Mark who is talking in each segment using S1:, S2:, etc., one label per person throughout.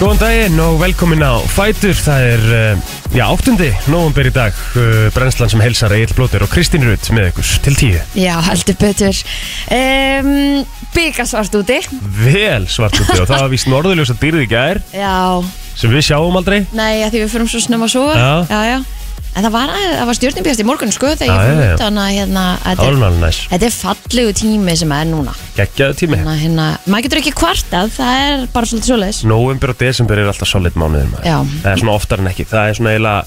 S1: Góðan daginn og velkomin á Fætur. Það er, eh, já, 8. november í dag, eh, brennslan sem helsar Egil Blóter og Kristín Rutt með ykkur til 10.
S2: Já, heldur betur um, Byggasvart úti
S1: Vel svart úti og það var víst norðurljósa dýrið í gær
S2: Já,
S1: sem við sjáum aldrei.
S2: nei, að því við förum svo snemma að sofa
S1: Já.
S2: já, En það var, það var stjórnibjast í morgun sko
S1: Já,
S2: þegar ég
S1: já, já.
S2: fór út Þannig að hérna,
S1: Það var
S2: þetta er,
S1: nú alveg næst.
S2: þetta er fallegu tími sem er núna
S1: Gekkjaðu tími.
S2: Þannig að hérna, maður getur ekki kvartað Það er bara svolítið svoleiðis
S1: November og desember er alltaf solid mánuðir maður.
S2: Já.
S1: Það er svona oftar en ekki. Það er svona eiginlega,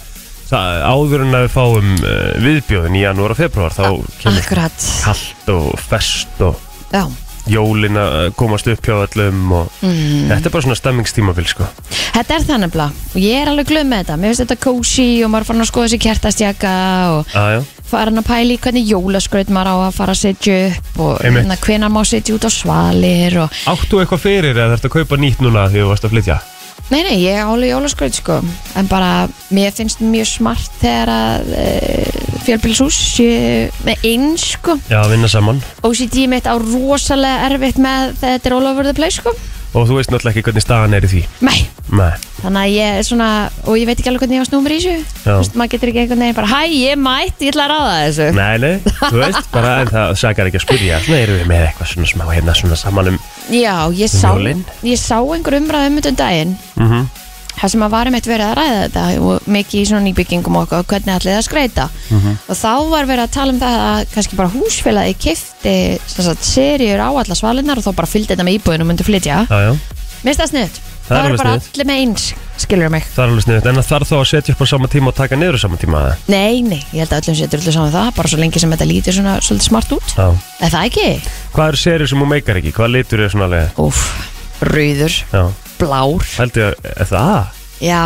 S1: það, áður en að við fáum uh, viðbjóðin í janúar og februar þá kemur
S2: Akkurat,
S1: kallt og fest og
S2: já
S1: jólin að eh, komast upp hjá öllum og
S2: Mm.
S1: þetta er bara svona stemmingstímabil sko.
S2: Þetta er það nefnilega og ég er alveg glöð með þetta Mér finnst þetta kósi og maður er farin að skoða sér kertastjaka og
S1: Aðjá,
S2: farin að pæla í hvernig jólaskraut maður á að fara að setja upp og
S1: Einmitt.
S2: hérna, hvenar má setja út á svalir og
S1: áttu eitthvað fyrir eða þarfst að kaupa nýtt núna því þú varst að flytja?
S2: Nei, nei, ég álega jólaskraut sko en bara, mér finnst mjög smart þegar að e, fjölbílisús sé með eins sko
S1: Já, vinna saman.
S2: OCD mitt á rosalega erfitt með þegar þetta er all over the place sko
S1: Og þú veist náttúrulega ekki hvernig staðan er í því.
S2: Nei,
S1: Nei.
S2: þannig að ég er svona og ég veit ekki alveg hvernig ég var snúmur í þessu
S1: Já.
S2: Þú veist, maður getur ekki einhvern veginn bara hæ, ég er mætt, ég ætla að ráða þessu
S1: Nei, nei, þú veist, bara en það sakar ekki að spyrja. Svona erum við með eitthvað svona smá hérna svona saman um.
S2: Já, ég sá,
S1: Jólin.
S2: ég sá einhver umræðum um daginn
S1: Mm
S2: það sem að varum eitt verið að ræða þetta og mikið í svona nýbyggingum og okkur, hvernig allir það skreita
S1: Mhm.
S2: og þá var verið að tala um það að kannski bara húsfélagi kifti serjur á alla svalinnar og þá bara fylgdi þetta með íbúðin og myndi flytja
S1: Já, já,
S2: minnst það sniðut,
S1: Það er
S2: það
S1: alveg
S2: var bara
S1: sniðugt.
S2: allir með eins skilur mig,
S1: það er alveg sniðut. En það þarf þá að setja upp á sama tíma og taka niður á sama tíma það.
S2: nei, nei ég held að öllum setur allir saman um það, bara svo lengi sem þetta lítur svona svolítið smart út,
S1: Já.
S2: er það ekki?
S1: Hvað eru serið sem þú meikar ekki? Hvað litur er svona alveg?
S2: Úf, rauður,
S1: Já,
S2: blár
S1: held ég að, er það?
S2: já,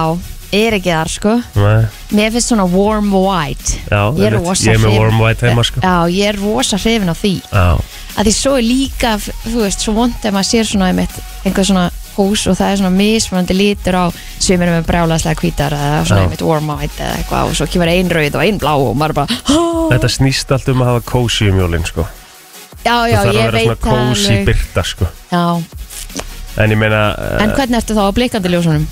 S2: er ekki þar sko
S1: Nei,
S2: mér finnst svona warm white
S1: já,
S2: Ég er
S1: einmitt.
S2: rosa
S1: Ég er með
S2: hrifin.
S1: warm white heima sko.
S2: Já, ég er rosa hrifin á því
S1: Já,
S2: að því svo er líka, þú veist, svo vond ef maður sér svona einmitt einhver svona hús og það er svona mismunandi lítur á sem er með brjálæslega hvítar eða svona
S1: Já.
S2: einmitt warm white eða eitthvað og svo kemur ein rauð og ein blá og maður bara "Hó!"
S1: þetta snýst allt um að hafa kósi um jólinn sko.
S2: Já, já,
S1: það þarf
S2: ég
S1: að vera
S2: veit
S1: svona kósi
S2: alveg.
S1: byrta sko.
S2: Já,
S1: En ég meina,
S2: en
S1: uh,
S2: hvernig ertu þá á blikandi ljósunum?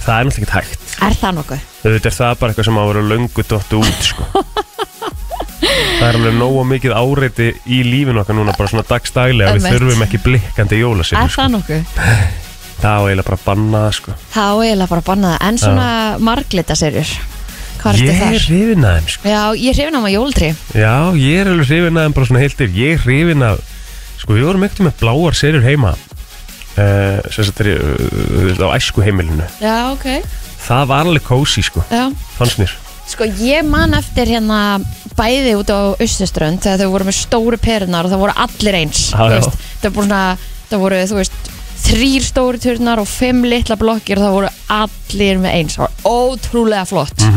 S1: það er náttúrulega ekkert hægt
S2: Er það nokkuð?
S1: Þetta er það bara eitthvað sem á að vera löngu dottu út sko. Það er alveg nógu mikið áreiti í lífinu okkar núna bara svona dagstæli að við
S2: Ömmert.
S1: þurfum ekki blikkandi jólasinn
S2: Er
S1: sko.
S2: það nokkuð?
S1: Það á eiginlega bara að banna það sko.
S2: Þá eiginlega bara að banna það, en svona marglita serjur, hvað ertu
S1: Ég er
S2: þar?
S1: hrifin af þeim sko.
S2: Já, ég er hrifin á maður jólatri
S1: Já, ég er alveg hrifin af þeim bara svona heiltir Ég er hrifin af Sko, við vorum ekkert með bláar serjur heima uh, sem sagt er uh, á æsku heimilinu
S2: Já, ok
S1: Það var alveg kósi sko,
S2: Já,
S1: fannst mér
S2: Sko ég man eftir hérna bæði út á Östuströnd þegar þau voru með stóru perunar og það voru allir eins
S1: Já,
S2: þú
S1: já.
S2: veist. það voru svona, það voru þú veist þrýr stóru turnar og fimm litla blokkir og það voru allir með eins það var ótrúlega flott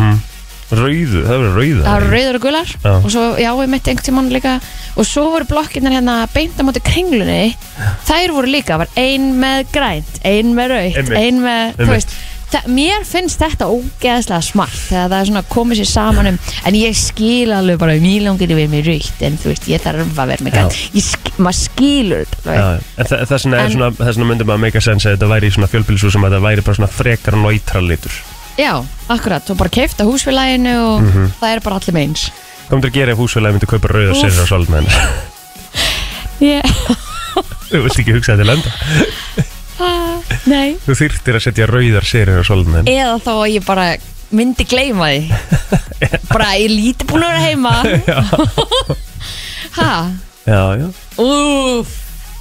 S1: Rauðu, það var rauðu
S2: það voru rauðar og gular
S1: Já.
S2: og svo já, ég mitt einhvern tímann líka og svo voru blokkinar hérna beint á móti kringlunni þær voru líka, það var ein með grænt ein með raut,
S1: Einmitt.
S2: ein með þú
S1: Einmitt.
S2: veist, það, mér finnst þetta ógeðslega smart þegar það er svona komið sér saman um en ég skil alveg bara mjög langir yfir með raut en þú veist, ég þarf að vera með grænt Ég sk maður skilur þetta alveg.
S1: Já, já. en þa- þess vegna
S2: En-
S1: er svona, þess vegna myndi maður meika sens að þetta væri í svona fjölbýlisú sem að þetta væri bara svona frekar neutral litur.
S2: já, akkurat, og bara keifta húsfélaginu og
S1: Mhm.
S2: það er bara allir með eins
S1: Komður að gera ef húsfélagi myndi kaupa rauða
S2: Úff.
S1: sérir á svolítið með hennar.
S2: ég,
S1: Þú vilt ekki hugsa þetta til enda.
S2: nei
S1: Þú þyrtir að setja rauðar sérir á svolítið með hennar.
S2: eða þá að ég bara myndi gleyma því bara ég líti búin að vera heima ha,
S1: Já, já.
S2: úf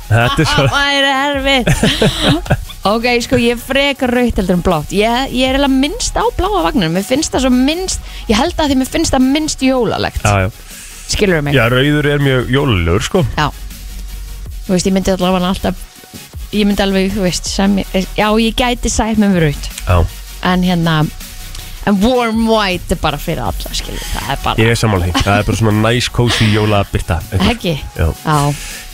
S1: Þetta er
S2: það
S1: svona,
S2: væri erfitt ok, sko ég er frekar raukt heldur en blátt ég, ég er eiginlega minnst á bláa vagninu mér finnst það svo minnst, ég held að því mér finnst það minnst jólalegt,
S1: já, já.
S2: skilur mig
S1: Já, rauður er mjög jólulegur, sko.
S2: Já. þú veist, ég myndi allavega alltaf ég myndi alveg, þú veist sem, já, ég gæti sætt með mér raukt
S1: Já.
S2: en hérna en warm white er bara fyrir alla skilur, það er bara
S1: Ég er sammála því. Það er bara svona nice, cozy jólabyrta.
S2: Ekki?
S1: Já.
S2: Já.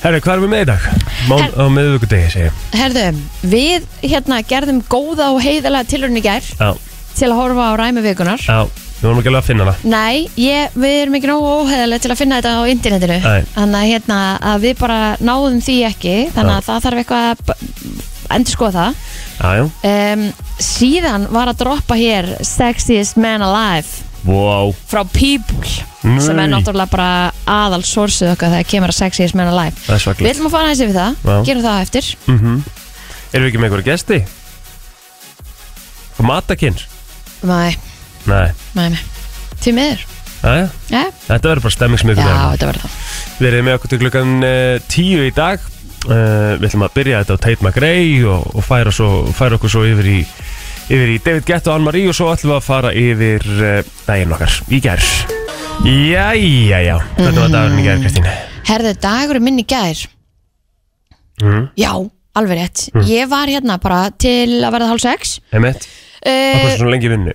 S1: Herri, hvað erum við með í dag? Mán
S2: Her-
S1: á miðvíkudegi, segi ég.
S2: Herðu, við hérna gerðum góða og heiðalega tilrunni gær
S1: Já,
S2: til að horfa á ræmi vikunar.
S1: já. Við vorum ekki alveg að finna hana.
S2: Nei, ég, við erum ekki nógu óheiðalega til að finna þetta á internetinu.
S1: Nei.
S2: Þannig að, hérna, að við bara náðum því ekki, þannig að það þarf eitthvað að b- endurskoða það.
S1: Jájú,
S2: um, síðan var að droppa hér Sexiest Man Alive
S1: wow
S2: frá People
S1: Nei.
S2: sem er náttúrulega bara aðal sorsið okkar þegar kemur að Sexiest Man Alive
S1: Það er
S2: Við
S1: svaklegt
S2: ætlum að fara aðeins yfir það,
S1: Já.
S2: gerum það á eftir
S1: mm Erum við ekki með einhverja gesti? Matakinn?
S2: Nei,
S1: Nei,
S2: nei, nei Því miður,
S1: aðja
S2: ja,
S1: Þetta verður bara stemmingsmiður
S2: já, þetta verður það
S1: Við erum með okkur til klukkan eh, 10 í dag uh, Við ætlum að byrja þetta á Tate McRae og, og færa, svo, færa okkur svo yfir í, yfir í David Guetta og Anne-Marie og svo ætlum við að fara yfir uh, daginn okkar í gær Jæja, já, þetta
S2: Mhm.
S1: var dagurinn í gær, Kristín
S2: Herðu, dagur minn í gær
S1: mm.
S2: Já, alveg rétt
S1: Mhm.
S2: Ég var hérna bara til að verða hálf sex
S1: Emmett, hvað er
S2: uh,
S1: svona lengi í vinnu?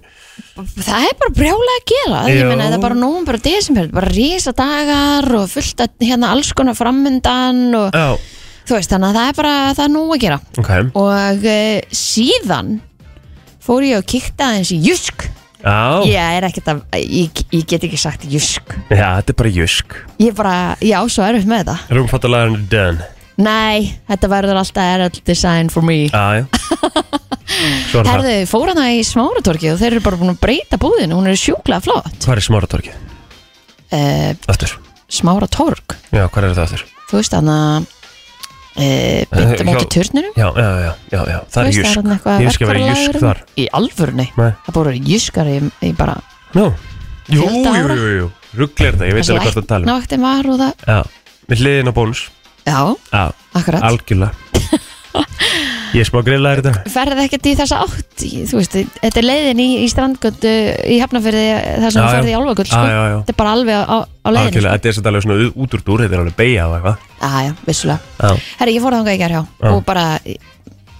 S2: Það er bara brjálega að gera Ég
S1: Já.
S2: meina, það er bara nógum bara desember Bara rísa dagar og fullt að hérna alls konar framundan og
S1: Já,
S2: þú veist, þannig að það er bara það er nóg að gera
S1: ok
S2: og uh, síðan fór ég og kíkti aðeins í Jusk
S1: Já,
S2: ég er ekkert að, ég, ég get ekki sagt Jusk
S1: já, þetta er bara jysk
S2: ég bara, já, svo erum við með það
S1: Rúmfattalæðurinn er done
S2: nei, þetta verður alltaf erall design for me
S1: Já, já Svo er það,
S2: herðu, fór hana í smáratorki og þeir eru bara búin að breyta búðin hún er sjúklega flott
S1: hvað er smáratorkið?
S2: uh,
S1: Aftur,
S2: smáratork,
S1: já, hvað er þetta aftur?
S2: þú veist hana uh,
S1: Eh,
S2: bytta
S1: hjá-
S2: móti turninum
S1: Já, já, já, já, já, það er
S2: Þú veist,
S1: jysk
S2: þarna eitthvað
S1: Ég veist ekki að vera jysk
S2: verkfæralagurinn.
S1: þar
S2: í alvörni,
S1: Nei.
S2: það búin að vera jyskar í, í bara
S1: Nú, jú,
S2: Fjölda
S1: jú,
S2: ára.
S1: jú, jú, rugglir það, ég veit alveg hvað það tala um
S2: Náttinn var og það
S1: Já, við hliðin á bónus
S2: Já,
S1: Já,
S2: akkurat
S1: algjörlega Ég er smá grillaður þetta
S2: Ferð ekkert í þessa átt í- Þú veist, þetta er leiðin í, í strandgöndu Í hafnafyrði þar sem
S1: Já,
S2: þú
S1: já.
S2: ferði í álfagöld sko.
S1: Já, já, já.
S2: Þetta er bara alveg á, á sko. leiðin
S1: Algjörlega, þetta er satt alveg svona út úr dúr, þetta er alveg beigja og eitthvað
S2: Já, já, vissulega
S1: Já,
S2: Herri, ég fór þangað í gerð hjá
S1: Já.
S2: Og bara,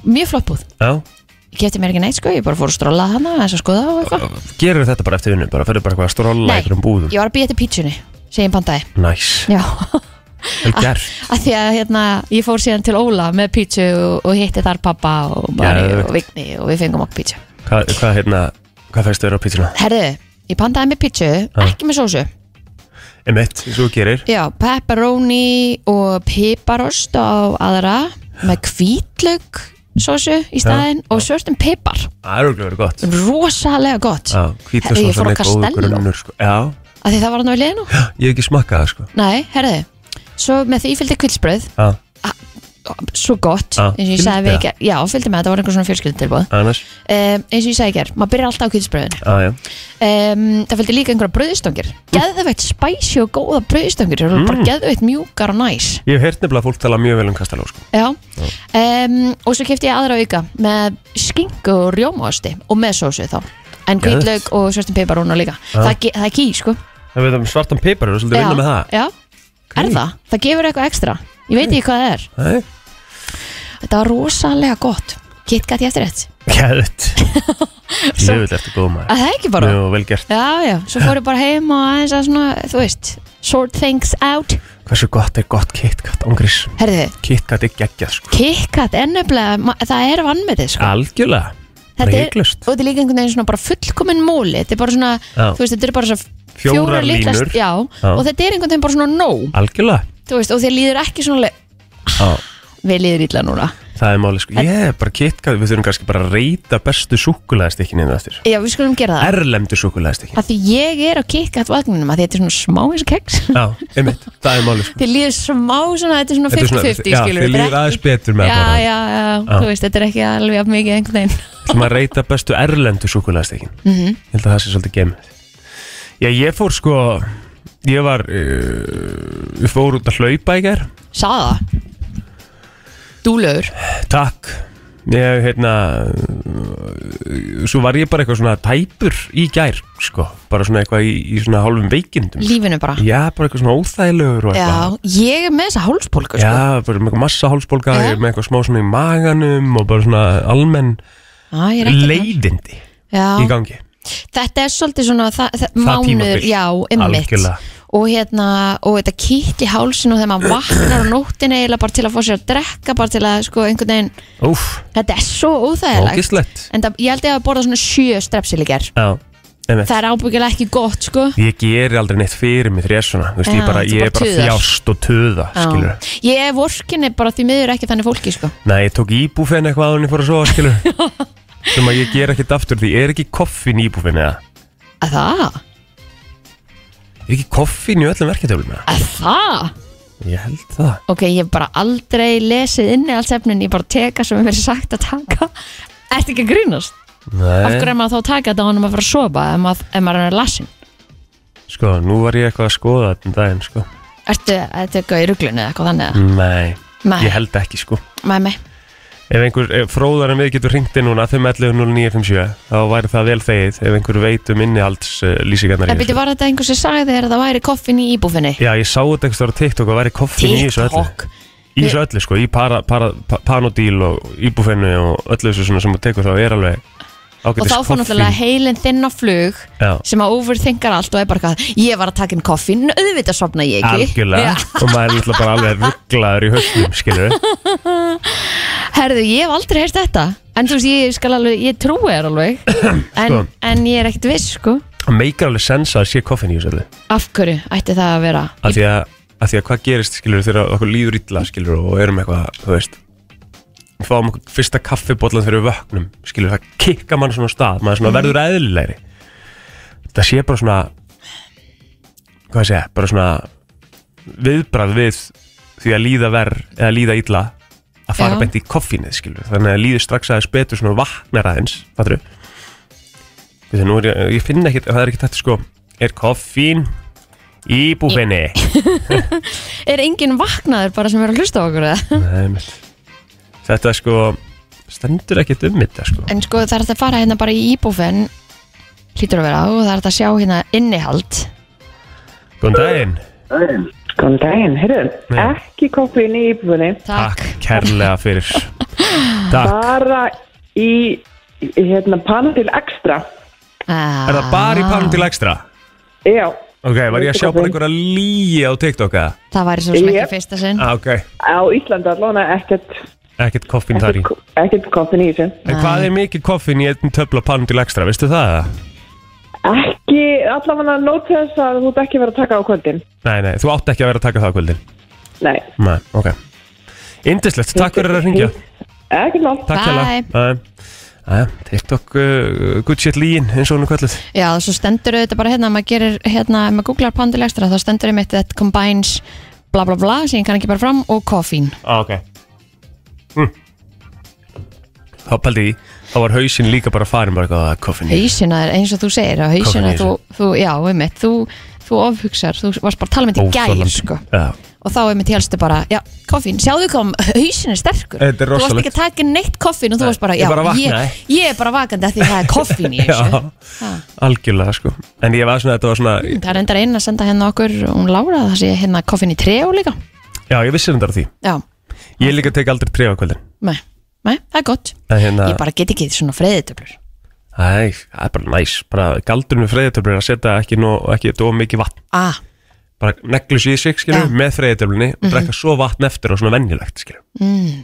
S2: mjög flott búð
S1: já,
S2: Ég kefti mér ekki neitt sko, ég bara fór að strolla hana Þess að skoða og eitthvað
S1: gerur þetta bara eftir vinnu, bara ferðu bara eitthvað að strolla
S2: Nei.
S1: einhverjum búðum
S2: Ég var að býja til pítsunni, sem ég pantaði
S1: Næs,
S2: Já,
S1: vel
S2: Ah.
S1: gert
S2: að því að hérna, ég fór síðan til Óla með pítsu og, og hitti þar pappa og Mari
S1: Geðveikt.
S2: og Vigni og við fengum okkur pítsu
S1: Hvað, hvað, hérna, hvað fæstu þér á pítsuna?
S2: Herðu, ég pantaði með pítsu, ekki með sósu
S1: Emmett, eins og þú gerir
S2: Já, pepperoni og piparost á aðra með hvítlaug sósu í staðinn og svörtum pipar
S1: Það er okkur verið gott
S2: rosalega gott
S1: Já, hvítur
S2: Mm. Herri,
S1: svo
S2: ég fór á
S1: góður
S2: Castello.
S1: grunnur sko. Já,
S2: af því það var hann á liðinu
S1: ég hef ekki smakkað það sko
S2: Nei, herðu, svo með því fylgdi kvilsbröð
S1: Já,
S2: svo gott,
S1: Já,
S2: eins og ég
S1: fylgdi
S2: sagði við
S1: það?
S2: ekki Já, fylgdi með, þetta var einhver svona fjölskyldutilbúð um,
S1: annars,
S2: eins og ég sagði ekki, maður byrjar alltaf á kvilsbröðinu
S1: já, já
S2: um, Það fylgdi líka einhverja bröðstangir Geðveitt spæsi og góða bröðstangir mm. bara geðveitt mjúkar og næs
S1: Ég hef heyrt nefnilega að fólk tala mjög vel um Kastaló sko.
S2: Já, um, og svo kefti ég aðra auka með skingu og rjómaosti og með sósu þá en
S1: Geðveikt.
S2: hvítlaug og svörstum peiparúna líka það, ge- það er ký, sko
S1: Það veit um svartan pipar, þú svolítið
S2: já,
S1: vinna með það
S2: já. er það, það gefur eitthvað ekstra ég veit ekki hvað það er
S1: Nei,
S2: þetta var rosalega gott KitKat ég eftir rétt,
S1: gæðut Ljöfull eftir góð maður
S2: að það er ekki bara
S1: Jú, vel gert
S2: já, já, svo fór ég bara heim og aðeins að svona, þú veist sort things out,
S1: Hversu gott er gott KitKat, ángrís
S2: herðu
S1: KitKat er geggjað sko
S2: KitKat er nefnilega, ma- það er vannmetið sko
S1: Algjörlega,
S2: þetta er,
S1: reiklust
S2: og þetta er líka einhvern veginn svona bara fullkominn móli þetta er bara svona,
S1: Já.
S2: þú veist, þetta er bara svona
S1: Fjórar
S2: fjórar litlar-
S1: línur.
S2: já,
S1: Já.
S2: og þetta er einhvern veginn bara svona nóg
S1: Algjörlega
S2: þú veist, og þér líður ekki svona le-
S1: Já,
S2: við líður illa núna
S1: það er máli sko Ég er bara KitKat, við þurfum kannski bara að reyta bestu súkulæðastikkin inn eftir
S2: já, við skulum gera það
S1: Erlemdu súkulæðastikkin
S2: að því ég er á KitKat vagninum að þetta er svona smá eins og keks
S1: Já, einmitt, það er máli sko
S2: þér líður smá svona, þetta er svona
S1: Þetta er svona-
S2: 50-50
S1: já,
S2: skilur
S1: þér líður aðeins betur með að
S2: já,
S1: borða það.
S2: já, já, þú veist, þetta er ekki alveg jafn mikið einhvern veginn
S1: sem að reyta bestu erlendu súkulæðastekkin mm -hmm.
S2: Mhm.
S1: ég held að það sé svolítið gemið já ég fór sko ég var uh, ég fór út að hlaupa í ger
S2: sáða dúlögur
S1: takk ég hérna eh, svo var ég bara eitthvað svona tæpur í gær sko bara svona eitthvað í, í svona hálfum veikindum
S2: lífinu bara
S1: já bara eitthvað svona óþægilegur og
S2: já,
S1: eitthvað
S2: ég er með þessa hálsbólku sko.
S1: Já, bara með eitthvað massa hálsbólga,
S2: Já.
S1: ég er með eitthvað smá svona í maganum og bara svona almenn
S2: Á, ég er ekki að-
S1: leiðindi
S2: Já.
S1: í gangi.
S2: þetta er svolítið svona það, það, mánuður,
S1: tímabil.
S2: já, ummitt
S1: Algjörlega.
S2: og hérna, og þetta kýtt í hálsinu og þegar maður vaknar á nóttin eiginlega bara til að fá sér að drekka, bara til að sko einhvern veginn,
S1: Úf,
S2: þetta er svo óþægilegt
S1: ógislegt.
S2: en það, ég held ég að borða svona sjö strepsil í ger
S1: Já, einmitt.
S2: það er ábyggilega ekki gott sko
S1: Ég geri aldrei neitt fyrir mig þegar ég er svona Þú veist, ég,
S2: Já,
S1: bara,
S2: þú
S1: ég er
S2: bara
S1: bara
S2: tuðar.
S1: þjást og töða
S2: Já.
S1: skilur.
S2: ég er vorkinni bara því miður ekki þannig fólki sko
S1: Nei, ég tók íbúfen eitthvað áður en ég fór að sofa skilur. sem að ég ger ekkert aftur því er ekki koffin í íbúfen eða
S2: að það,
S1: er ekki koffin í öllum verketöflum eða
S2: að það
S1: Ég held það
S2: ok, ég hef bara aldrei lesið inni alls efnin, ég bara teka sem er verið sagt að taka ertu ekki að grínast af hverju
S1: Nei,
S2: er maður þá að taka þetta honum að fara að sofa ef maður, ef maður er lasin
S1: sko, nú var ég eitthvað að skoða þetta um daginn sko.
S2: ertu þetta eitthvað í ruglunni eða eitthvað þannig
S1: Nei,
S2: Nei.
S1: ég held ekki sko
S2: með mig
S1: Ef einhver ef fróðar en við getur hringt inn núna 511-0957 þá væri það vel þegið ef einhver veit um innihaldslýsingarnar
S2: en byrju var þetta einhver sem sagði þér að það væri koffin í íbúfinni
S1: Já, ég sá þetta eitthvað á TikTok og væri koffin í þessu öllu
S2: TikTok
S1: í þessu öllu sko, í para, para, pa, panodíl og íbúfennu og öllu þessu svona sem þú tekur þá er alveg
S2: og
S1: ágætis
S2: þá fór náttúrulega heilin þinn á flug
S1: Já,
S2: sem að overthinkar allt og er bara hvað ég var að taka inn koffin, auðvitað sopna ég ekki
S1: algjörlega
S2: Já.
S1: og maður er náttúrulega bara alveg rugglaður í höstum skilur
S2: herðu, ég hef aldrei heyrt þetta en þú veist, ég skal alveg, ég trúi þér alveg en,
S1: Sko.
S2: en ég er ekkert viss sko
S1: og meikar alveg sensa að sé koffin í þessu öllu
S2: af hverju ætti það að vera
S1: af því að, af því að hvað gerist skilur þegar okkur líður illa skilur og erum eitthvað, þú veist við fáum okkur fyrsta kaffibóllan þegar við vöknum skilur það kikka mann svona á stað
S2: Mhm.
S1: maður svona verður eðlilegri það sé bara svona hvað ég segja, bara svona viðbrað við því að líða verð eða líða illa að fara
S2: Já.
S1: beint í koffínið skilur þannig að líður strax aðeins betur svona og vaknar aðeins fattur við ég, ég finn ekkert, það er ekkert þetta sko er koffín í búfinni
S2: er enginn vaknaður bara sem er að hlusta á okkur eða?
S1: Nei, einmitt. þetta sko stendur ekkert um þetta sko
S2: en sko það er hægt að fara hérna bara í íbúfen hlýtur að vera á og það er hægt að sjá hérna innihald
S1: góðan daginn,
S3: Góðan daginn, heyrðu,
S1: Já.
S3: ekki koffin í íbúðinni,
S1: takk
S2: takk,
S1: kærlega fyrir takk,
S3: bara í, í- hérna, panadil extra.
S1: er það bara í
S2: Ah,
S1: panum til ekstra?
S3: Já,
S1: Ok, var ég að sjá bara
S3: Koffín.
S1: einhverja líi á TikTok eða?
S2: það væri svo sem
S3: Yep.
S2: ekki fyrsta sinn
S1: Ah, ok,
S3: á Íslanda allavega ekkert,
S1: ekkert koffín þar í
S3: ekkert, ekkert koffin í þessu.
S1: En hvað er mikið koffín í einn töfla panum til ekstra, veistu það? eða?
S3: Ekki, allavega nót þess að þú ert ekki verið að taka á kvöldin.
S1: Nei, nei, þú átt ekki að vera að taka það á kvöldin
S3: Nei.
S1: Nei, ok Indislegt, takk fyrir að ringja
S3: Ekki nátt.
S1: Takk
S2: Bye.
S1: hérlega. Æ, æ, TikTok uh, good shit líin, eins og hún er kvölduð
S2: Já, svo stendur þetta bara hérna, ef maður gerir hérna, ef maður googlar pandilegstra, þá stendur einmitt þetta combines bla bla bla, sem ég kann ekki bara fram, og koffín.
S1: ah, Ok mm. Þá pældi í Þá var hausinn líka bara farin bara eitthvað að koffín í.
S2: Hausina er eins og þú segir, að hausina,
S1: Koffín í
S2: þú, þú, já, einmitt, þú, þú ofhugsar, þú varst bara að tala með þetta í gæl,
S1: Óþolandi.
S2: sko.
S1: Já,
S2: Og þá einmitt helstu bara, já, koffín, sjáðu kom, hausin er sterkur.
S1: Þetta er
S2: Þú varst
S1: rosalegt.
S2: ekki að taka neitt koffín og þú
S1: Nei,
S2: varst bara,
S1: ég
S2: já,
S1: bara vaknaði.
S2: ég, ég er bara vakandi að því það er koffín í þessu.
S1: Já, algjörlega sko En ég var svona, þetta var svona
S2: Það er endar einn að senda hérna okkur, hún Lára, það sé hérna koffín í treo líka.
S1: Já, ég vissi þetta á því
S2: Já,
S1: Ég líka tek aldrei trefa kvöldin
S2: nei, nei, það er gott.
S1: En hérna,
S2: Ég bara get ekki svona freyðitöflur.
S1: Æ, það er bara næs bara galdurinn við freyðitöflur er að setja ekki, nóg, ekki of mikið vatn
S2: Ah,
S1: bara neglu sér í sig skilur
S2: Já. Mhm.
S1: með freyðitöflunni og drekka svo vatn eftir og svona venjulegt skilur mm.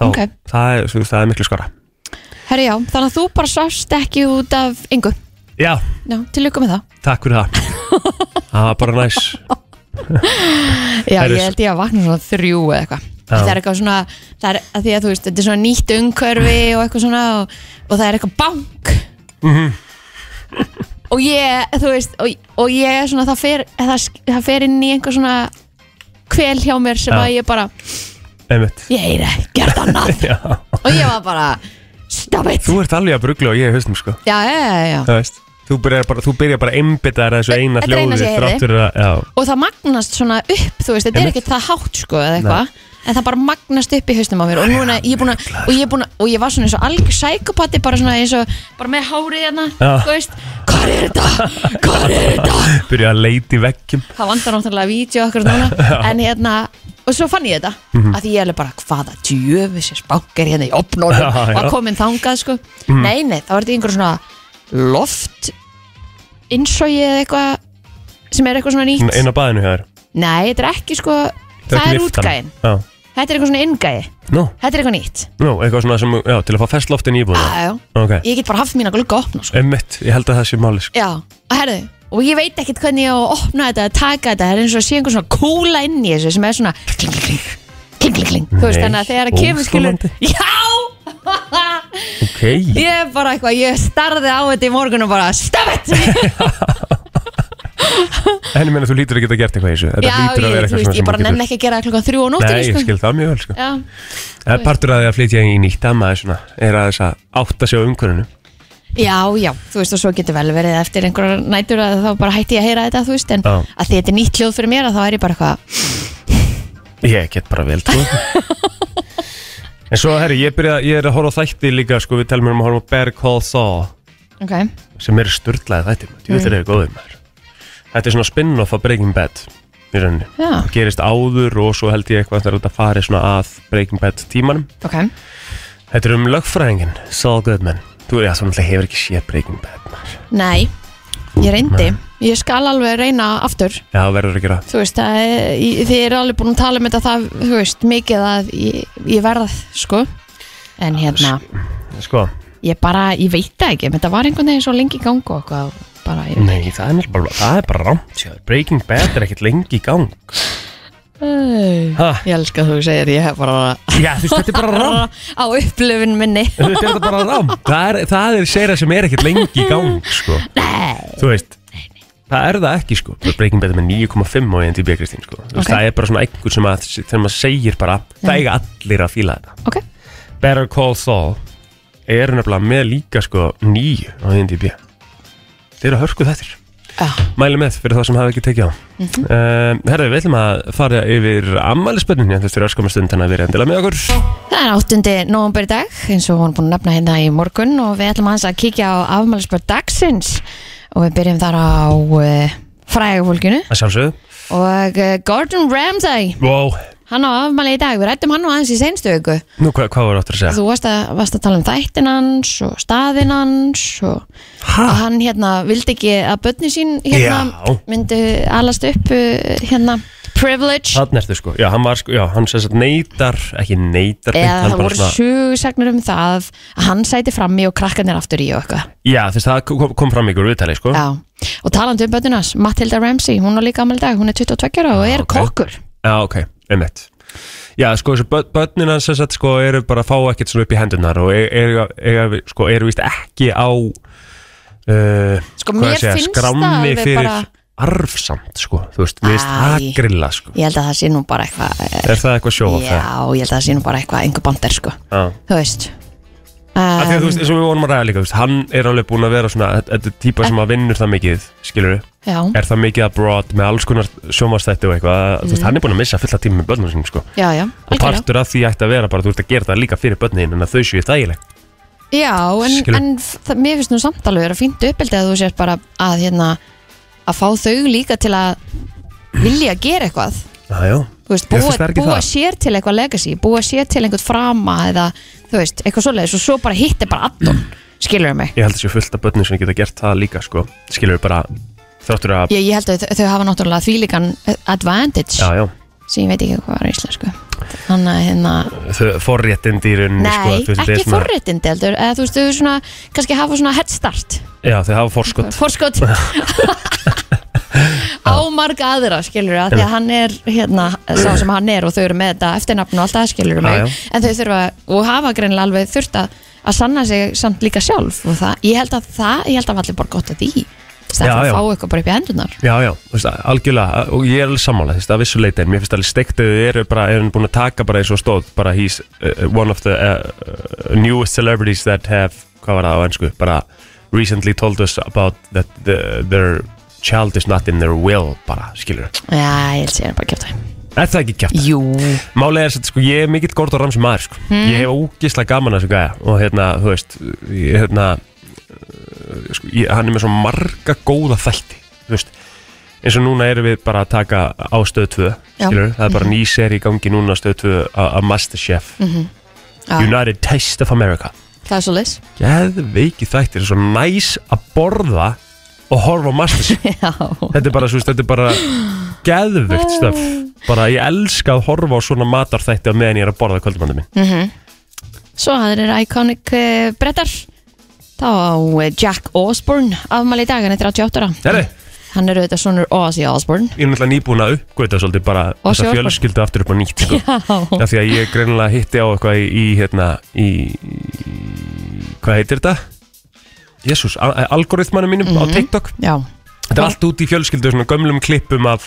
S1: þá,
S2: Ok.
S1: það, er, þú veist, það er miklu skora
S2: herri já, þannig að þú bara svast ekki út af yngu.
S1: Já,
S2: Já, til lukku með það.
S1: takk fyrir það það var bara næs
S2: Já,
S1: Herri,
S2: ég held ég að vakna svona þrjú eða eitthvað.
S1: Já.
S2: Það er eitthvað svona, það er að því að þú veist, þetta er svona nýtt umhverfi og eitthvað svona og, og það er eitthvað bank.
S1: Mhm.
S2: og ég, þú veist, og, og ég er svona, það fer, það, sk- það fer inn í einhver svona kvel hjá mér sem
S1: Já.
S2: að ég bara,
S1: Einmitt.
S2: ég er ekkert annað.
S1: Já.
S2: og ég var bara, stop it.
S1: Þú ert alveg að brugla og ég er höstum sko
S2: Já, já, já, já.
S1: Það veist Þú byrjar bara, þú byrjar bara einbyttaðar þessu eina
S2: Þetta er eina
S1: hljóði
S2: sem ég heyrði.
S1: þrátt fyrir að, já,
S2: og það magnast svona upp þú veist, þetta er
S1: Einmitt.
S2: ekkert það hátt sko eða eitthvað en það bara magnast upp í haustum á mér og núna ég er búin að, og ég er búin að, og ég var svona eins og algjör sækopati, bara svona eins og bara með hárið hérna,
S1: Já.
S2: þú veist hvað er þetta, hvað er þetta
S1: byrja að leita í veggjum
S2: það vandar náttúrulega vídeo okkur núna en hérna, og svo fann ég þetta
S1: Mhm.
S2: að því ég er alveg bara, hvaða djöfis bankar hérna í opnónum
S1: Já, Mhm. já.
S2: og komin þangað sko, nei, nei, þá er þetta einhver svona loft innsói eða eitthvað sem er eitthvað svona nýtt
S1: inn á baðinu hjá þér
S2: Nei, þetta er ekki sko
S1: Þetta
S2: Það er
S1: lyftan.
S2: útgæðin
S1: Já,
S2: Þetta er eitthvað svona inngæði
S1: Nú,
S2: Þetta er eitthvað nýtt
S1: nú, eitthvað svona sem, já, til að fá festloftin í
S2: Já,
S1: íbúðina
S2: já,
S1: Ok,
S2: Ég get bara haft mína glugga opna sko.
S1: emmitt, ég held að það sé máli sko.
S2: Já, og herðu Og ég veit ekkert hvernig ég á að opna þetta að taka þetta Það er eins og að sé einhver svona kúla inn í þessu sem er svona kling, kling, kling, kling, kling, kling. Þú veist
S1: Nei,
S2: þannig að þegar að kemur skilur
S1: óþolandi.
S2: Já
S1: Ok,
S2: Ég er bara eitthvað, ég starði á þetta í morgun og bara Stop it!
S1: en ég meina þú lítur að geta gert eitthvað í þessu Þetta
S2: Já,
S1: lítur að
S2: ég, þú
S1: vera eitthvað
S2: veist,
S1: svona
S2: ég
S1: sem
S2: bara
S1: þú getur-
S2: nenni ekki að gera það klukkan þrjú á
S1: Nei, ég
S2: nóttunni sko.
S1: skil það mjög vel sko.
S2: Já,
S1: Það er partur að því að flytja í nýtt að maður svona, er að þess að átta sig á umhverfinu
S2: já, já, þú veist og svo getur vel verið eftir einhverjar nætur að þá bara hætti ég að heyra þetta, þú veist en
S1: Já.
S2: að því þetta er nýtt hljóð fyrir mér að þá er ég bara eitthvað
S1: Ég get bara vel trú En svo, herri, ég, byrja, ég er að horfa á þætti líka sko, Við telum um að horfa á Bear Call Saul
S2: Ok,
S1: sem eru sturdlaði þættir maður. Djöfull eru þeir góðir, maður. Þetta er svona spin-off af Breaking Bad í rauninni.
S2: já,
S1: Það gerist áður og svo held ég eitthvað að þetta fari svona að Breaking Bad tímanum
S2: ok
S1: Þetta er um lögfræðingin, Saul Goodman Þú, já, þú náttúrulega hefur ekki séð Breaking Bad maður.
S2: Nei, ég reyndi Ég skal alveg reyna aftur
S1: Já, það verður að gera það.
S2: Þú veist, að, ég, þið eru alveg búin að tala um þetta það, þú veist, mikið að ég, ég verð, sko En hérna,
S1: Sko,
S2: ég bara, ég veit það ekki Þetta var einhvern veginn svo lengi í gangu og eitthvað bara, ég,
S1: nei, það er nefnilega bara, það er bara rámt sjáðu. Breaking Bad er ekkert lengi í gang
S2: Æ,
S1: ha,
S2: Ég elska að þú segir, ég hef bara
S1: Já, þú veist, þetta er bara rámt
S2: á upplöfun minni
S1: Þetta er þetta bara rámt Það er, það er seira sem er ekkert lengi í gang sko.
S2: Nei,
S1: þú veist það er það ekki sko, Breaking Bad er með 9,5 á IMDb Kristín sko, Þú veist,
S2: Ok.
S1: það er bara svona einhver sem að, þegar maður segir bara það eiga allir að fíla þetta
S2: ok
S1: Better Call Saul er nefnilega með líka sko 9 á IMDb þeir eru að hörku þettir
S2: Já,
S1: mæli með fyrir það sem hafa ekki tekið á mm -hmm. herðu, við ætlum að fara yfir ammælisbönnin, þetta er öskum stund þannig að við erum endilega með okkur
S2: Það er 8. nóvumbur í dag eins og hún er búin að nefna hérna í morgun og við ætlum aðeins að kíkja á afmælisbörn dagsins og við byrjum þar á uh, frægafólkinu
S1: að sjálfsögðu
S2: og uh, Gordon Ramsay
S1: wow.
S2: hann á afmæli í dag, við rættum hann nú aðeins í senstu viku
S1: Nú, hva, hvað var áttur að segja?
S2: þú varst að, varst að tala um þættin hans og staðinn hans og að
S1: ha?
S2: hann hérna vildi ekki að börni sín hérna
S1: Ah. Já.
S2: myndu alast upp uh, hérna privilege
S1: Þannig ertu sko, já, hann var sko, já, hann sem sagt neytar, ekki neytar beint,
S2: eða
S1: hann
S2: það
S1: bara
S2: voru sögursagnir um það að hann sæti frammi og krakkarnir aftur í og eitthvað
S1: Já, þess að það kom, kom fram ykkur viðtali, sko
S2: Já. og talandi um bönnunars, Matilda Ramsey hún er líka amal dag, hún er 22 ára og er
S1: ok.
S2: kokkur
S1: Já, ok, einmitt Já, sko, þessu börn- börnin hans sem sagt, sko, eru bara að fá ekkert svona upp í hendunar og e-, er, er, er, sko, eru víst ekki á uh,
S2: Sko,
S1: hvað
S2: mér
S1: að segja,
S2: finnst það
S1: skrammi
S2: alveg
S1: fyrir
S2: bara-
S1: arfsamt, sko, þú veist, við veist það
S2: Æ.
S1: grilla, sko
S2: ég held að það sé nú bara eitthvað eh,
S1: Er það eitthvað sjóa það?
S2: já, ég held að það sé nú bara eitthvað einhver bandar sko,
S1: Já
S2: þú veist
S1: Af því að þú
S2: um,
S1: veist, eins og við vorum að ræða líka, þú veist, hann er alveg búin að vera svona, þetta er típa sem að vinnur það mikið, skilur
S2: já,
S1: er það mikið abroad með alls konar sjómastætti og eitthvað, þú
S2: Mm.
S1: veist, hann er búin að missa fulla tíma með börnum sínum, sko.
S2: já, já,
S1: Og
S2: algjörlega
S1: partur af því ætti að vera bara, þú ert að gera það líka fyrir börnin, en að þau séu þægileg.
S2: já, en,
S1: Skilur.
S2: en það, mér finnst nú samt alveg vera fínt uppeldi að þú sért bara að hérna, að fá þau líka til að vilja gera eitthvað
S1: Já, já.
S2: þú veist,
S1: Ég
S2: búa,
S1: finnst það er ekki
S2: búa
S1: það.
S2: sér til eitthvað legacy, búa sér til einhvern frama eða, þú veist, eitthvað svoleiðis og svo bara hitti bara addon, skilur mig
S1: Ég held að séu fullt af börnum sem geta gert það líka, sko. Skilur bara, þráttur að,
S2: ég, ég held að þau, þau hafa náttúrulega þvílíkan advantage,
S1: já, já,
S2: sem ég veit ekki hvað er íslensku þannig að hérna
S1: þau forréttindi í rauninni, sko.
S2: nei,
S1: þú veist, þetta er
S2: ekki
S1: svona-
S2: forréttindi heldur, eða þú veist, þau svona kannski hafa svona head start,
S1: Já, þau hafa forskot.
S2: forskot á marga aðra skilur að því að hann er hérna, sá sem hann er og þau eru með þetta eftirnafn og allt það skilur
S1: Já,
S2: mig,
S1: já.
S2: en þau þurfa og hafa greinilega alveg þurft að, að sanna sig samt líka sjálf og það, ég held að það, ég held að allir bara gott að því það
S1: Já,
S2: er að
S1: já.
S2: fá eitthvað bara upp í hendunar
S1: Já, já, þú veist, algjörlega, og ég er alveg sammála, þú veist, að vissu leiti, en mér finnst alveg steikt að þau eru bara, eru búin að taka bara eins og stóð, bara he's uh, one of the uh, uh, newest celebrities that have, hvað var það á ennsku, bara recently told us about that the, their child is not in their will, bara, skilur það.
S2: já, ég held að ég er bara að kjöfta
S1: Er það ekki kjátt?
S2: jú,
S1: Málega er þetta, sko, ég er mikill Gordon Ramsay maður, sko,
S2: Hmm.
S1: ég hef ógislega gaman að þessu gæja, og hérna, þú veist, ég, hérna, uh, sko, ég, hann er með svo marga góða þætti, þú veist, eins og núna erum við bara að taka á stöð 2
S2: Já. Mhm.
S1: skilur, það er bara ný seri í gangi núna á stöð 2 a- að Masterchef
S2: Já.
S1: United Taste of America
S2: Ah, það er svo leis
S1: geðveiki þættir, svo næs að borða og horfa á Masterchef
S2: já,
S1: þetta er bara, svo, þetta er bara geðvögt stöf bara ég elska að horfa á svona matarþætti á meðan ég er að borða kvöldumandi minn
S2: Mm. Svo það er Iconic uh, brettar Þá á eh, Jack Osborne afmæli í dag, hann er 38 ára
S1: Herri,
S2: Hann er auðvitað sonur Ozzy Osborne
S1: ég er náttúrulega nýbúin að uppgöta svolítið bara
S2: Og
S1: þessa
S2: sjálfan.
S1: fjölskyldu aftur upp á nýtt sko.
S2: Já,
S1: af því að ég greinilega hitti á eitthvað í, í hérna, í, í hvað heitir þetta? Jésús, algoritmanum mínum á TikTok
S2: Mhm. já.
S1: Þetta er allt út í fjölskyldu, svona gömlum klippum af,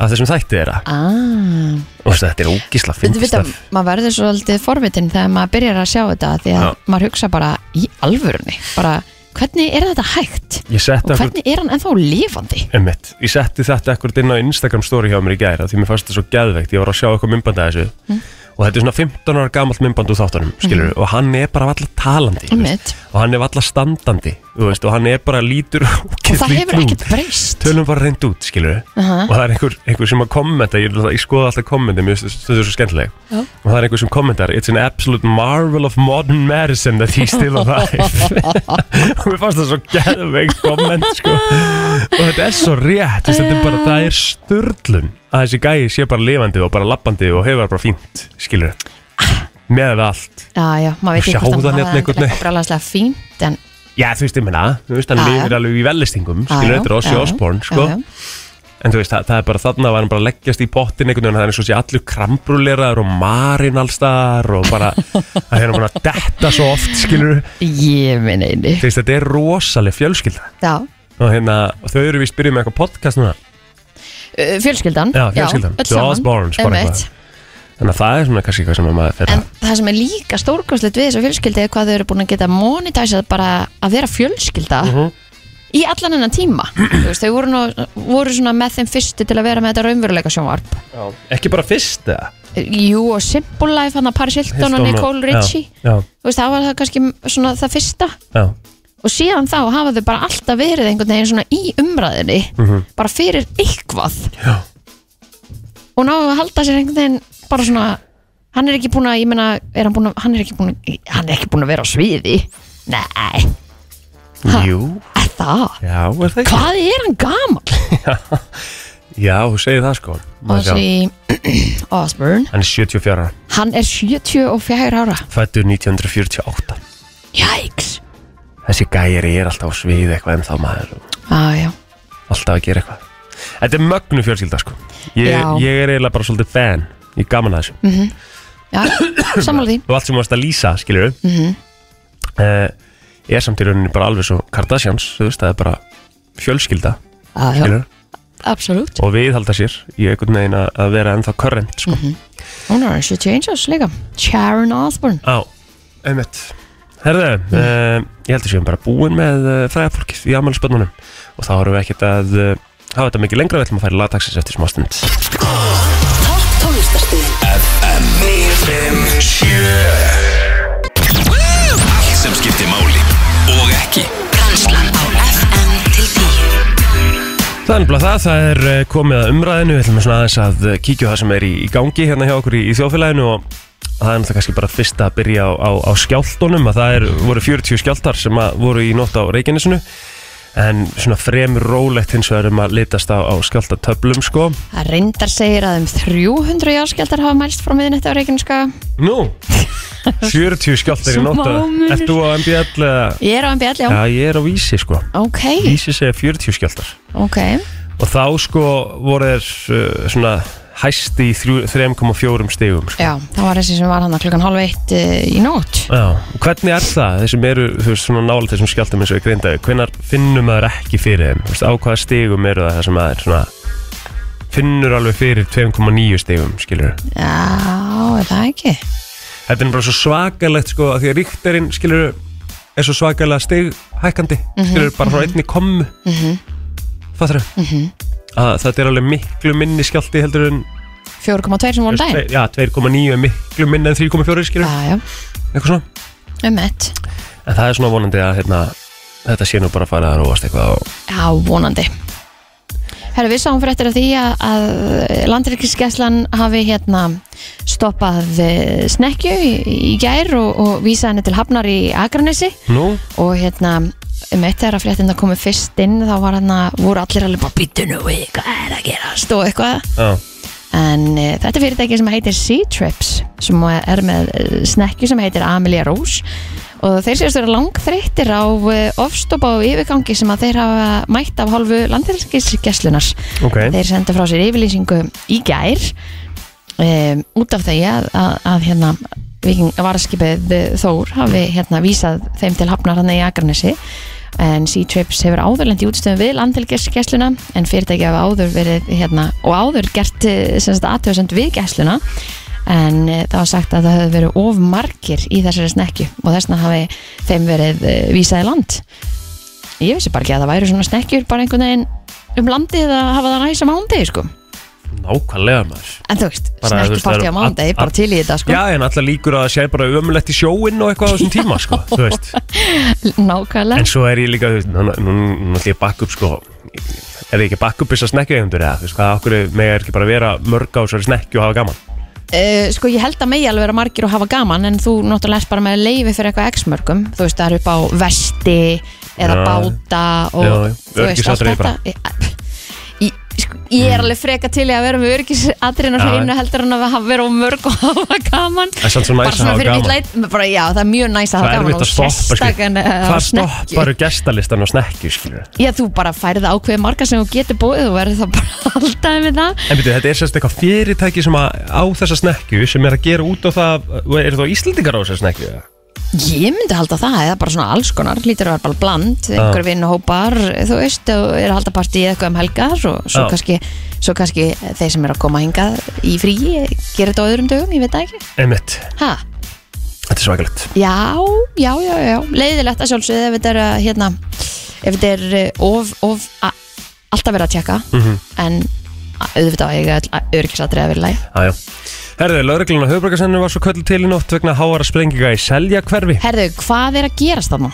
S1: af þessum þætti þeirra
S2: Ah.
S1: og þess að þetta er ógísla
S2: Við
S1: fyndið
S2: veitum,
S1: stöf
S2: maður verður svolítið forvitin þegar maður byrjar að sjá þetta því að
S1: Já.
S2: maður hugsa bara í alvörunni bara, hvernig er þetta hægt
S1: Ég setti
S2: og
S1: eitthvað
S2: hvernig er hann ennþá lifandi
S1: Einmitt. Ég setti þetta ekkert inn á Instagram story hjá mér í gæra því mér fannst þetta svo geðveikt, ég var að sjá eitthvað mymbandi að þessu
S2: Mm.
S1: og þetta er svona 15 ára gamalt mymbandi úr þáttunum, skilur og hann er bara valla talandi þú
S2: Einmitt.
S1: veist, og hann er valla standandi þú veist, og hann er bara lítur
S2: og það hefur ekkert breyst
S1: tölum bara reynd út, skilur
S2: Aha.
S1: og það er einhver, einhver sem að kommenta ég, ég skoða alltaf kommenti, mér finnst þetta svo skemmtileg
S2: Já.
S1: og það er einhver sem kommentar it's an absolute marvel of modern medicine that he's still alive og mér fannst það svo geðveik komment sko. og þetta er svo rétt þess að þetta er bara, það er störlun að þessi gæi sé bara lifandi og bara lappandi og hefur það bara fínt, skilur með allt,
S2: já, já, maður veit
S1: Sjá
S2: ekki hvort
S1: það
S2: hann
S1: hérna
S2: hafa
S1: einhvern veginn.
S2: eitthvað brálaslega fínt en
S1: já þú veist ég meina þú veist hann
S2: Já, já.
S1: lifir alveg í vellistingum
S2: Já,
S1: skilur, þetta er
S2: já,
S1: Ossi
S2: já,
S1: Osborn sko.
S2: já, já.
S1: En þú veist, það, það er bara þarna var hann bara að leggjast í pottin einhvern veginn, það er eins og sé allur krambrúleraður og marinn allstar og bara, það er hann bara að detta svo oft, skilur
S2: ég minn einu
S1: þú veist, þetta er rosaleg fjölskylda
S2: já.
S1: og hérna, og þau eru víst byrjuð með eitthvað podcast núna,
S2: Uh, fjölskyldan
S1: Já, fjölskyldan.
S2: öll
S1: The
S2: saman.
S1: Osbournes, bara
S2: Einmitt.
S1: eitthvað. þannig að það er svona kannski eitthvað sem að maður fer
S2: En
S1: að,
S2: það sem er líka stórkostlegt við þessu fjölskyldi er hvað þau eru búin að geta monetæsað bara að vera fjölskylda í allan hennan tíma Þú veist, Þau voru, nú, voru svona með þeim fyrstu til að vera með þetta raunveruleika sjónvarp
S1: ekki bara fyrst eða?
S2: Jú og Simple Life, hann að Paris Hilton og Nicole Richie
S1: Já,
S2: Þú veist, Það var það kannski svona það fyrsta
S1: já, já,
S2: og síðan þá hafa þau bara alltaf verið einhvern veginn svona í umræðinni bara fyrir eitthvað
S1: Mhm. já.
S2: og náðu að halda sér einhvern veginn bara svona, hann er ekki búin að ég meina, er hann, búin að, hann er ekki búin að hann er ekki búin að vera á sviði nei, Ha.
S1: Jú,
S2: er það
S1: já, er það ekki?
S2: hvað er hann gamal?
S1: Já, þú segir það sko Maður sjá.
S2: Ozzy Osbourne,
S1: Hann er 74 ára,
S2: hann er 74 ára
S1: fættur 1948
S2: jæks
S1: Þessi gæri er alltaf á svið eitthvað en þá maður
S2: ah, já.
S1: alltaf að gera eitthvað Þetta er mögnu fjölskylda sko ég,
S2: Já.
S1: ég er eiginlega bara svolítið fan Ég er gaman að þessu
S2: já, Mm, sammála því Mhm.
S1: Og allt sem þú varst að lýsa, skilur við mm Ég er samt í rauninni bara alveg svo Kardashians, þú veist, það er bara fjölskylda,
S2: ah, já,
S1: skilur
S2: absolutt,
S1: og viðhalda sér í einhvern veginn að- að vera ennþá current, sko.
S2: Mhm. hún er 71 árs líka Sharon Osbourne
S1: Á, einmitt Herðu,
S2: Mhm.
S1: mm. ég held að séum bara búin með uh, fræðafólkið í afmælisbönnunum og þá erum við ekkert að uh, hafa þetta mikið lengra, við ætlum að færa lataxis eftir smá stund
S4: Topp tónlistarstöðin
S5: Allt sem skiptir máli og ekki
S4: Brænslan á FM til 10
S1: Það er nefnilega það, það er eh, komið að umræðinu, við ætlum svona aðeins að eh, kíkja á það sem er í, í gangi hérna hjá okkur í, í þjóðfélaginu og það er náttúrulega kannski bara fyrst að byrja á, á, á skjáltunum að það er, voru 40 skjáltar sem að voru í nótt á Reykjanesinu en svona fremur rólegt hins vegar um að litast á, á skjáltatöflum sko.
S2: það reyndar segir að um 300 járskjaldar hafa mælst frá miðinett á Reykjaneska
S1: Nú, 40 skjáltar í nótt,
S2: Smá munur.
S1: ert þú á MBL? eða?
S2: ég er á MBL, já,
S1: Já, ég er á Vísi sko,
S2: ok,
S1: Vísi segja 40 skjáltar
S2: ok
S1: og þá sko voru þeir uh, svona hæsti í þrjú- 3,4 stigum sko.
S2: Já, það var þessi sem var hann klukkan halv eitt uh, í nótt
S1: Já, og hvernig er það, þeir sem eru þú veist, svona nálega þessum skjáltum eins og ég grindaði hvenar finnum maður ekki fyrir þeim Þú veist, á hvaða stigum eru það sem maður svona, finnur alveg fyrir 2,9 stigum skilur
S2: Já, er það ekki?
S1: þetta er bara svo svakalegt sko að því að ríkterinn skilur er svo svakalega stig hækandi
S2: Mhm,
S1: skilur bara frá einni komu mm fattur þau
S2: Mhm.
S1: að þetta er alveg miklu minni skjálti heldur en
S2: 4,2 sem voru daginn?
S1: já, 2,9 er miklu minni en 3,4 skilur
S2: Já, já,
S1: eitthvað svona
S2: um ett
S1: En það er svona vonandi að hérna, þetta sé nú bara að fara að róast eitthvað og...
S2: Já, vonandi Herra, við sáum fyrir eftir af því að, að landryggiskeslan hafi hérna stoppað eh, snekkju í, í gær og, og vísa henni til hafnar í Akranesi
S1: Nú?
S2: og hérna mitt þegar að fréttina komu fyrst inn þá var hann að voru allir alveg bara býtinu við, hvað er að gerast og eitthvað
S1: Já,
S2: en e, þetta er fyrirtæki sem heitir Sea Trips sem er með e, snekju sem heitir Amelia Rose og þeir séast vera langþreyttir á e, ofstopa og yfirgangi sem að þeir hafa mætt af hálfu landhelgisgeslunar
S1: ok
S2: þeir senda frá sér yfirlýsingu í gær um, út af því að, að, að hérna Viking varaskipið eh, Þór hafi hérna vísað þeim til hafnar hann í Akranesi en C-Trips hefur áðurlend í útstöðum við landhelgiskesluna en fyrirtæki hafa áður verið hérna og áður gert eh, sem sagt aðtöðsend við gesluna en eh, það var sagt að það hefði verið of margir í þessari snekju og þessna hafi þeim verið eh, vísað í land ég vissi bara ekki að það væri svona snekkjur bara einhvern veginn um landið að hafa það næs á mándegi sko
S1: Nákvæmlega maður
S2: en þú veist,
S1: Bara, þú veist, það
S2: snekkjuparti
S1: eru
S2: á
S1: all-
S2: mándegi, bara
S1: all-
S2: til í þetta sko
S1: Já, en alltaf líkur að það sé bara ömulegt í sjóinn og eitthvað á þessum tíma, sko, þú veist En
S2: nákvæmlega,
S1: svo er ég líka, þú veist, nú nú- nú ætlum ég að bakka upp, sko Er ég ekki að bakka upp þess að snekkja eigundur, eða, þú veist, hvað okkur með er ekki bara að vera mörg á þessari snekkju og hafa gaman
S2: uh, sko ég held að megi alveg vera margir og hafa gaman en þú náttúrulega erst bara með leifi fyrir eitthvað x-mörgum, þú veist, það er upp á vesti eða
S1: Já.
S2: báta og
S1: Já, já.
S2: þú veist, allt
S1: Öryggisatriði bara. Mm.
S2: þetta ég, ég, sko, ég er alveg freka til í að vera með örgisadrin og
S1: Já,
S2: hreinu heldur en að hafa verið á mörg og hafa gaman
S1: Það er samt svo næs
S2: bara
S1: að
S2: svona
S1: hafa
S2: fyrir mitt
S1: gaman.
S2: leit bara, já, það er mjög næs að
S1: Það
S2: hafa
S1: er
S2: gaman
S1: erfitt að stoppa, sko.
S2: sérstakan
S1: skilur
S2: uh,
S1: Hvað
S2: snekkju.
S1: stopparu gestalistan á snekkju, skilur
S2: Já, þú bara færið ákveðið marga sem þú getur bóðið og verður það bara alltaf með það.
S1: En byrju, þetta er sérst eitthvað fyrirtæki sem að, á þessa snekkju sem er að gera út á það, er það Íslendingar á þessa snekkju? eða?
S2: Ég myndi halda það, eða bara svona alls konar, lítur að vera bara bland, einhver vinnuhópar, þú veist, og er að halda partíið eitthvað um helgar og svo
S1: Já.
S2: kannski, svo kannski þeir sem eru að koma hingað í fríi gerir þetta á öðrum dögum, ég veit það ekki.
S1: Einmitt,
S2: Ha?
S1: þetta er svakalegt
S2: Já, já, já, já, leiðilegt að sjálfsögðu ef þetta er, uh, hérna, ef þetta er uh, of, of, a, alltaf verið að tjekka, en a- auðvitað á ég örgisatrið að vera í lagi.
S1: Jájá Herðu, lauruglunar höfbrukarsennir var svo köllu til í nótt vegna háara sprenginga í selja hverfi
S2: Herðu, hvað er að gerast þarna?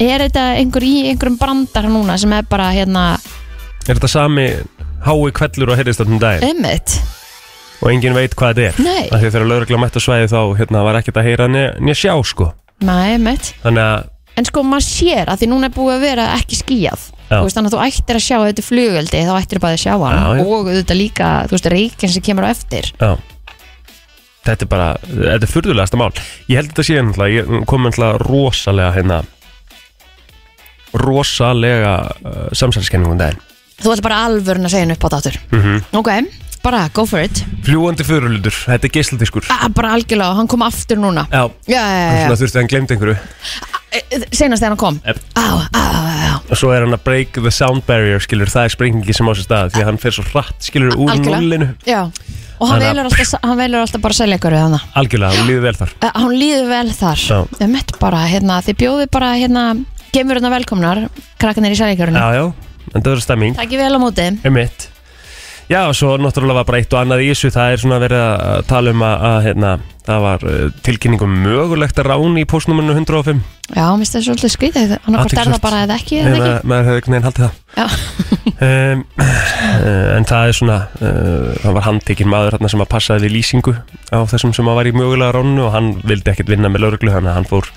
S2: Er þetta einhver í einhverjum brandar núna sem er bara hérna
S1: Er þetta sami hái kvellur og heyrðist þarna um daginn
S2: ummitt?
S1: og enginn veit hvað þetta er
S2: Nei.
S1: Af Því að þegar lauruglunar mætt á svæði þá hérna, var ekkert að heyra nýja sjá sko
S2: Nei, ummitt.
S1: Þannig að,
S2: En sko maður sér að því núna er búið að vera ekki skýjað.
S1: Já.
S2: Þú veist þannig að þú ættir að sjá að þetta er flugöldi þá ættir bara að sjá hann
S1: Já, já.
S2: og auðvitað líka, þú veist, reykinn sem kemur á eftir.
S1: já Þetta er bara, þetta er furðulegasta mál Ég held þetta síðan náttúrulega, ég kom náttúrulega rosalega hérna rosalega uh, samsælskenningum daginn
S2: Þú ætlar bara alvörun að segja henni upp á þáttur. Mm
S1: Mhm.
S2: -hmm. Ok, bara go for it.
S1: Fljúandi fyrirlutur, þetta er geisladiskur
S2: Ah, bara algjörlega, hann kom aftur núna.
S1: Já,
S2: Já, já, já,
S1: svona
S2: já.
S1: þurfti hann glemt einhverju
S2: Senast þegar hann kom.
S1: Yep.
S2: Á, á, á, á.
S1: og svo er hann að break the sound barrier skilur, það er sprengingi sem á sér stað því að hann fer svo hratt skilur úr
S2: Algjörlega.
S1: nullinu
S2: Já, og hann
S1: Þannig að-
S2: velur alltaf, hann velur alltaf bara að selja ykkur við hann.
S1: algjörlega, hann líður vel þar
S2: Eh, Hún líður vel þar
S1: Já.
S2: Við mitt bara, hérna, þið bjóðu bara hérna, gemurinn að velkomnar krakkanir í sælíkjörunum,
S1: já, já, en það verður stemming,
S2: takk ég vel á móti
S1: er mitt já, og svo náttúrulega var bara eitt og annað í þessu það er svona verið að tala um að, að hérna, það var uh, tilkynningum mögulegt að rán í postnúmurnu 105
S2: Já, mér finnst það svolítið skrítið, hann hvort er það
S1: Athyglisvert.
S2: bara eða ekki, eða
S1: eða maður hefði einhvern veginn haldið það
S2: ekki.
S1: um, uh, en það er svona uh, hann var handtekinn maður hann sem að passaði við lýsingu á þessum sem að var í mögulega ránu og hann vildi ekkert vinna með lauruglu þannig að hann fór,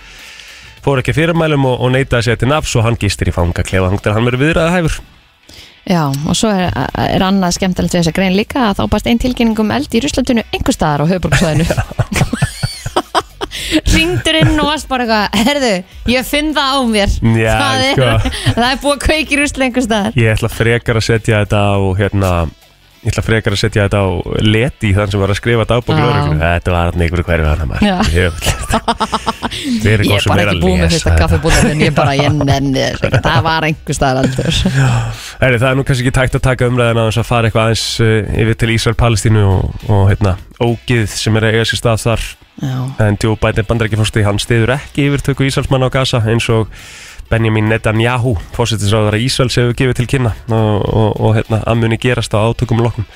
S1: fór ekki að fyrirmælum og, og neytaði sér til nafs og hann gistir í fangaklefa þannig að hann verið viðræða hæfur
S2: Já. Já, og svo er, er annað skemmtilegt við þessa grein líka að þá bast einn tilkynning um eld í Ruslandinu einhver staðar á höfuborgsvæðinu Ringdur inn og varst bara eitthvað Herðu, ég finn það á mér
S1: Já,
S2: það, er,
S1: sko.
S2: það er búið að kveiki Rusland einhver staðar
S1: ég ætla frekar að setja þetta á hérna ég ætla frekar að setja þetta á leti þann sem var að skrifa dagbók
S2: Já.
S1: lauruglu þetta var hann ykkur hverfi hann
S2: Já.
S1: maður Jöfull. Við erum
S2: Ég
S1: góð
S2: er
S1: sem
S2: bara
S1: er
S2: ekki
S1: að
S2: búin með
S1: lesa
S2: fyrsta
S1: þetta.
S2: kaffibúðin Ég bara, ég nenni þess ekki Það var einhver staðar aldur
S1: Heri, það er nú kannski ekki tækt að taka umræðina aðeins að fara eitthvað aðeins uh, yfir til Ísrael, Palestínu og, og hérna, ógið sem er að eiga sér stað þar
S2: Já,
S1: en Joe Biden bandarækjafósti, hann stiður ekki yfirtöku Ísraelsmanna á Gaza eins og Benjamin Netanyahu, fósitinsráðara Ísraels hefur gefið til kynna og, og, og hérna, að muni gerast á átökum loknum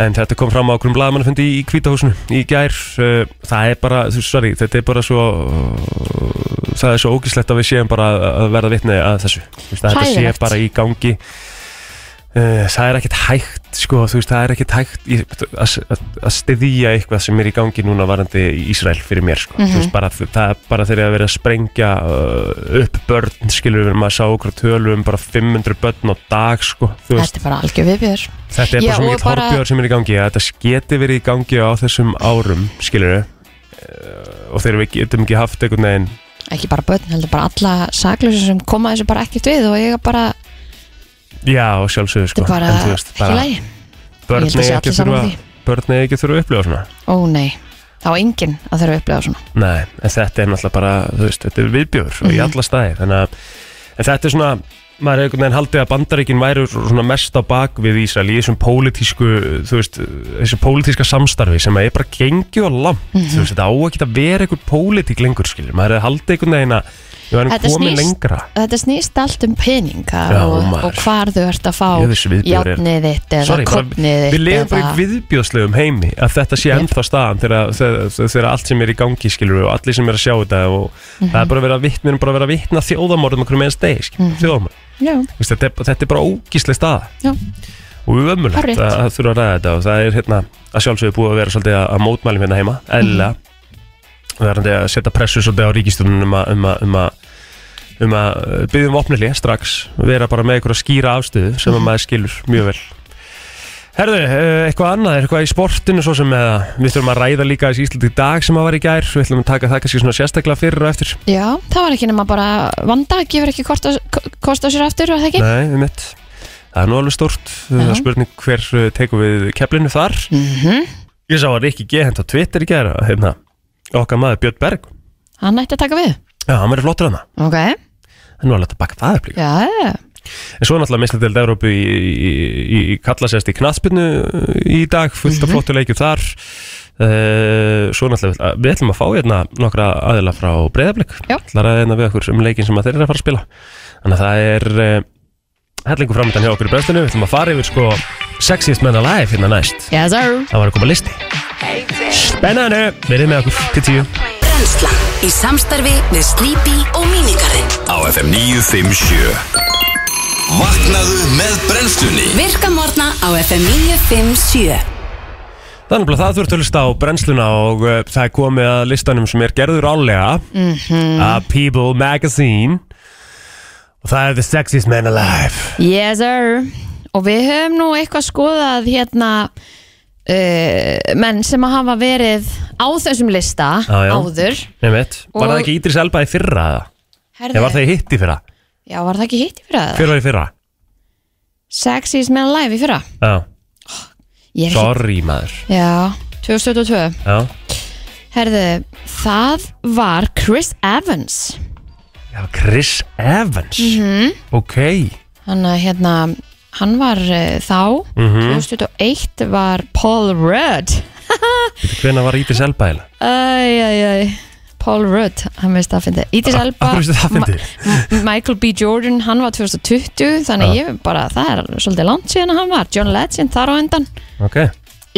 S1: en þetta kom fram á okkur um blaðamannafundi í kvítahúsinu í gær uh, það er bara, þú veist, sorry, þetta er bara svo uh, það er svo ógislegt að við séum bara að- að verða vitni að þessu Þú veist, að þetta sé
S2: Hræðilegt.
S1: bara í gangi uh, Eh, það er ekkert hægt ekkert, sko, þú veist, það er ekkert hægt í- að, að, að styðja eitthvað sem er í gangi núna varandi í Ísrael fyrir mér, sko, þú
S2: Mhm.
S1: veist, bara, það er bara þegar að vera að sprengja uh, upp börn, skilur við, maður sá okkur tölum, bara 500 börn á dag, sko, þú veist,
S2: Þetta er bara algjör viðbjör
S1: þetta er
S2: Já,
S1: bara svo
S2: og
S1: mikið
S2: bara-
S1: horfbjörn sem er í gangi, að þetta geti verið í gangi á þessum árum, skilur við, og þegar við getum ekki haft einhvern veginn
S2: Ekki bara börn, heldur bara alla saklösa sem koma þessu bara ekkert við og eiga bara,
S1: Já, og sjálfsögðu sko
S2: þetta er bara ekki lægi Ég held að
S1: En þú veist, börn
S2: sé allir
S1: eiga ekki að
S2: saman
S1: þurfa- Börn eigi ekki að þurfa að upplifa svona
S2: Ó nei, þá er enginn að þurfa að upplega svona
S1: Nei, en þetta er náttúrulega bara, þú veist, þetta er viðbjör og í
S2: Mhm.
S1: alla staði Þannig að, en þetta er svona, maður hefur einhvern veginn haldið að bandaríkin væri svona mest á bak við Ísrael í þessum pólitísku, þú veist, þessu pólitíska samstarfi sem að er bara gengið og langt
S2: Mhm.
S1: Þú veist, þetta á ekki að vera einhver pólitík lengur, skilur Maður hefur haldið einhvern veginn að, við varum
S2: Þetta
S1: komin
S2: snýst-
S1: lengra
S2: Þetta snýst allt um peninga
S1: Já,
S2: og,
S1: maður.
S2: og hvar þú ert að fá
S1: Ég vissi viðbjóður er-
S2: játnið þitt eða
S1: Sorry, bara,
S2: kopnið þitt
S1: við lefum bara í viðbjóðslegum heimi að þetta sé
S2: Yep.
S1: ennþá staðan þegar, þegar, þegar allt sem er í gangi skilur og allir sem er að sjá þetta og það er bara að vera vitni, við erum bara að vera að vitna þjóðamorðum okkur með einn steg, mm -hmm. þjóðamorð
S2: Já,
S1: þetta, er- þetta er bara ógíslega staða
S2: já,
S1: og umömmulegt
S2: Hárrétt.
S1: að, að þurfa að ræða þetta og það er hérna að sjálfsögðu búið að vera svolítið að, að mótmælum hérna heima, eðla mm -hmm. verðandi að setja pressu svolítið á ríkistunum um að um að um að um að uh, biðja um opnilið strax vera bara með einhverja skýra afstöðu sem að maður skilur mjög vel Herðu, eh, eitthvað annað, er eitthvað í sportinu svo sem eða við þurfum að ræða líka þessi Íslandi í dag sem að var í gær, við ætlum að taka það kannski svona sérstaklega fyrir og eftir
S2: já, það var ekki nema bara vanda, gefur ekki kost á, kost á sér aftur og það ekki
S1: Nei, um mitt Það er nú alveg stórt, það
S2: Já.
S1: er spurning hver eh, tekur við keflinu þar
S2: Mhm.
S1: Ég sá að Rikki G hent á Twitter í gæra hérna, okkar maður Björn Berg
S2: Hann ætti að taka við
S1: Já, hann verið flottur hana
S2: Ok,
S1: En nú er alltaf að baka það upp líka
S2: já, já,
S1: En svo er náttúrulega meistardeild Evrópu í, í, í, í kallasest í knaspinu í dag Fullt af flottu leikjum þar uh, Svo er náttúrulega, við ætlum að fá hérna nokkra aðila frá breyðablik
S2: Já.
S1: Það er hérna við okkur um leikin sem að þeir eru að fara að spila Þannig að það er uh, hellingu framöndan hjá okkur í breyðstinu Við ætlum að fara yfir sko Sexiest Men Alive hérna næst
S2: yes sir
S1: Það var að koma listi Spennandi, verið með okkur til tíu
S4: Brennslan í samstarfi við Sleepy og Minigarinn
S5: Á FM 957 Vaknaðu með brennslunni
S4: Virka morgna á FM 957
S1: Þannig að það þurft að hlusta á brennsluna og uh, það er komið að listanum sem er gerður álega að People Magazine og það er The Sexiest Man Alive
S2: Yes sir Og við höfum nú eitthvað skoðað hérna uh, menn sem að hafa verið á þessum lista
S1: Já, já.
S2: áður
S1: Nei mitt, var
S2: Og-
S1: það ekki Ídris Elba í fyrra eða?
S2: Herðu,
S1: Eða var það í hitt í fyrra?
S2: Já, var það ekki hitt í fyrra?
S1: Hver var í fyrra?
S2: Sexiest Man Alive í fyrra
S1: Já,
S2: Ég er ekki
S1: sorry maður
S2: Já, 2022
S1: Já,
S2: Herðu, það var Chris Evans
S1: Já Chris Evans Ok,
S2: Hann að hérna Hann var uh, þá
S1: Mhm.
S2: 2021 var Paul Rudd
S1: hvenær var Ídris Elba eða?
S2: Æj, æj, æj Paul Rudd, hann veist það að fyndi Ídris Elba
S1: Akkur veistu Ah, það fyndið?
S2: M- Michael B. Jordan, hann var 2020 þannig
S1: Já.
S2: ég bara, það er svolítið langt síðan að hann var, John Legend þar á undan
S1: Ok,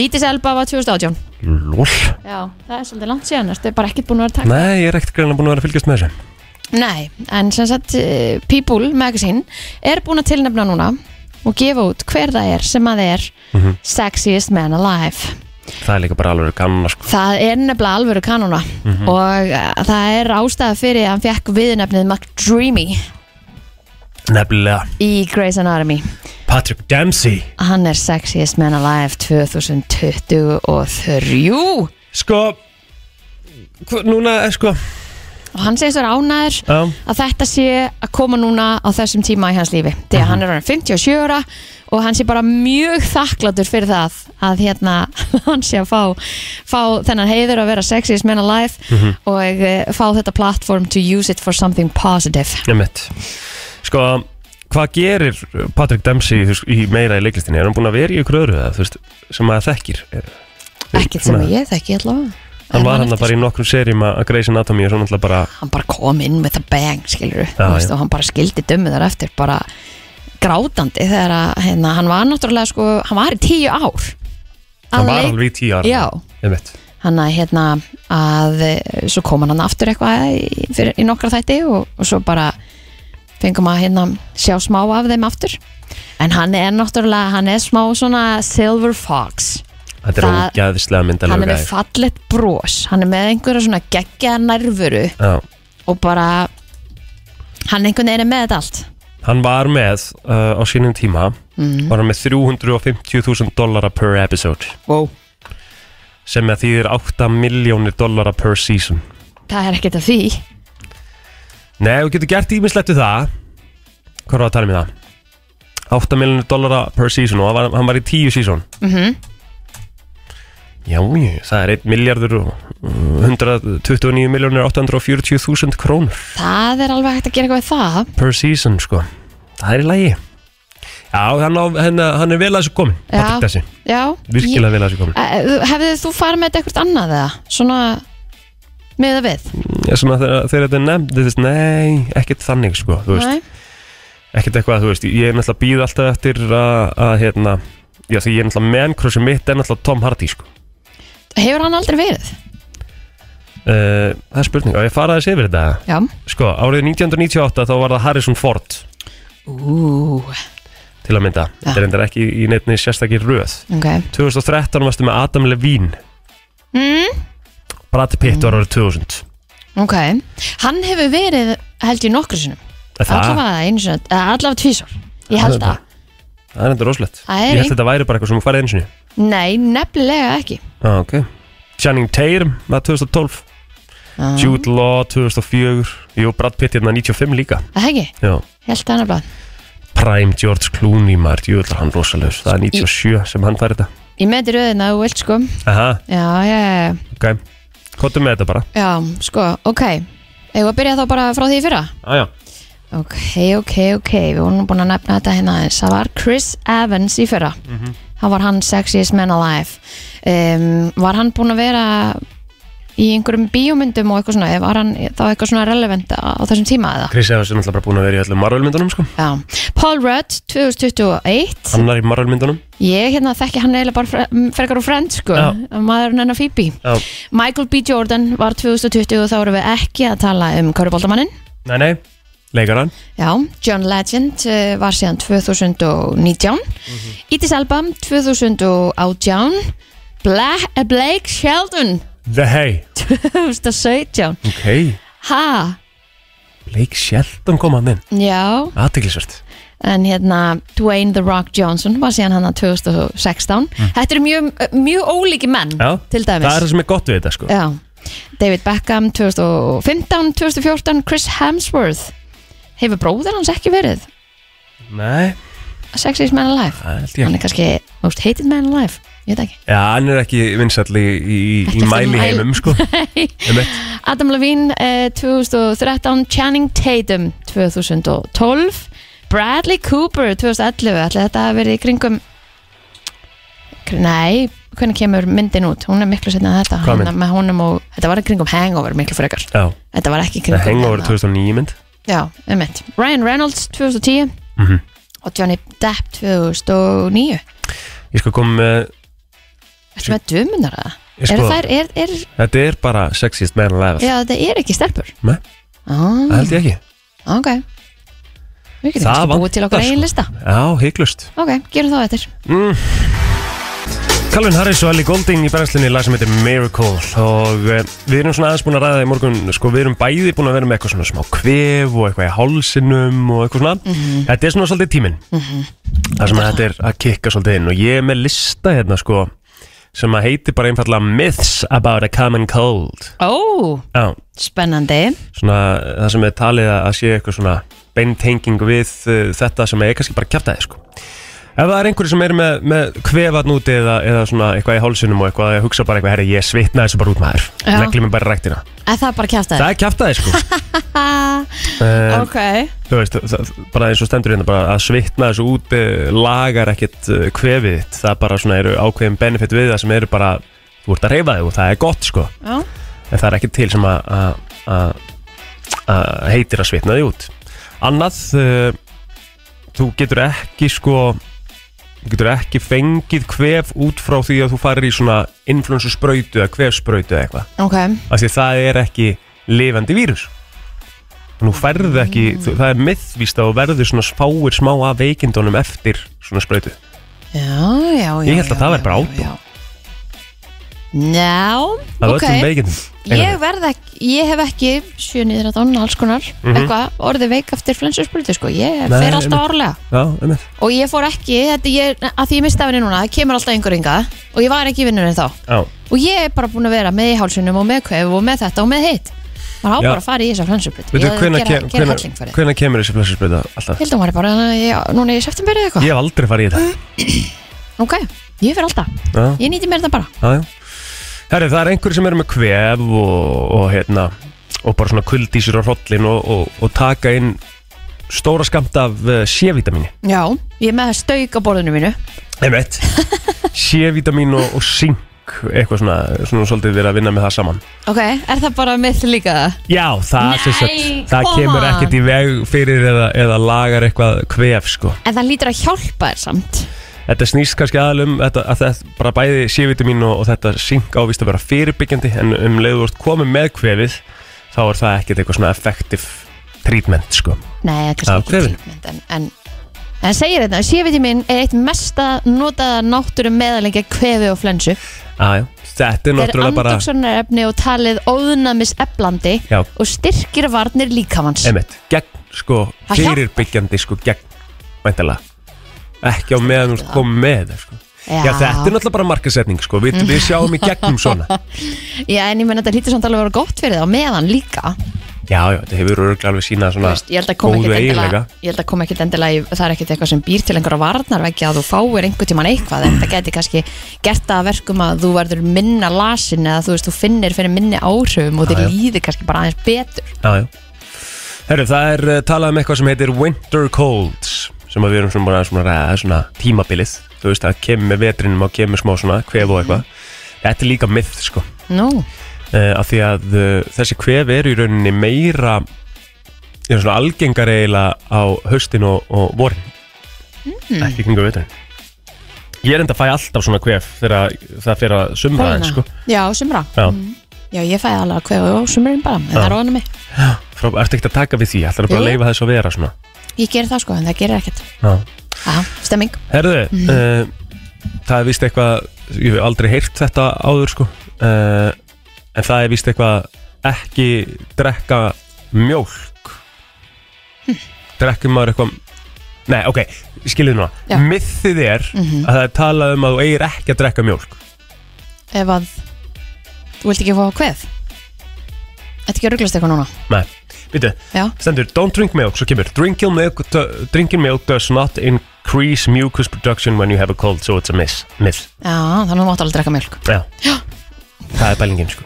S2: Ídis Elba var 2018
S1: lol
S2: Já, það er svolítið langt síðan, þetta er bara ekkert búin að vera takk
S1: Nei, ég er ekkert greinlega búin að vera að fylgjast með þessu
S2: Nei, en sem sagt eh, People Magazine er búin að tilnefna núna og gefa út hver það er sem að er Sexiest Man Alive
S1: Það er líka bara alveg kannan sko
S2: Það er nefnilega alvöru kanona og eh, það er ástæða fyrir að hann fekk viðnefnið McDreamy
S1: Nefnilega,
S2: í Grey's Anatomy
S1: Patrick Dempsey
S2: Hann er Sexiest Man Alive 2023
S1: Sko hva- Núna, eh, sko
S2: og hann segist vera ánæður
S1: Já.
S2: að þetta sé að koma núna á þessum tíma í hans lífi þegar hann er orðinn 57 ára og hann sé bara mjög þakklatur fyrir það að hérna hann sé að fá, fá þennan heiður að vera sexiest man alive
S1: Mhm.
S2: og uh, fá þetta platform to use it for something positive
S1: Emmett Sko, hvað gerir Patrick Dempsey þú veist, í meira í leiklistinni? Er hann búinn að vera í ykkur öðru það, þú veist, sem maður þekkir?
S2: ekkert sem
S1: Svona-
S2: ég þekki allavega
S1: Hann
S2: En
S1: var hann
S2: eftir-
S1: bara í nokkrum serjum að að Grey's Anatomy og svo náttúrulega bara
S2: sko- hann bara kom inn með það bang skilur
S1: Já,
S2: veist,
S1: já.
S2: og hann bara skildi dömið þar eftir bara grátandi þegar að hérna, hann var náttúrulega sko, hann var í tíu ár Að
S1: Hann var
S2: leik-
S1: alveg í tíu ára
S2: Já.
S1: Emmett
S2: hann að hérna að eh, svo kom hann aftur eitthvað í, fyrir, í nokkra þætti og, og svo bara fengum að hérna sjá smá af þeim aftur en hann er náttúrulega, hann er smá svona silver fox
S1: Þetta er
S2: Það-
S1: ógæðislega myndalegu
S2: hann er með fallett brós hann er með einhverja svona geggja nærvöru
S1: Já,
S2: og bara hann einhvern veginn er með þetta allt
S1: hann var með uh, á sínum tíma
S2: Mhm.
S1: var hann með 350.000 dollara per episode
S2: wow.
S1: sem að þýðir 8 miljónir dollara per season
S2: það er ekkert að því
S1: Nei, þú getur gert ímislegt við það Hvað er að tala um í það? 8 miljónir dollara per season og hann var, hann var í 10 season mm
S2: Mhm.
S1: Já, jú, það er 1 miljardur og uh, 129 miljónir 840.000 krónur
S2: það er alveg hægt að gera eitthvað við það
S1: per season sko Það er í lagi Já, hann, á, hann, hann er vel að þessu komin Patrik þessi,
S2: já
S1: virkilega vel að þessu komin
S2: Ég- Eh, hefðið þú farið með þetta eitthvað annað eða svona með það við
S1: Ég, svona, þegar, þegar þetta er nefnd, þú veist, nei, ekkert þannig sko, þú veist,
S2: Nei?
S1: ekkert eitthvað, þú veist, ég er náttúrulega býð alltaf eftir að, að hérna, já því ég er náttúrulega man crushin mitt er náttúrulega Tom Hardy sko.
S2: hefur hann aldrei verið
S1: Uh, það er spurning, og ég fara þessi yfir þetta,
S2: já
S1: sko, árið 1998 þá var það Harrison Ford
S2: Ú,
S1: til að mynda, þetta er endur ekki í neittni sérstakir röð.
S2: ok
S1: 2013 varstu með Adam Levine,
S2: mm,
S1: Brad Pitt var árið 2000.
S2: Ok, hann hefur verið held ég nokkru sinum
S1: Er Það,
S2: Allavega einu sinum, eða allavega tvísar Ég held
S1: Það er
S2: það
S1: það er endur rosalegt.
S2: Það er
S1: Ég
S2: ein-
S1: held þetta væri bara eitthvað sem þú farið einu sinni.
S2: Nei, nefnilega ekki
S1: Ah, ok. Channing Tatum var 2012.
S2: Ah.
S1: Jude Law 2004 Jú, Brad Pitt hérna 95 líka
S2: Það ekki,
S1: Já.
S2: ég held það nefnilega
S1: Prime George Clooney maður, jú, er hann rosalegur Það er 97 sem hann fær þetta
S2: Ég meti röðina og vilt sko
S1: Aha,
S2: Já, já, já,
S1: ok Kottum með þetta bara
S2: já, sko, ok Eða að byrja þá bara frá því í fyrra
S1: Aja.
S2: Ok, ok, ok, við vorum nú búin að nefna þetta hérna aðeins Það var Chris Evans í fyrra mm
S1: Mhm.
S2: Það var hann Sexiest Man Alive um, Var hann búin að vera í einhverjum bíómyndum og eitthvað svona Var hann þá eitthvað svona relevant á, á þessum tíma eða?
S1: Chris Evans er náttúrulega bara búin að vera í öllum Marvel-myndunum sko.
S2: Já. Paul Rudd, 2021
S1: Hann er í Marvel-myndunum
S2: Ég hérna þekki hann eiginlega bara fre- m, frekar úr frend sko,
S1: Já.
S2: maðurinn hennar Phoebe
S1: Já.
S2: Michael B. Jordan var 2020 og þá erum við ekki að tala um Köruboltamannin
S1: Nei, nei, leikar hann
S2: Já, John Legend uh, var síðan 2019
S1: Mhm.
S2: Idris Elba 2018 Bla eh, Blake Sheldon
S1: The Hey
S2: 2017
S1: Ok,
S2: Ha,
S1: Blake Shelton kom hann inn
S2: já
S1: Aðtiklisvert
S2: en hérna Dwayne The Rock Johnson var síðan hann að 2016 Þetta eru mjög, eh, mjög ólíki menn til
S1: Það er
S2: dæmis
S1: Mm. það sem er gott við þetta sko.
S2: Já. David Beckham 2015, 2014 Chris Hemsworth hefur bróðir hans ekki verið
S1: Nei,
S2: Sexiest Man Alive
S1: það held
S2: hann
S1: ég
S2: er kannski Most Hated Man Alive ég veit ekki
S1: Já, hann er ekki vinsall í,
S2: Ekki
S1: í, í
S2: eftir
S1: mæli
S2: mæli.
S1: heimum sko. Einmitt.
S2: Adam Levine eh, 2013 Channing Tatum 2012 Bradley Cooper 2011 ætli þetta hafi verið í kringum nei hvernig kemur myndin út, hún er miklu setna en þetta
S1: Hvað mynd?
S2: Hérna með honum og, þetta var í kringum hangover miklu frekar,
S1: Já,
S2: þetta var ekki í
S1: það
S2: kringum
S1: henga voru
S2: hérna-
S1: 2009 mynd
S2: Já, um mitt. Ryan Reynolds 2010
S1: Mhm.
S2: og Johnny Depp 2009.
S1: Ég sko kom með
S2: Ertu með dömunar að það?
S1: Ég
S2: Er
S1: skoða.
S2: það, er, er,
S1: Þetta er bara sexiest man alive
S2: já, þetta er ekki stelpur.
S1: Nei. Það
S2: Ah,
S1: held ég ekki
S2: ok. Við getum
S1: Það
S2: ekki búið
S1: vantar,
S2: til okkur
S1: sko.
S2: eigin lista.
S1: Já, heiklust
S2: Ok, gerum það eftir.
S1: Calvin Harris og Ellie Golding í brennslinni lag sem heitir Miracle og eh, við erum svona aðeins búin að ræða það í morgun sko við erum bæði búin að vera með eitthvað svona smá kvef og eitthvað í hálsinum og eitthvað svona Þetta er svona svolítið tíminn Það sem að þetta er að kikka svolítið inn og ég er með lista hérna sko sem að heitir bara einfallega Myths about a common cold
S2: Ó,
S1: Já,
S2: spennandi.
S1: svona það sem er talið að að sé eitthvað svona beintenging við uh, þetta sem er kannski bara kjartaði sko. Ef það er einhverju sem er með, með kvefarn úti eða, eða svona eitthvað í hálsunum og eitthvað að hugsa bara eitthvað, herri, ég svitna þessu bara út maður
S2: Já.
S1: reglum er bara ræktina.
S2: Að það bara kjæft
S1: Það er kjartaði sko. uh,
S2: Ok.
S1: þú veist, það, bara eins og stendur hérna bara að svitna þessu úti lagar ekkit uh, kvefið þitt. það bara svona eru ákveðin benefit við það sem eru bara, þú ert að reyfa þig og það er gott sko,
S2: Já.
S1: en það er ekki til sem að- að að- að heitir að svitna þig út annað uh, þú getur ekki sko þú getur ekki fengið kvef út frá því að þú farir í svona influensuspröytu eða kvefspröytu eða eitthvað
S2: Ok,
S1: af því það er ekki lifandi vírus þannig Nú færðu ekki,
S2: Mm.
S1: þú, það er miðvíst að þú verður svona fáir smá af veikindunum eftir svona sprautu.
S2: Já, já, já
S1: Ég held að
S2: já,
S1: það væri bara
S2: já,
S1: átó.
S2: já. Já,
S1: Það er
S2: ok
S1: öllum veikindum.
S2: Ég verð ekki, ég hef ekki 7-9-13, alls konar eitthvað, orðið veik eftir flensursprutu sko, ég
S1: Mhm. Nei,
S2: fer alltaf
S1: einmitt.
S2: árlega
S1: Já, einmitt.
S2: og ég fór ekki, þetta ég, að því ég misti af henni núna, það kemur alltaf einhver ynga og ég var ekki í vinnunni þá
S1: Já.
S2: og ég er bara búin að vera með í hálsunum og með kvef og með þetta og með hitt maður á
S1: Já.
S2: bara að fara í þessar flensursprutu
S1: Veitu,
S2: ég gera,
S1: hvenær kem-
S2: gera
S1: hvenær-
S2: helling fyrir því
S1: hvenær kemur þessi blessursprauta alltaf?
S2: Hildum var ég bara, ég, núna er ég september eða eitthvað
S1: Ég hef aldrei farið í þetta.
S2: Ok, ég fer alltaf,
S1: Já.
S2: ég nýti mér þetta bara
S1: Já, já. Herri, það er einhverjir sem eru með kvef og, og hérna og bara svona kuldísir á hrollin og, og, og taka inn stóra skamt af uh, C-vitamíni
S2: Já, ég er með stauk á borðinu mínu
S1: Einmitt C-vitamín og, og zink eitthvað svona, svona svolítið verið að vinna með það saman
S2: Ok, er það bara með líka það?
S1: Já, það,
S2: Nei,
S1: sem sagt, það
S2: come
S1: kemur
S2: on.
S1: ekkert í veg fyrir eða, eða lagar eitthvað kvef sko.
S2: En það lítur að hjálpa þér samt
S1: Þetta snýst kannski aðalum að, að þetta bara bæði C-vitamín og, og þetta zink ávist að vera fyrirbyggjandi en um leiður vort komið með kvefið þá er það ekkert eitthvað svona effective treatment sko.
S2: Nei, það er
S1: Já,
S2: kannski ekki
S1: kvefin.
S2: tímend En, en, en segir þetta, sévitíminn er eitt mesta notaða náttúru meðalengja kvefi og flensu
S1: Aðjá, þetta er
S2: Þeir
S1: náttúrulega bara
S2: andoksanarefni og talið óðunamis eblandi
S1: Já.
S2: og styrkir varnir líkamanns
S1: emitt, gegn sko
S2: Það hjálpar.
S1: fyrirbyggjandi sko gegn væntalega ekki á meðan þú ert komið með þetta, sko.
S2: Já.
S1: Já, þetta er náttúrulega bara markasetning sko. við, við sjáum í gegnum svona
S2: Já, en ég menn þetta lítur samt alveg að vera gott fyrir það á meðan líka
S1: Já, já, þetta hefur örgulega alveg sína
S2: Þú
S1: svona
S2: veist, ég held að koma ekkit endilega
S1: eiginleika.
S2: ég held að koma ekkit endilega, í- það er ekkit eitthvað sem býr til einhverja varnarvegja að þú fáir einhvern tíman eitthvað en það geti kannski gert það að verkum að þú verður minna lasin eða þú veist, þú finnir fyrir minni áhrifum og þér
S1: já.
S2: líður kannski bara aðeins betur
S1: Já, já. Herru, það er uh, talað um eitthvað sem heitir Winter Colds sem að við erum svona, bara svona, ræða, svona tímabilið þú veist að kemur með vetrinum og kemur smá svona kvef og
S2: Mhm.
S1: eitthvað þetta er líka myð sko uh,
S2: Nú,
S1: af því að uh, þessi kvef eru í rauninni meira er svona algengar eiginlega á höstin og, og vorin ekki kringu veturinn ég er enda að fæ alltaf svona kvef þegar það fyrir að sumra
S2: hreina.
S1: aðeins sko
S2: Já, sumra
S1: Já,
S2: Já, ég fæði alveg að kvefa á sumurinn bara en það er óðan mig
S1: frá, ertu ekkert að taka við því, ætlar bara að
S2: Jú.
S1: leifa þess að vera svona
S2: Ég ger það sko, en það gerir ekkert
S1: Já.
S2: Já, stemming
S1: Herðu, uh, það er vist eitthvað, ég hef aldrei heyrt þetta áður sko, uh, en það er vist eitthvað ekki drekka mjólk. Drekkum maður eitthvað, nei ok, skiljið núna,
S2: Já.
S1: mythið er að það er talað um að þú eigir ekki að drekka mjólk.
S2: Ef að, þú vilt ekki fá kvef Þetta ekki að ruglast eitthvað núna
S1: Nei, býtu,
S2: Já,
S1: stendur, don't drink milk, svo kemur, drinking milk, do- drinking milk does not increase mucus production when you have a cold, so it's a myth. myth.
S2: já þannig að þú mátt alveg drekka mjölk
S1: Já. Það er bælingin sko.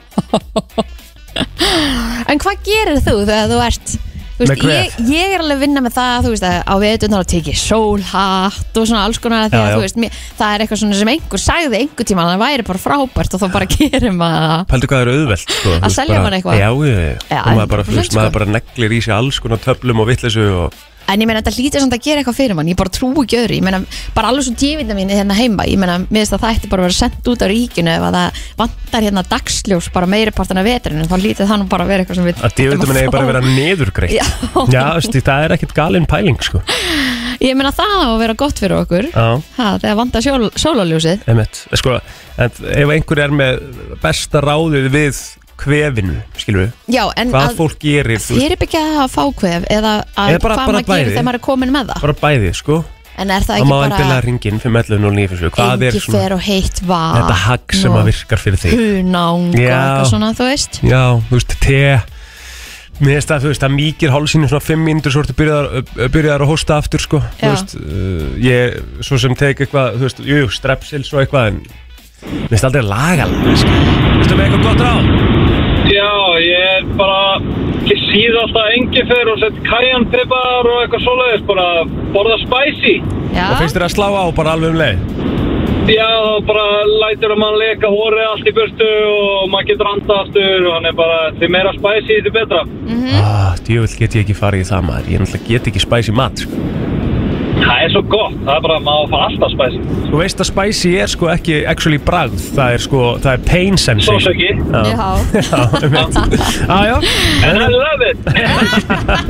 S2: En hvað gerir þú þegar þú ert þú
S1: Með kvef?
S2: ég, ég er alveg að vinna með það þú veist að á veðunar að tekið sólhatt og svona alls konar því
S1: Já,
S2: að
S1: já.
S2: þú veist mér, það er eitthvað svona sem einhver sagði einhver tíma að það væri bara frábært og þá bara gerum að það
S1: Pældu hvað það eru auðvelt sko, þú veist,
S2: selja
S1: bara-
S2: manni eitthvað.
S1: Já, já, já,
S2: Já,
S1: og maður bara, þú
S2: 100%
S1: veist, maður
S2: sko.
S1: bara neglir í sig alls konar töflum og vittlesu og
S2: en ég meina þetta lítur samt að gera eitthvað fyrir mann ég bara trúi ekki öðru, ég meina bara alveg svo tífinna mín hérna heima, ég meina mér finnst að það ætti bara að vera sendt út á ríkinu ef að það vantar hérna dagsljós bara meiri partin af veturinn þá lítur það nú bara að vera eitthvað sem við
S1: að djöfundum
S2: ættum
S1: er
S2: að
S1: bara að
S2: fá.
S1: vera niðurgreitt
S2: Já.
S1: já þú veist, það er ekkert galin pæling sko,
S2: ég meina það á að vera gott fyrir okkur
S1: já,
S2: ha, þegar vantar sjól, sólaljósið
S1: emitt sko, en ef einhver er með besta ráðið við kvefinu skilur við,
S2: Já, en
S1: hvað
S2: að-
S1: fólk gerir þú veist,
S2: fyrirbyggja það að fá kvef eða að hvað
S1: Eða bara- bara
S2: maður gerir
S1: bæði.
S2: þegar maður er komin með það
S1: bara bæði sko
S2: en er það
S1: það
S2: ekki
S1: má endilega
S2: bara
S1: ringin 511 hvað er
S2: engi
S1: svona,
S2: fer Ah, og heitt vatn
S1: þetta hagg sem
S2: og
S1: að virkar fyrir þig
S2: hunang og
S1: Já.
S2: eitthvað svona þú veist
S1: Já, þú veist, te Mér finnst það, þú veist, það mýkir hálsinu svona 5 mínútur svo ertu byrjaðar, byrjaðar að hósta aftur, sko Þú
S2: Já.
S1: veist, uh, ég, svo sem tek eitthvað, þú veist, jú, jú, strepsils og eitthvað En mér finnst aldrei lagalega, sko Vistu með eitthvað gott ráð?
S6: Já, ég er bara ég síð alltaf engi fyrir og sett kajan, pipar og eitthvað svoleiðis bara borða spicy
S2: Já,
S1: Og finnst þér að slá á bara alveg um leið?
S6: Já, þá bara lætur að mann leka hórið allt í burtu og maður getur andað aftur og hann er bara því meira spicy því betra
S1: Mm -hmm. Ah, djöfull get ég ekki farið í það, maður Ég náttúrulega get ekki spæs í mat, sko
S6: Það er
S7: er svo gott, það er bara að maður fá alltaf spæsi
S1: Þú veist að spicy er sko ekki actually bragð Það er sko, það er pain sensation
S7: Sársauki.
S1: Já,
S2: Já,
S1: já, einmitt. Já, já
S7: And I love it!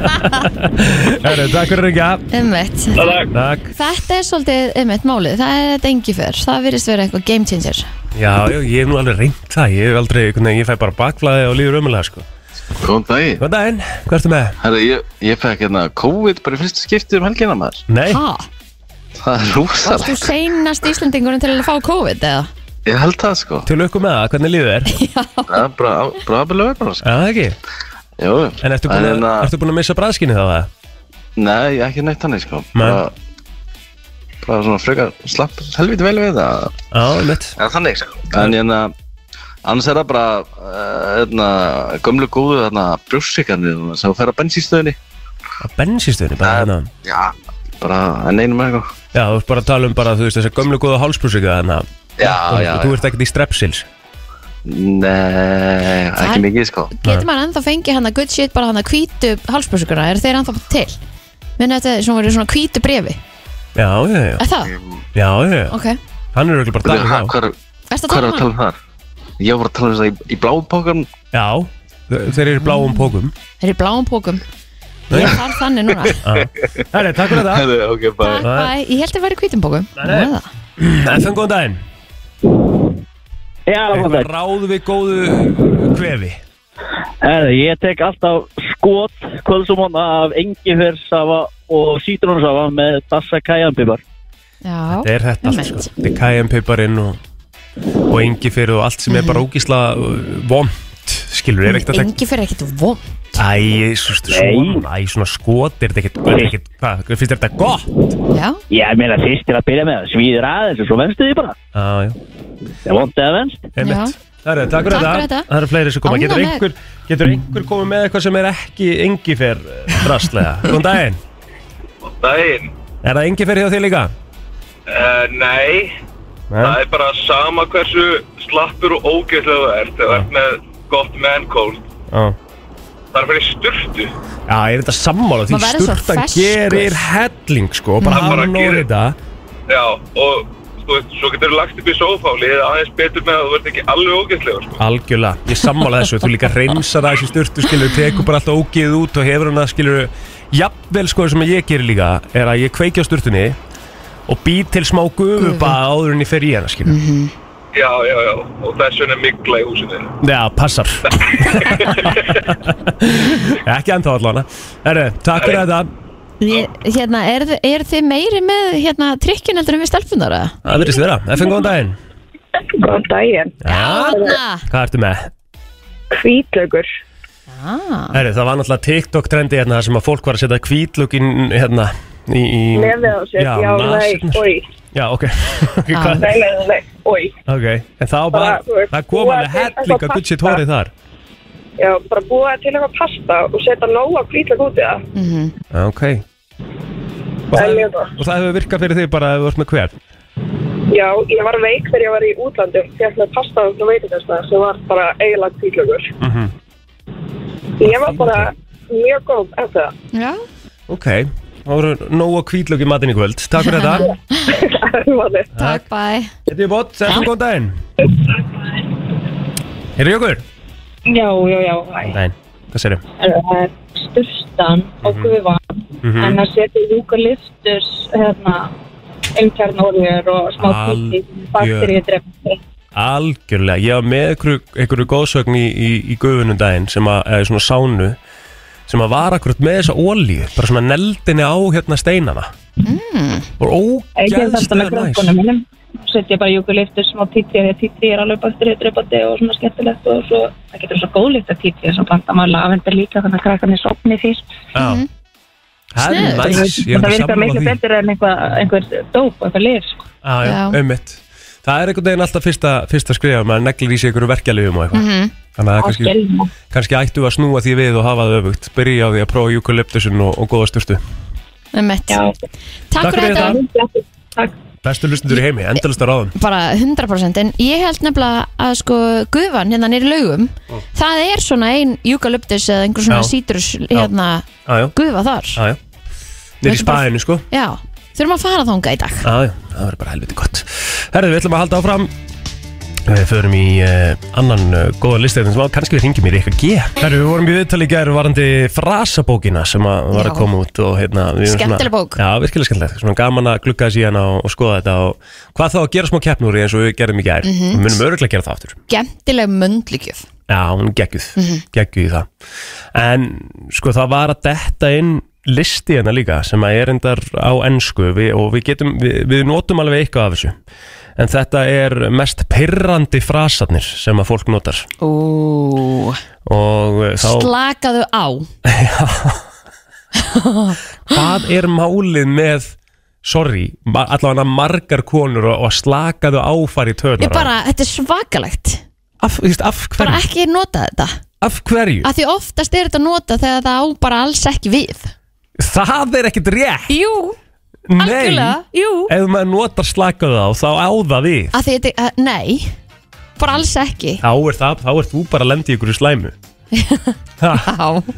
S1: Herru, Takk fyrir að ringja
S2: ummitt
S7: Takk.
S1: Takk
S2: Þetta er svolítið ummitt málið, það er þetta engi fyrr Það virðist vera eitthvað game changer
S1: Já, já, ég hef nú alveg reynd það Ég hef aldrei, einhvern veginn, ég fæ bara bakflæði og líður ömulega sko
S8: Góðan daginn.
S1: Góðan daginn, hvað ertu með?
S8: Herra, ég, ég fekk hérna COVID bara í fyrstu skipti um helgina maður.
S1: Nei,
S2: Ha,
S8: Það er
S2: varst þú
S8: rosalegt.
S2: seinast Íslendingurinn til að fá COVID eða?
S8: Ég held það sko.
S1: til lukku með það, hvernig líður þér?
S8: Það er bara, bara að byrja verður sko.
S1: Já, það ekki
S8: Jú,
S1: En ertu búin, að,
S8: hérna-
S1: ertu búin að missa bræðskinni þá það?
S8: Nei, ekki neitt hannig sko.
S1: Nei.
S8: Bara, bara svona frekar slapp helviti vel við það.
S1: Já, mitt
S8: Já, þannig sko. En hérna, annars er það bara uh, hérna, gömlu góðu hérna, brjósikarnir sem fer að bensístöðinni.
S1: Á bensístöðinni bara hérna
S8: Já. Bara enn einum eða eitthvað.
S1: Já, þú ert bara að tala um bara, þú veist, þessi gömlu góða hálsbrúsika þannig að
S8: Já, Ah, já,
S1: Þú
S8: já.
S1: ert ekkert í strepsils
S8: Nei,
S2: Það-
S8: ekki mikið sko.
S2: Getur maður ennþá fengið hann að good shit bara hann að hvítu hálsbrúsukuna, er þeir ennþá til? Minna þetta sem verið svona hvítu brefi
S1: Já, já, já,
S2: Er það?
S1: já, já, já.
S2: Ok,
S1: Hann er auðvitað bara
S8: Hvað
S1: daginn á
S8: hvað er
S2: erst að
S8: Hvað
S2: tala um
S8: er að tala
S2: hann?
S8: um þar? Ég var að tala um það í, í bláum pókan
S1: Já, þe- þeir eru í bláum pókum
S2: Þeir eru í bláum pókum Ég þarf þannig núna
S1: Herri, takk fyrir þetta
S8: Ok,
S2: Takk, bæ, ég held að vera í hvítum pókum
S1: nei.
S2: Nú er það.
S1: FN, góðan daginn
S9: Já, það var
S1: Eitthvað
S9: það.
S1: ráð við góðu kvefi
S9: Herðu, ég tek alltaf skot kvölds og móna af engifersafa og sítrónusafa með dassa kæjanpibar.
S2: Já,
S1: Það er þetta allt, sko
S2: Einmitt.
S1: Þetta er kæjanpiparinn og, og engi fyrir og allt sem er bara
S2: Mhm.
S1: ógísla vond Skilur, er ekkert að
S2: engi fyrir ekkert von
S1: taka Æ, svona, svona, æ, svona skot Er þetta ekkert, er þetta ekkert, hvað, finnst þér þetta gott?
S2: Já,
S9: Ég meina fyrst til að byrja með það, svíður aðeins og svo venstu því bara.
S1: Já, já,
S9: Það er vondið að venst.
S1: einmitt Herri, takk fyrir
S2: Takk
S1: þetta
S2: fyrir þetta.
S1: Það eru fleiri sem koma Getur
S2: Ánægð.
S1: einhver, getur einhver komið með eitthvað sem er ekki engi fyrir drastlega Góðan daginn
S7: Daginn.
S1: Er það engi fyrir hjá þér líka?
S7: Uh, nei, það
S1: Nei,
S7: er bara sama hversu slappur og ógeðslega þú ert. Þú ert með gott man cold.
S1: já
S7: Það er fyrir sturtu.
S1: Já, ég er þetta sammála því
S2: Maður verður svo
S1: sturtan
S2: ferskur.
S1: gerir helling sko og bara
S7: Mhm. Bara
S1: hann og
S7: gerir-
S1: þetta
S7: Já, og þú veist, svo getur þú lagt upp í sófáli eða aðeins betur með að þú ert ekki alveg ógeðslega, sko.
S1: algjörlega, ég sammála þessu þú líka reynsar að þessi sturtu skilur tekur bara alltaf ógið út og hefur hann að skilur jafnvel sko sem ég gerir líka er að ég kveiki á sturtunni og bý til smá gufu bara áður en ég fer í hana skilur
S7: Já, já, já, og þess vegna er mikla í húsinu.
S2: Mm.
S1: Já, passar ekki ennþá allavega Herru, takk fyrir þetta
S2: ég, hérna, er, þi- er þið meiri með hérna, trikkin heldur en við stelpunar eða?
S1: Það verðist vera, FN góðan daginn
S10: Góðan daginn.
S1: Já,
S2: Anna
S1: hvað ertu með?
S10: Hvítlaugur.
S2: ah,
S1: Herri, það var náttúrulega TikTok trendi hérna þar sem að fólk var að setja kvítlökin hérna í... í
S10: Nefið á sér. Já, nei,
S1: nasirnar.
S10: oi.
S1: Já, ok. ok, hvað,
S10: Nei, nei, nei, oi.
S1: ok. En það var
S10: Bara, þú
S1: bara,
S10: veist,
S1: það kom
S10: búa
S1: alveg
S10: til
S1: helling
S10: eitthvað
S1: að gutt sitt
S10: pasta.
S1: hórið þar.
S10: Já, bara búa til eitthvað pasta og setja nóg af hvítlaug út í það.
S1: Já, ok.
S10: Það er
S1: Og það,
S10: mjög gott.
S1: og það hefur virkað fyrir þig bara að þú ert með hver.
S10: Já, ég var veik þegar ég var í útlandi og fjall með pasta frá veitingastæða sem var bara eiginlega kvítlaugur.
S1: Mhm.
S10: Ég var bara mjög góð eftir það.
S2: Já,
S1: Ok. Það voru nógu kvítlöki matinn í kvöld. Takk fyrir þetta.
S10: Það var þitt.
S2: takk bæ
S1: Þetta er bótt. Þetta er góðan daginn. Er það ykkur?
S11: Já, já, já, hæ.
S1: Nei. Hvað sérum?
S11: Það er Sturtan og
S7: Mhm.
S11: gufan, en að setja júkaliftur, hérna, einkjarnorður og smá kvíti,
S1: Algjör.
S11: bakterið drefnir.
S1: Algjörlega, ég var með einhverju, einhverju góðsögn í, í, í gufunum daginn sem að, eða svona sánu sem að var akkurat með þessa ólíu bara svona neldinni á hérna steinana mm. og
S11: Ég ger þetta
S1: ógæðslega
S11: með
S1: næs
S11: grökkunum minnum, setja bara júkaliftur, smá títi, því að títi er alveg bakterið drefandi og svona skemmtilegt og svo, það getur svo góðlíkt að títi, þess að blanda maður lavendar líka, þannig að krakkarnir sopni fyrst.
S1: Já. Það er
S2: Sniðugt.
S1: næs,
S11: Það
S1: ég er alveg
S11: virkar
S1: sammála
S11: miklu
S1: því
S11: betur en einhver, einhver dóp, einhver lif, sko.
S1: Já, já,
S2: Já.
S1: ummitt Það er einhvern veginn alltaf fyrsta, fyrsta skrifa maður neglir í sig einhverju verkjalegum og eitthvað Þannig að kannski,
S11: Skelfing.
S1: kannski ættu að snúa því við og hafa það öfugt byrja á því að prófa eukalyptusin og, og góða sturtu
S2: Einmitt.
S11: Já.
S2: Takk fyrir þetta
S1: Bestu lustundur í heimi, endalist að ráðum
S2: bara 100% en ég held nefnilega að sko gufan hérna nýri laugum það er svona ein eukalyptus eða einhver svona
S1: Já.
S2: sítrus hérna
S1: Já, já,
S2: gufa þar
S1: já, já
S2: Þetta
S1: Nýr í
S2: er bara-
S1: spæðinu sko
S2: já, þurfum að fara þanga í dag
S1: Já, já, það verður bara helviti gott Herðu, við ætlum að halda áfram Við förum í uh, annan uh, góða listeðin sem á, kannski við ringjum í Rikka G Herru, við vorum í viðtali í gæru varandi frasabókina sem að var
S2: Já.
S1: að koma út og hérna við erum svona-
S2: Skemmtileg bók.
S1: Já, virkilega skemmtileg, svona gaman að glugga þessi hérna og, og skoða þetta og hvað þá að gera smá keppnúri eins og við gerðum í gær
S2: Mhm.
S1: Við munum örgulega gera það aftur
S2: Gemtileg möndlíkjöf
S1: Já, hún er geggjuð,
S2: Mhm.
S1: geggjuð í það En sko það var að detta inn listi hérna líka sem að er endar á ennsku við, og við getum, við, við notum alveg eitthvað af þessu En þetta er mest pirrandi frasarnir sem að fólk notar
S2: Ó,
S1: Og eh, þá,
S2: slakaðu á
S1: hvað er málið með, sorry, ma- allavega margar konur og, og slakaðu áfari tönar
S2: Ég bara, þetta er svakalegt
S1: af, þú veist, af
S2: Bara
S1: hverju?
S2: ekki nota þetta
S1: Af hverju?
S2: Af því oftast er þetta nota þegar það á bara alls ekki við
S1: Það er ekkit rétt
S2: Jú,
S1: Nei.
S2: algjörlega, jú
S1: ef maður notar slakaðu á þá á það við
S2: Af því þetta, uh, nei Bara alls ekki
S1: þá er það, þá ert þú bara að lenda í ykkur í slæmu
S2: Já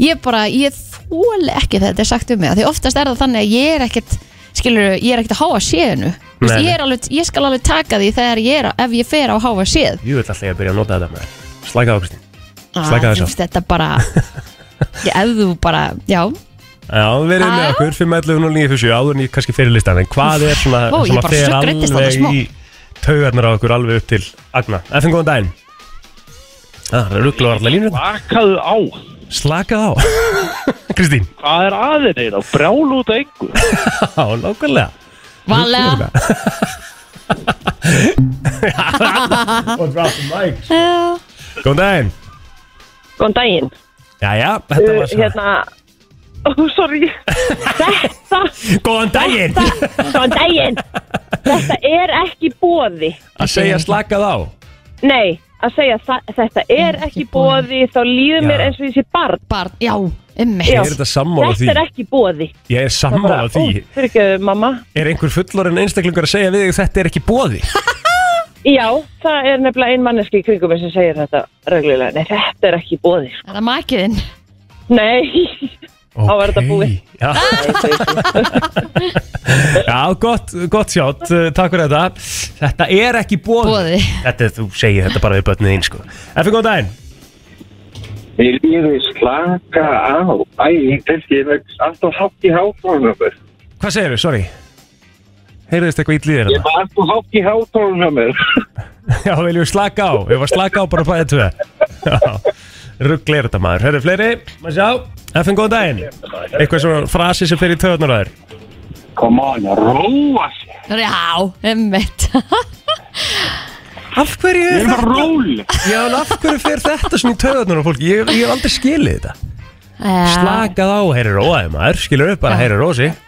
S2: Ég bara, ég þóli ekki þegar þetta er sagt um mig af Því oftast er það þannig að ég er ekkert Skilur, ég er ekkert að háa séðinu Vist,
S1: Nei, nei.
S2: ég, er alveg, ég skal alveg taka því þegar ég er á, Ef ég fer á E. háa séð
S1: Jú, ætla alltaf ég að byrja að nota þetta með þér. Slaka á, Kristín
S2: Ah,
S1: Slaka þessu á.
S2: þú veist, Þetta bara ég, Ef þú bara, já
S1: Já, verið með
S2: Ah.
S1: okkur, 5.11.09.57 áður en ég kannski fyrir listan En hvað er svona
S2: Ó, ég
S1: sem að
S2: bara
S1: fer
S2: snöggreiddist þarna smá.
S1: alveg í taugarnar á okkur alveg upp til Agna FN, góðan daginn Já, Ah, Það er ruggla var alltaf línur
S12: Slakaðu á
S1: Slaka á Kristín
S12: Hvað er aðeins eiginlega? Brjál út að einhver
S1: Já, nákvæmlega um
S2: Vanlega Já.
S1: Góðan daginn
S13: Góðan daginn.
S1: Jæja, þetta var svona
S13: Hérna, ó, sorry. Þetta,
S1: Góðan daginn
S13: góðan daginn. Þetta er ekki bóði.
S1: Að segja slakað á
S13: Nei, að segja það, þetta er ekki bóði, þá líður mér
S1: Já.
S13: eins og ég sé barn.
S2: Barn, já, emmi
S1: Ég er þetta sammála því
S13: Þetta er ekki bóði.
S1: Ég er sammála því
S13: Fyrir ekki, mamma.
S1: Er einhver fullorinn einstaklingur að segja við þig þetta er ekki bóði?
S13: Já, það er nefnilega ein manneski í kringum mér sem segir þetta reglulega. Nei, þetta er ekki bóði.
S2: Það er makiðinn
S13: Nei, Þá var þetta búið.
S1: Já, já gott, gott sjátt, uh, takk fyrir þetta. Þetta er ekki bóði.
S2: Boði.
S1: Þetta er, þú segir þetta bara við börnið einn sko. Eftir góðan daginn.
S6: Mér líður slaka á. Æ, ég telki, ég vex alltaf hátt í hátónumur.
S1: Hvað segir við, sorry? Heyrðist eitthvað ítlýðir
S6: Ég
S1: hérna?
S6: var alltaf hátt í hátónumur.
S1: Já, viljum við slaka á. Við varum að slaka á bara bæðið tvö. Ruggli er þetta maður. Hörðu fleiri, maður sjá. Eftir góðan daginn. Eitthvað svona frasi sem fer í töðunar á þér.
S6: Come on, róa sér.
S2: Já, emmitt
S1: Af hverju er
S6: Ég var róli.
S1: Já, en af hverju fer þetta svona í töðunar á fólki? Ég, ég hef aldrei skilið þetta. slakað á, heyri róaði maður skilur upp bara, heyri rósi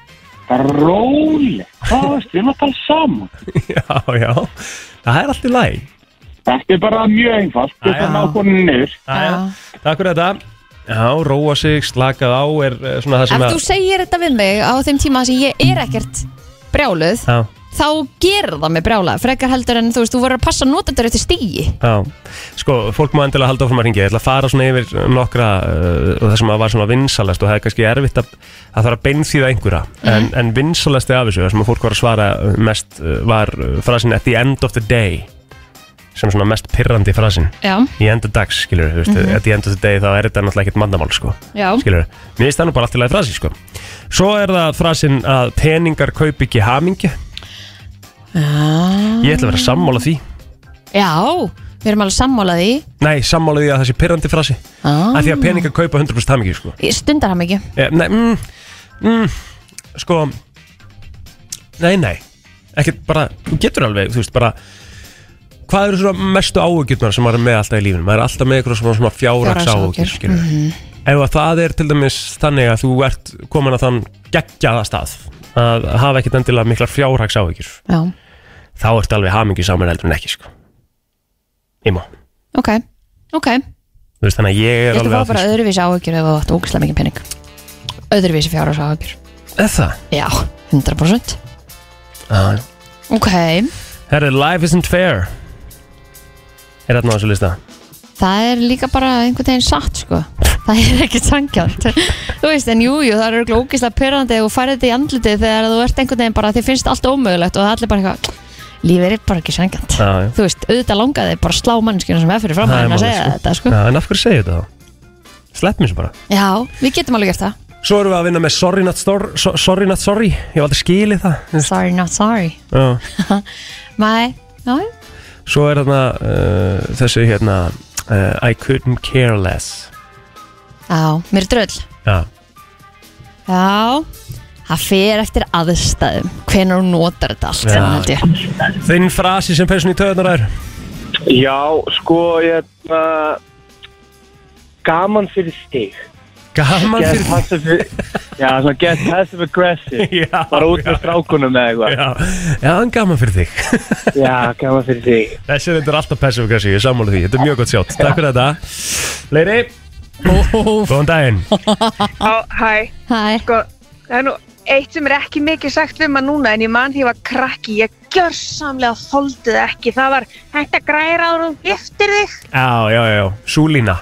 S6: Róli. Hvað veist, við erum að tala saman.
S1: já, já, það er allt í læg
S6: Þetta er bara mjög einfalt. Þetta er
S1: Jæja.
S6: nákvæmlega niður.
S1: takk fyrir þetta já, róa sig, slakað á er eh, svona það
S2: Ef
S1: sem
S2: þú segir þetta við mig á þeim tíma sem ég er ekkert brjáluð
S1: já,
S2: þá gerir það mig brjála frekar heldur en þú veist, þú voru að passa notendur eftir stígi
S1: já, sko, fólk má endilega halda áfram að ringja, ég ætla að fara svona yfir nokkra uh, og það sem að var svona vinsalast og það er kannski erfitt að það þarf að beinþýða einhverja,
S2: Mhm.
S1: en, en vinsalast af þessu, það sem að fólk var að svara mest eh, var eh, frasin at the end of the day sem svona mest pirrandi frasin
S2: Já,
S1: í endur dags, skilur, þú veist, mm -hmm. at the end of the day þá er þetta náttúrulega ekkert mandamál, sko,
S2: Mhm. já,
S1: skilur, mér finnst það nú bara allt í lagi frasi, sko. Svo er það frasin að peningar kaup ekki hamingju,
S2: já
S1: ég ætla að vera sammála því,
S2: Já, við erum alveg sammálaði
S1: nei, sammála því að það sé pirrandi frasi,
S2: ah.
S1: af því að peningar kaupa 100% hamingju, sko.
S2: Stundar hann ekki
S1: Eh, nei, mm, mm, sko, nei, nei, ekkert bara, þú getur alveg, þú veist, bara, hvað eru svona mestu áhugjurnar sem maður er með alltaf í lífinu? Maður er alltaf með eitthvað svona, svona fjáraks áhugjur,
S2: Fjárhagsáhyggjur, mhm.
S1: skilur. Ef að það er til dæmis þannig að þú ert komin að þann geggjaða stað að hafa ekkert endilega miklar fjárhags áhugjur,
S2: Já,
S1: þá ertu alveg hamingi saman heldur en ekki, sko. Ímá.
S2: ok, ok Ég
S1: Þú veist, þannig að ég er
S2: ætla að
S1: alveg
S2: fá bara öðruvísi áhugjur ef þú átt ógæslega mikið pening Öðruvísi fjárhás áhugjur
S1: sko. Er það? Ah,
S2: Já, 100%
S1: Já, já.
S2: Ok,
S1: Herri, life isn't fair. Er þetta náðu svo lista?
S2: það er líka bara einhvern veginn satt sko það er ekkert sangjönd þú veist, en jú, jú, það er örugglega ógeðslega pyrrandi og færði þetta í andlitið þegar þú ert einhvern veginn bara, þið finnst allt ómögulegt og það er allir bara eitthvað, lífið er bara ekki sangjönd
S1: Já, já.
S2: þú veist, auðvitað langaði þig bara að slá mannskjuna sem er fyrir
S1: Það er
S2: framhæðin að
S1: málið,
S2: segja
S1: sko.
S2: þetta, sko
S1: Já, en af hverju segir þetta þá? Slepp mér svo bara
S2: já, við getum alveg gert það,
S1: Svo erum við að vinna með Sorry Not Sorry, so, sorry, not sorry. Ég hef aldrei skilið það
S2: sorry not sorry
S1: Já.
S2: mæ, já, já.
S1: Svo er þarna uh, þessi hérna uh, I couldn't care less
S2: já, mér er dröll
S1: Já,
S2: já, það fer eftir aðstæðum hvenær hún notar þetta allt
S1: Já.
S2: saman, held ég.
S1: Þinn frasi sem peysun í töðunar er
S14: Já, sko, ég Gaman fyrir stig
S1: Gaman
S14: Get
S1: fyrir
S14: passive Já, svona get passive aggressive
S1: Já,
S14: Bara út með strákunum eða eitthvað
S1: Já, já en gaman fyrir þig
S14: Já, gaman fyrir þig
S1: Þessi þetta er alltaf passive aggressive, ég sammála því Þetta er mjög gott sjátt, takk fyrir þetta Leiri, góðan daginn
S15: Á, hæ,
S2: hæ
S15: sko, það er nú eitt sem er ekki mikið sagt við maður núna en ég man því ég var krakki, ég gjörsamlega þoldið ekki, það var hægt að græra ára og giftir þig
S1: Já, já, já, já, súlína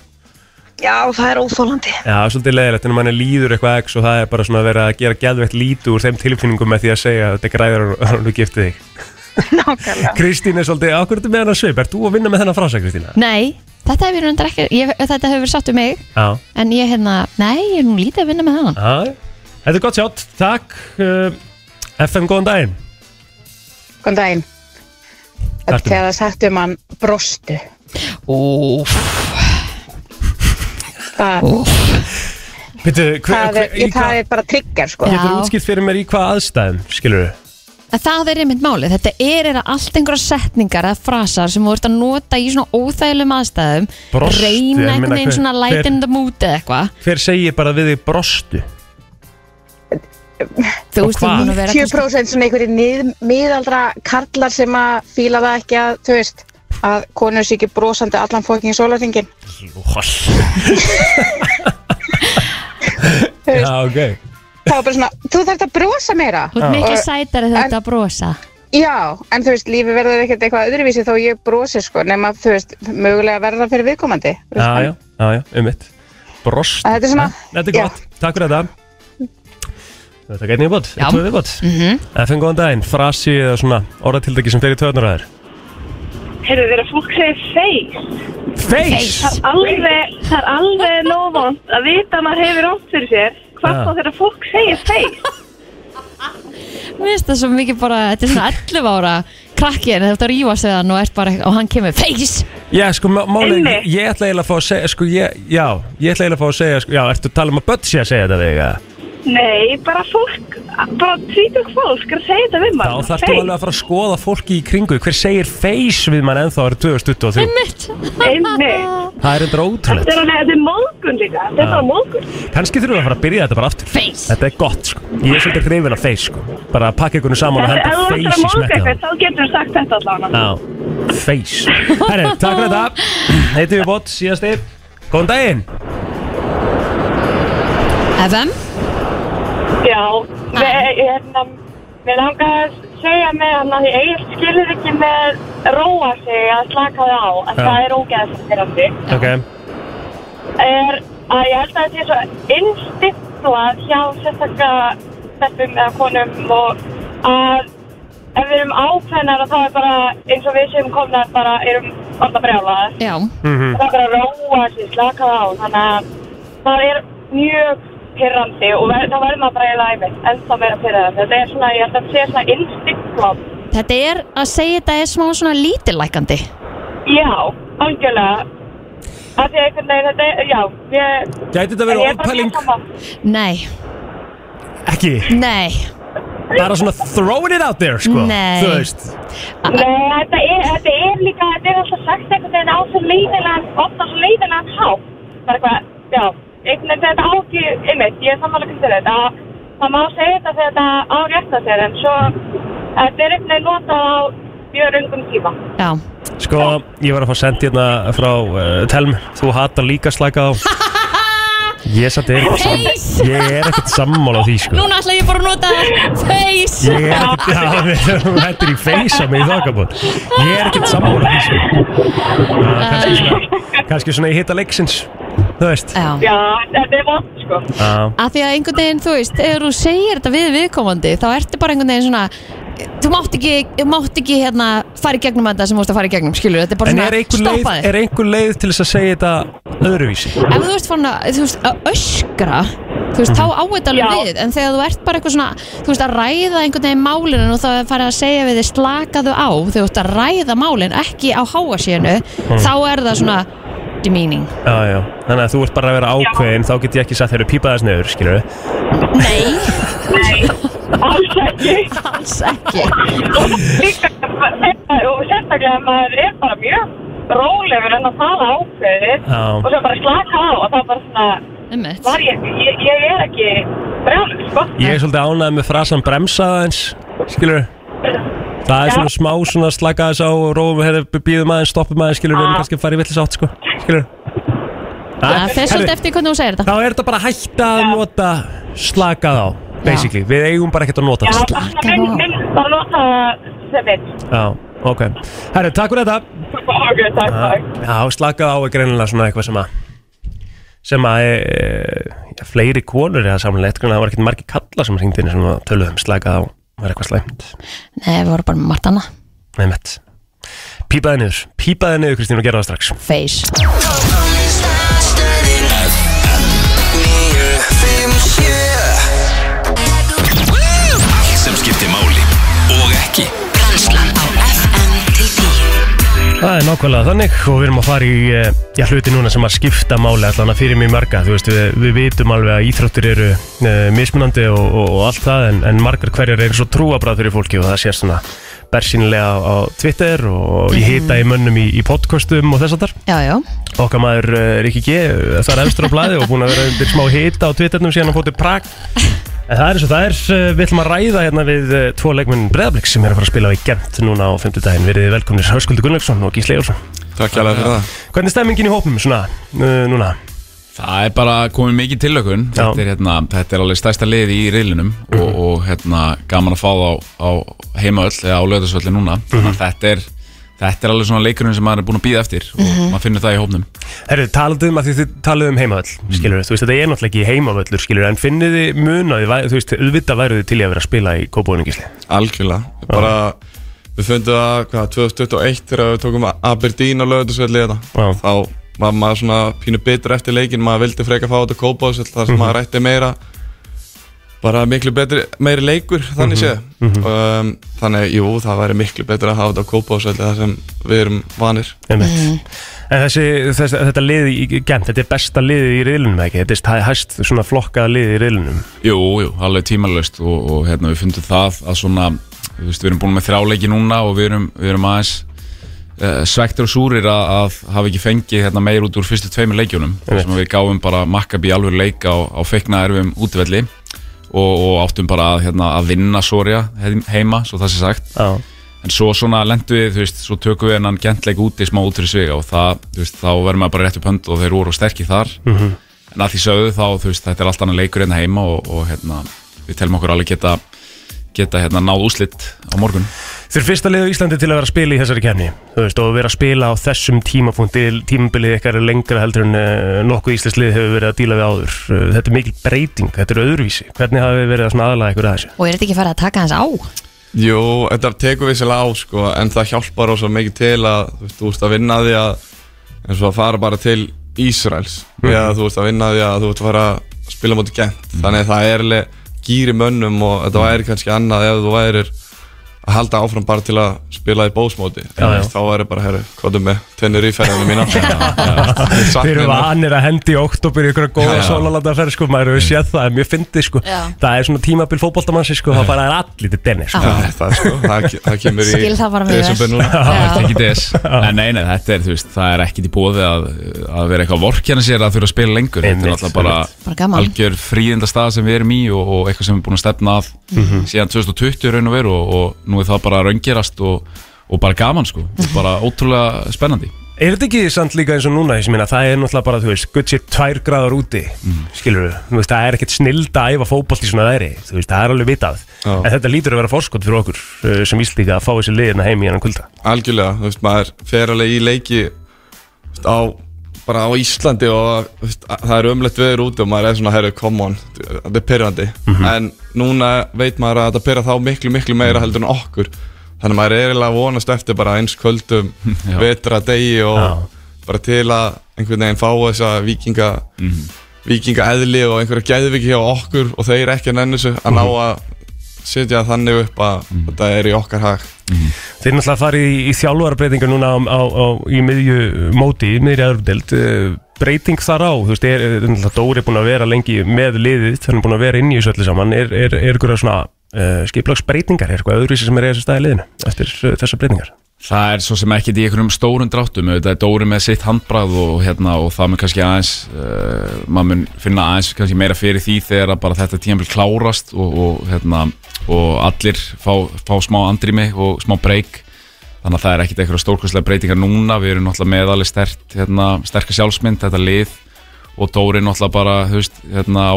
S15: Já, það er óþólandi
S1: Já, það er svolítið leiðilegt en manni líður eitthvað x og það er bara svona að vera að gera geðveikt lítu úr þeim tilfinningum með því að segja að þetta græður og nú giftið þig
S15: Nákvæmlega
S1: Kristín er svolítið, okkur ertu með hennar svip, ert þú að vinna með þennan frasa Kristína?
S2: nei, þetta hefur verið ekki ég, þetta hefur verið satt um mig
S1: Já,
S2: En ég hérna, nei, ég er nú lítið að vinna með hann
S1: já, þetta er gott sjátt, takk uh, FM, góðan daginn
S16: Góðan daginn. Þetta er
S1: Ertu-
S16: Þegar það sagt um hann brostu.
S1: Úf
S16: Það,
S1: Býttu, hver,
S16: það, er,
S1: hver, í
S16: ég, það
S1: hvað
S16: er bara trigger, sko.
S1: Getur útskilt fyrir mér í hvað aðstæðum, skilur við?
S2: En það er einmitt málið, þetta er eða allt einhverja setningar eða frasar sem þú ert að nota í svona óþægilegum aðstæðum
S1: Brostu,
S2: reyna
S1: ég meina,
S2: einhvern veginn
S1: hver-
S2: svona
S1: hver-
S2: light in the mood eða eitthvað
S1: Hver segir bara við þig brostu?
S2: Þú
S1: Og
S2: veist, þú
S1: hvað?
S2: mun að vera
S16: 10% svona einhverjir nið- miðaldra karlar sem að fíla það ekki að, þú veist, að konur sé ekki brosandi allan fókingin sólarringin.
S1: Já, ok
S16: Það var bara svona, þú þarft að brosa meira.
S2: Þú ert mikið
S16: Og-
S2: sætari þegar þetta að brosa
S16: Já, en þú veist, lífi verður ekkert eitthvað öðruvísi þó ég brosi, sko, nema, þú veist, mögulega verða fyrir viðkomandi. Þú veist,
S1: Já, já, já, já, um mitt Brost
S16: Þetta er svona-
S1: Þetta er
S16: já.
S1: gott, takk fyrir þetta Þetta gæti nýja bót,
S2: Já.
S1: tvö viðbót
S2: Mhm.
S1: FN góðan daginn, frasi eða svona orðatildaki sem fer í töðnur að þér
S17: Heyrðu þeirra fólk segir face.
S1: Face?
S17: Það er alveg, það er alveg nóvont að vita að maður hefur ótt fyrir sér. Hvað
S2: Ja.
S17: þá þeirra fólk segir face?
S2: Mér finnst það svo mikið bara, þetta er svona 11 ára krakki en þú ert að rífast við hann og, ert bara, og hann kemur face
S1: Já, sko, má- málið,
S2: Einmitt.
S1: ég ætla eiginlega að fá að segja sko, ég, Já, ég ætla eiginlega að fá að segja sko, Já, ertu að tala um að börn sé að segja þetta við þig, eða?
S17: Nei, bara fólk, bara tvítug fólk er að segja þetta við
S1: Já,
S17: maður.
S1: þarftu alveg að fara að skoða fólki í kringu þig. Hver segir face við mann ennþá er 2023
S17: Einmitt. Einmitt.
S1: Það er
S17: Þetta
S1: endur ótrúlegt
S17: er alveg, þetta er móðgun líka. Þetta er
S1: Ja.
S17: bara móðgun.
S1: Kannski þurfum við að fara að byrja þetta bara aftur
S2: Face
S1: Þetta er gott, sko Ég er svolítið hrifin af face, sko Bara að pakka einhvern saman og
S17: Þetta er,
S1: henda
S17: ef þú ætlar
S1: face
S17: að
S1: í
S17: móðga
S1: smekkið á.
S17: eitthvað, þá getur þú sagt þetta allavega.
S1: Já, face Herri, takk fyrir þetta Heiti við bótt, síðasti Góðan daginn
S2: FM
S11: Já, við, hérna, við langar að segja með hann að ég eiginlega skilur ekki með róa sig að slaka það á, en
S1: Já.
S11: það er ógeðsfyrandi,
S1: Ok,
S11: er að ég held að þetta er svo instintuað hjá sérstaklega steppum eða konum og að ef við erum ákveðnar að það er bara eins og við sem komnar bara erum alltaf brjálaðar.
S2: Já.
S1: Hm. Mm.
S11: -hmm. það er bara að róa sig, slaka það á þannig að það er mjög pyrrandi og ver, það verður maður bara eiginlega æfið en það verður pyrrandi þetta er svona, ég held að þetta sé svona instinktum
S2: Þetta er að segja þetta er smá svona lítillækandi
S11: já, algjörlega að því að einhvern veginn þetta er, já ég,
S1: Gæti þetta verið
S11: en ég er bara
S1: ofpæling?
S11: mjög sama.
S2: Nei,
S1: ekki
S2: nei
S1: Bara svona throwing it out there, sko
S11: Nei.
S1: Þú veist
S11: Nei, þetta er, þetta er líka, þetta er alltaf sagt einhvern veginn á svo leiðilegan, ofta svo leiðilegan hátt. Bara eitthvað, já, einhvern veginn þetta á ekki, einmitt, ég er sammála kvistur þetta, að það má segja þetta þegar þetta á rétt að sér, en svo, þetta er einhvern veginn notað á mjög röngum tíma.
S2: Já
S1: Sko, ég var að fá sent hérna frá uh, Telm Þú hatar líka slaka á Ég satt er
S2: Face.
S1: Ég er ekkert sammála því, sko
S2: Núna ætla ég bara að nota face
S1: Ég er ekkert, já, við erum hættir í face á mig í þokkabót Ah, Ég er ekkert sammála því, sko Já, Kannski svona, kannski svona í hitta leiksins Þú veist Ah.
S2: Já.
S11: Já, þetta er vond, sko.
S1: Já.
S2: að því að einhvern veginn, þú veist, ef þú segir þetta við viðkomandi, þá ertu bara einhvern veginn svona þú mátt ekki, þú mátt ekki hérna, fara í gegnum þetta sem þú veist að fara í gegnum skilur, þetta er bara
S1: En
S2: svona,
S1: er einhver, leið,
S2: stoppa þig
S1: er einhver leið til þess að segja þetta öðruvísi?
S2: ef þú ert fann að, þú veist, að öskra þú veist, þá á þetta alveg við en þegar þú ert bara eitthvað svona, þú veist, að ræða einhvern veginn málinu og þá er farið að segja við þig slakaðu á, þú veist, að ræða málin ekki á háasíðinu,
S1: Mm.
S2: þá er það svona demeaning
S1: Já, já, þannig að þú ert bara að vera ákveðin þá get ég ekki sagt þeirra pípa þess neður, skilur
S2: Nei
S11: Nei, alls ekki.
S2: Alls ekki.
S11: Og líka, og sérstaklega ef maður er bara mjög rólegur en að tala ákveðið
S1: Já.
S11: og svo bara slaka á og það er bara svona
S2: Einmitt.
S11: var ég, ég, ég er ekki brjálur, sko.
S1: Ég er svolítið ánægð með frasan bremsaða eins, skilur Það er
S11: Já.
S1: svona smá svona slaka þess á og róum, hérna, býðum aðeins, stoppum aðeins, skilur við erum
S2: Ah.
S1: kannski að fara í villis átt, sko, skilur
S2: það fer svolítið eftir hvernig þú segir þetta
S1: Þá er þetta bara hætta að nota slakað á, basically Við eigum bara ekkert að nota
S11: Já,
S1: það
S11: bara minn, minn, bara nota sem veit.
S1: Já, ok Herri, takk fyrir þetta
S11: Ok, takk, takk.
S1: Já, slakað á er greinilega svona eitthvað sem að sem að e, e, fleiri konur eða samanlegt, það var ekkert margir kalla sem hringdi inn sem að töluðum slakað á var eitthvað slæmt,
S2: Nei, við vorum bara með margt annað
S1: nefnett Pípaði niður, pípaði niður Kristín og gera það strax
S2: Face
S5: Allt sem skiptir máli og ekki
S1: Það er nákvæmlega þannig og við erum að fara í eh, já, hluti núna sem að skipta máli allan að fyrir mjög marga, þú veist, við, við vitum alveg að íþróttir eru e, mismunandi og, og, og allt það en, en margar hverjar eru svo trúabræð fyrir fólki og það sé svona bersinlega á Twitter og ég hita í mönnum í, í podcastum og þess að þar
S2: Já, já,
S1: okkar maður eh, Rikki G það er efstur á blaði og búin að vera undir smá hita á Twitternum síðan að fótið Prag en það er eins og það er, eh, við ætlum að ræða hérna við eh, tvo leikmenn Breðabliks sem er að fara að spila í Gent núna á 5. daginn, verið velkomnir Höskuldur Gunnlaugsson og Gísli Jórsson
S18: Takk alveg fyrir það
S1: Hvernig er stemmingin í hópum svona uh, núna?
S18: Það er bara komin mikið tilökun þetta er, hérna, þetta er alveg stærsta liði í riðlinum og, og hérna, gaman að fá það á, á heimaöll eða á löðarsvöldi núna þannig að þetta er, þetta er alveg svona leikurinn sem maður er búin að býða eftir og
S1: Mhm.
S18: maður finnur það í hópnum
S1: Herru, talaðu um að því þið talaðu um heimavöll, skilur þú veist, þetta er náttúrulega ekki heimavöllur, skilur en finnið þið munaði, þú veist, auðvitað væruð þið til í að vera að spila í Kópavöningisli?
S18: Algjörlega,
S1: bara
S18: við fundum það hvað, 2021 þegar við tókum Aberdeen á hérna. löðarsvöldi
S1: Já.
S18: þá var maður svona pínu bitur eftir leikin maður vildi freka fá þetta kópásvöld þar sem
S1: Mhm.
S18: maður rætti meira bara miklu betri, meiri leikur þannig
S1: Mhm,
S18: séð
S1: mhm.
S18: um, þannig, jú, það væri miklu betur að hafa þetta á kópásvöldi þar sem við erum vanir
S1: Einmitt. En þessi, þess, þetta liði í gent, þetta er besta liði í riðlunum ekki, þetta er stæ- hæst svona flokkaða liði í riðlunum.
S18: Jú, jú, alveg tímalöst og, og hérna, við fundum það að svona þú veist, við erum búin með þráleiki núna og við erum, við erum aðeins uh, svektur og súrir að, að hafa ekki fengið hérna, meir út úr fyrstu tveimur leikjunum þar sem við gáfum bara makkab í alveg leik á, á feikna erfum útvelli og, og áttum bara að, hérna, að vinna Soria heim- heima, svo það sé sagt
S1: Já.
S18: en svo svona lendum við, þú veist, svo tökum við hennan gentleik úti smá út fyrir svig og það, þú veist, þá verðum við bara rétt upp hönd og þeir voru sterkir þar
S1: Mhm.
S18: en að því sögðu þá, þú veist, þetta er allt annað leikur hérna heima og, og hérna, við telum okkur alveg geta, geta hérna, náð úslitt á morgun.
S1: Þau eru fyrsta liði á Íslandi til að vera að spila í þessari kefni, þú veist, og vera að spila á þessum tímapunkti, tímabilið ykkar er lengra heldur en uh, nokkuð íslensk lið hefur verið að díla við áður. Uh, þetta er mikil breyting, þetta er öðruvísi. Hvernig hafið þið verið að svona aðlaga ykkur að þessu?
S2: og er þetta ekki farið að taka hans á?
S18: Jú, þetta tekur við sérlega á, sko, en það hjálpar ósað mikið til að, þú veist, þú veist, að vinna að því að, eins og að fara bara til Ísraels,
S1: Mhm.
S18: eða þú veist, að vinna að því að þú veist að fara að spila móti gent, þannig að það er alveg gýri mönnum og þetta væri kannski annað ef þú værir að halda áfram bara til að spila í bósmóti, en
S1: Já,
S18: þú
S1: já.
S18: veist, þá væri bara, herru, kvotum með tvennur íferðinu mína.
S1: Þeir
S18: Þeir
S1: eru vanir að hendi í oktober í ykkur góða
S18: Já.
S1: sólalanda ferð sko, maður hefur séð það, en mér fyndi sko,
S2: Já.
S1: það er svona tímabil fótboltamansi sko, það fara þær allir til denni sko.
S2: Já,
S18: það, sko, það, það kemur
S2: í Skil það bara mjög vel. desember núna.
S18: Það
S2: Já.
S18: er ekki des Nei, nei, nei, þetta er, þú veist, það er ekkit í bóði að, að vera eitthvað vorkjana sér að þurfa að spila lengur Þetta er alltaf bara,
S2: Bara gaman.
S18: algjör fríðinda stað sem við erum í og, og eitthvað sem við erum búin að stefna að
S1: Mhm.
S18: síðan 2020 raun og veru og, og nú er það bara að raungerast og, og bara gaman sko, bara ótrúlega spennandi
S1: Er þetta ekki samt líka eins og núna, ég minna, það er náttúrulega bara, þú veist, gutt sér tvær gráðar úti, skilur við, þú veist, það er ekkert snilda að æfa fótbolt í svona veðri, þú veist, það er alveg vitað, en þetta lítur að vera forskot fyrir okkur uh, sem íslíka að fá þessi hérna liðina heim í hennan kulda.
S18: Algjörlega, þú veist, maður fer alveg í leiki þú veist, á
S19: bara á Íslandi og þú veist, að- það er ömlegt veður úti og maður er svona, herru, come on, þetta er pyrrandi
S20: Mhm.
S19: En núna veit maður að þetta pyrra þá miklu, miklu meira heldur en okkur Þannig að maður er eiginlega að vonast eftir bara eins kvöldum,
S18: Já.
S19: vetra degi og
S18: Já.
S19: bara til að einhvern veginn fá þessa vikinga,
S18: Mhm.
S19: vikinga eðli og einhverja geðviki hjá okkur og þeir ekki að nennu þessu að
S18: Mhm.
S19: ná að setja þannig upp að þetta er í okkar hag
S1: Þeir náttúrulega farið í, í þjálfarbreytingar núna á, á, á, í miðju móti, í miðri aðrumdelt breyting þar á, þú veist, er, er náttúrulega Dóri búin að vera lengi með liðið þannig búin að vera inn í þessu öllu saman, er, er, er ykkur svona uh, skiplagsbreytingar er eitthvað öðruvísi sem er eða þessi staði liðinu eftir uh, þessar breytingar?
S18: Það er svo sem ekkert í einhverjum stórum dráttum auðvitað er Dóri með sitt handbrað og, hérna, og það mun kannski aðeins uh, maður mun finna aðeins kannski meira fyrir því þegar að bara þetta tíðanbíl klárast og, og, hérna, og allir fá, fá smá andrými og smá breyk þannig að það er ekkert einhverja stórkostlega breytingar núna við erum náttúrulega með alveg stert, hérna, sterka sjálfsmynd, þetta lið og Dóri náttúrulega bara, þú veist, hérna á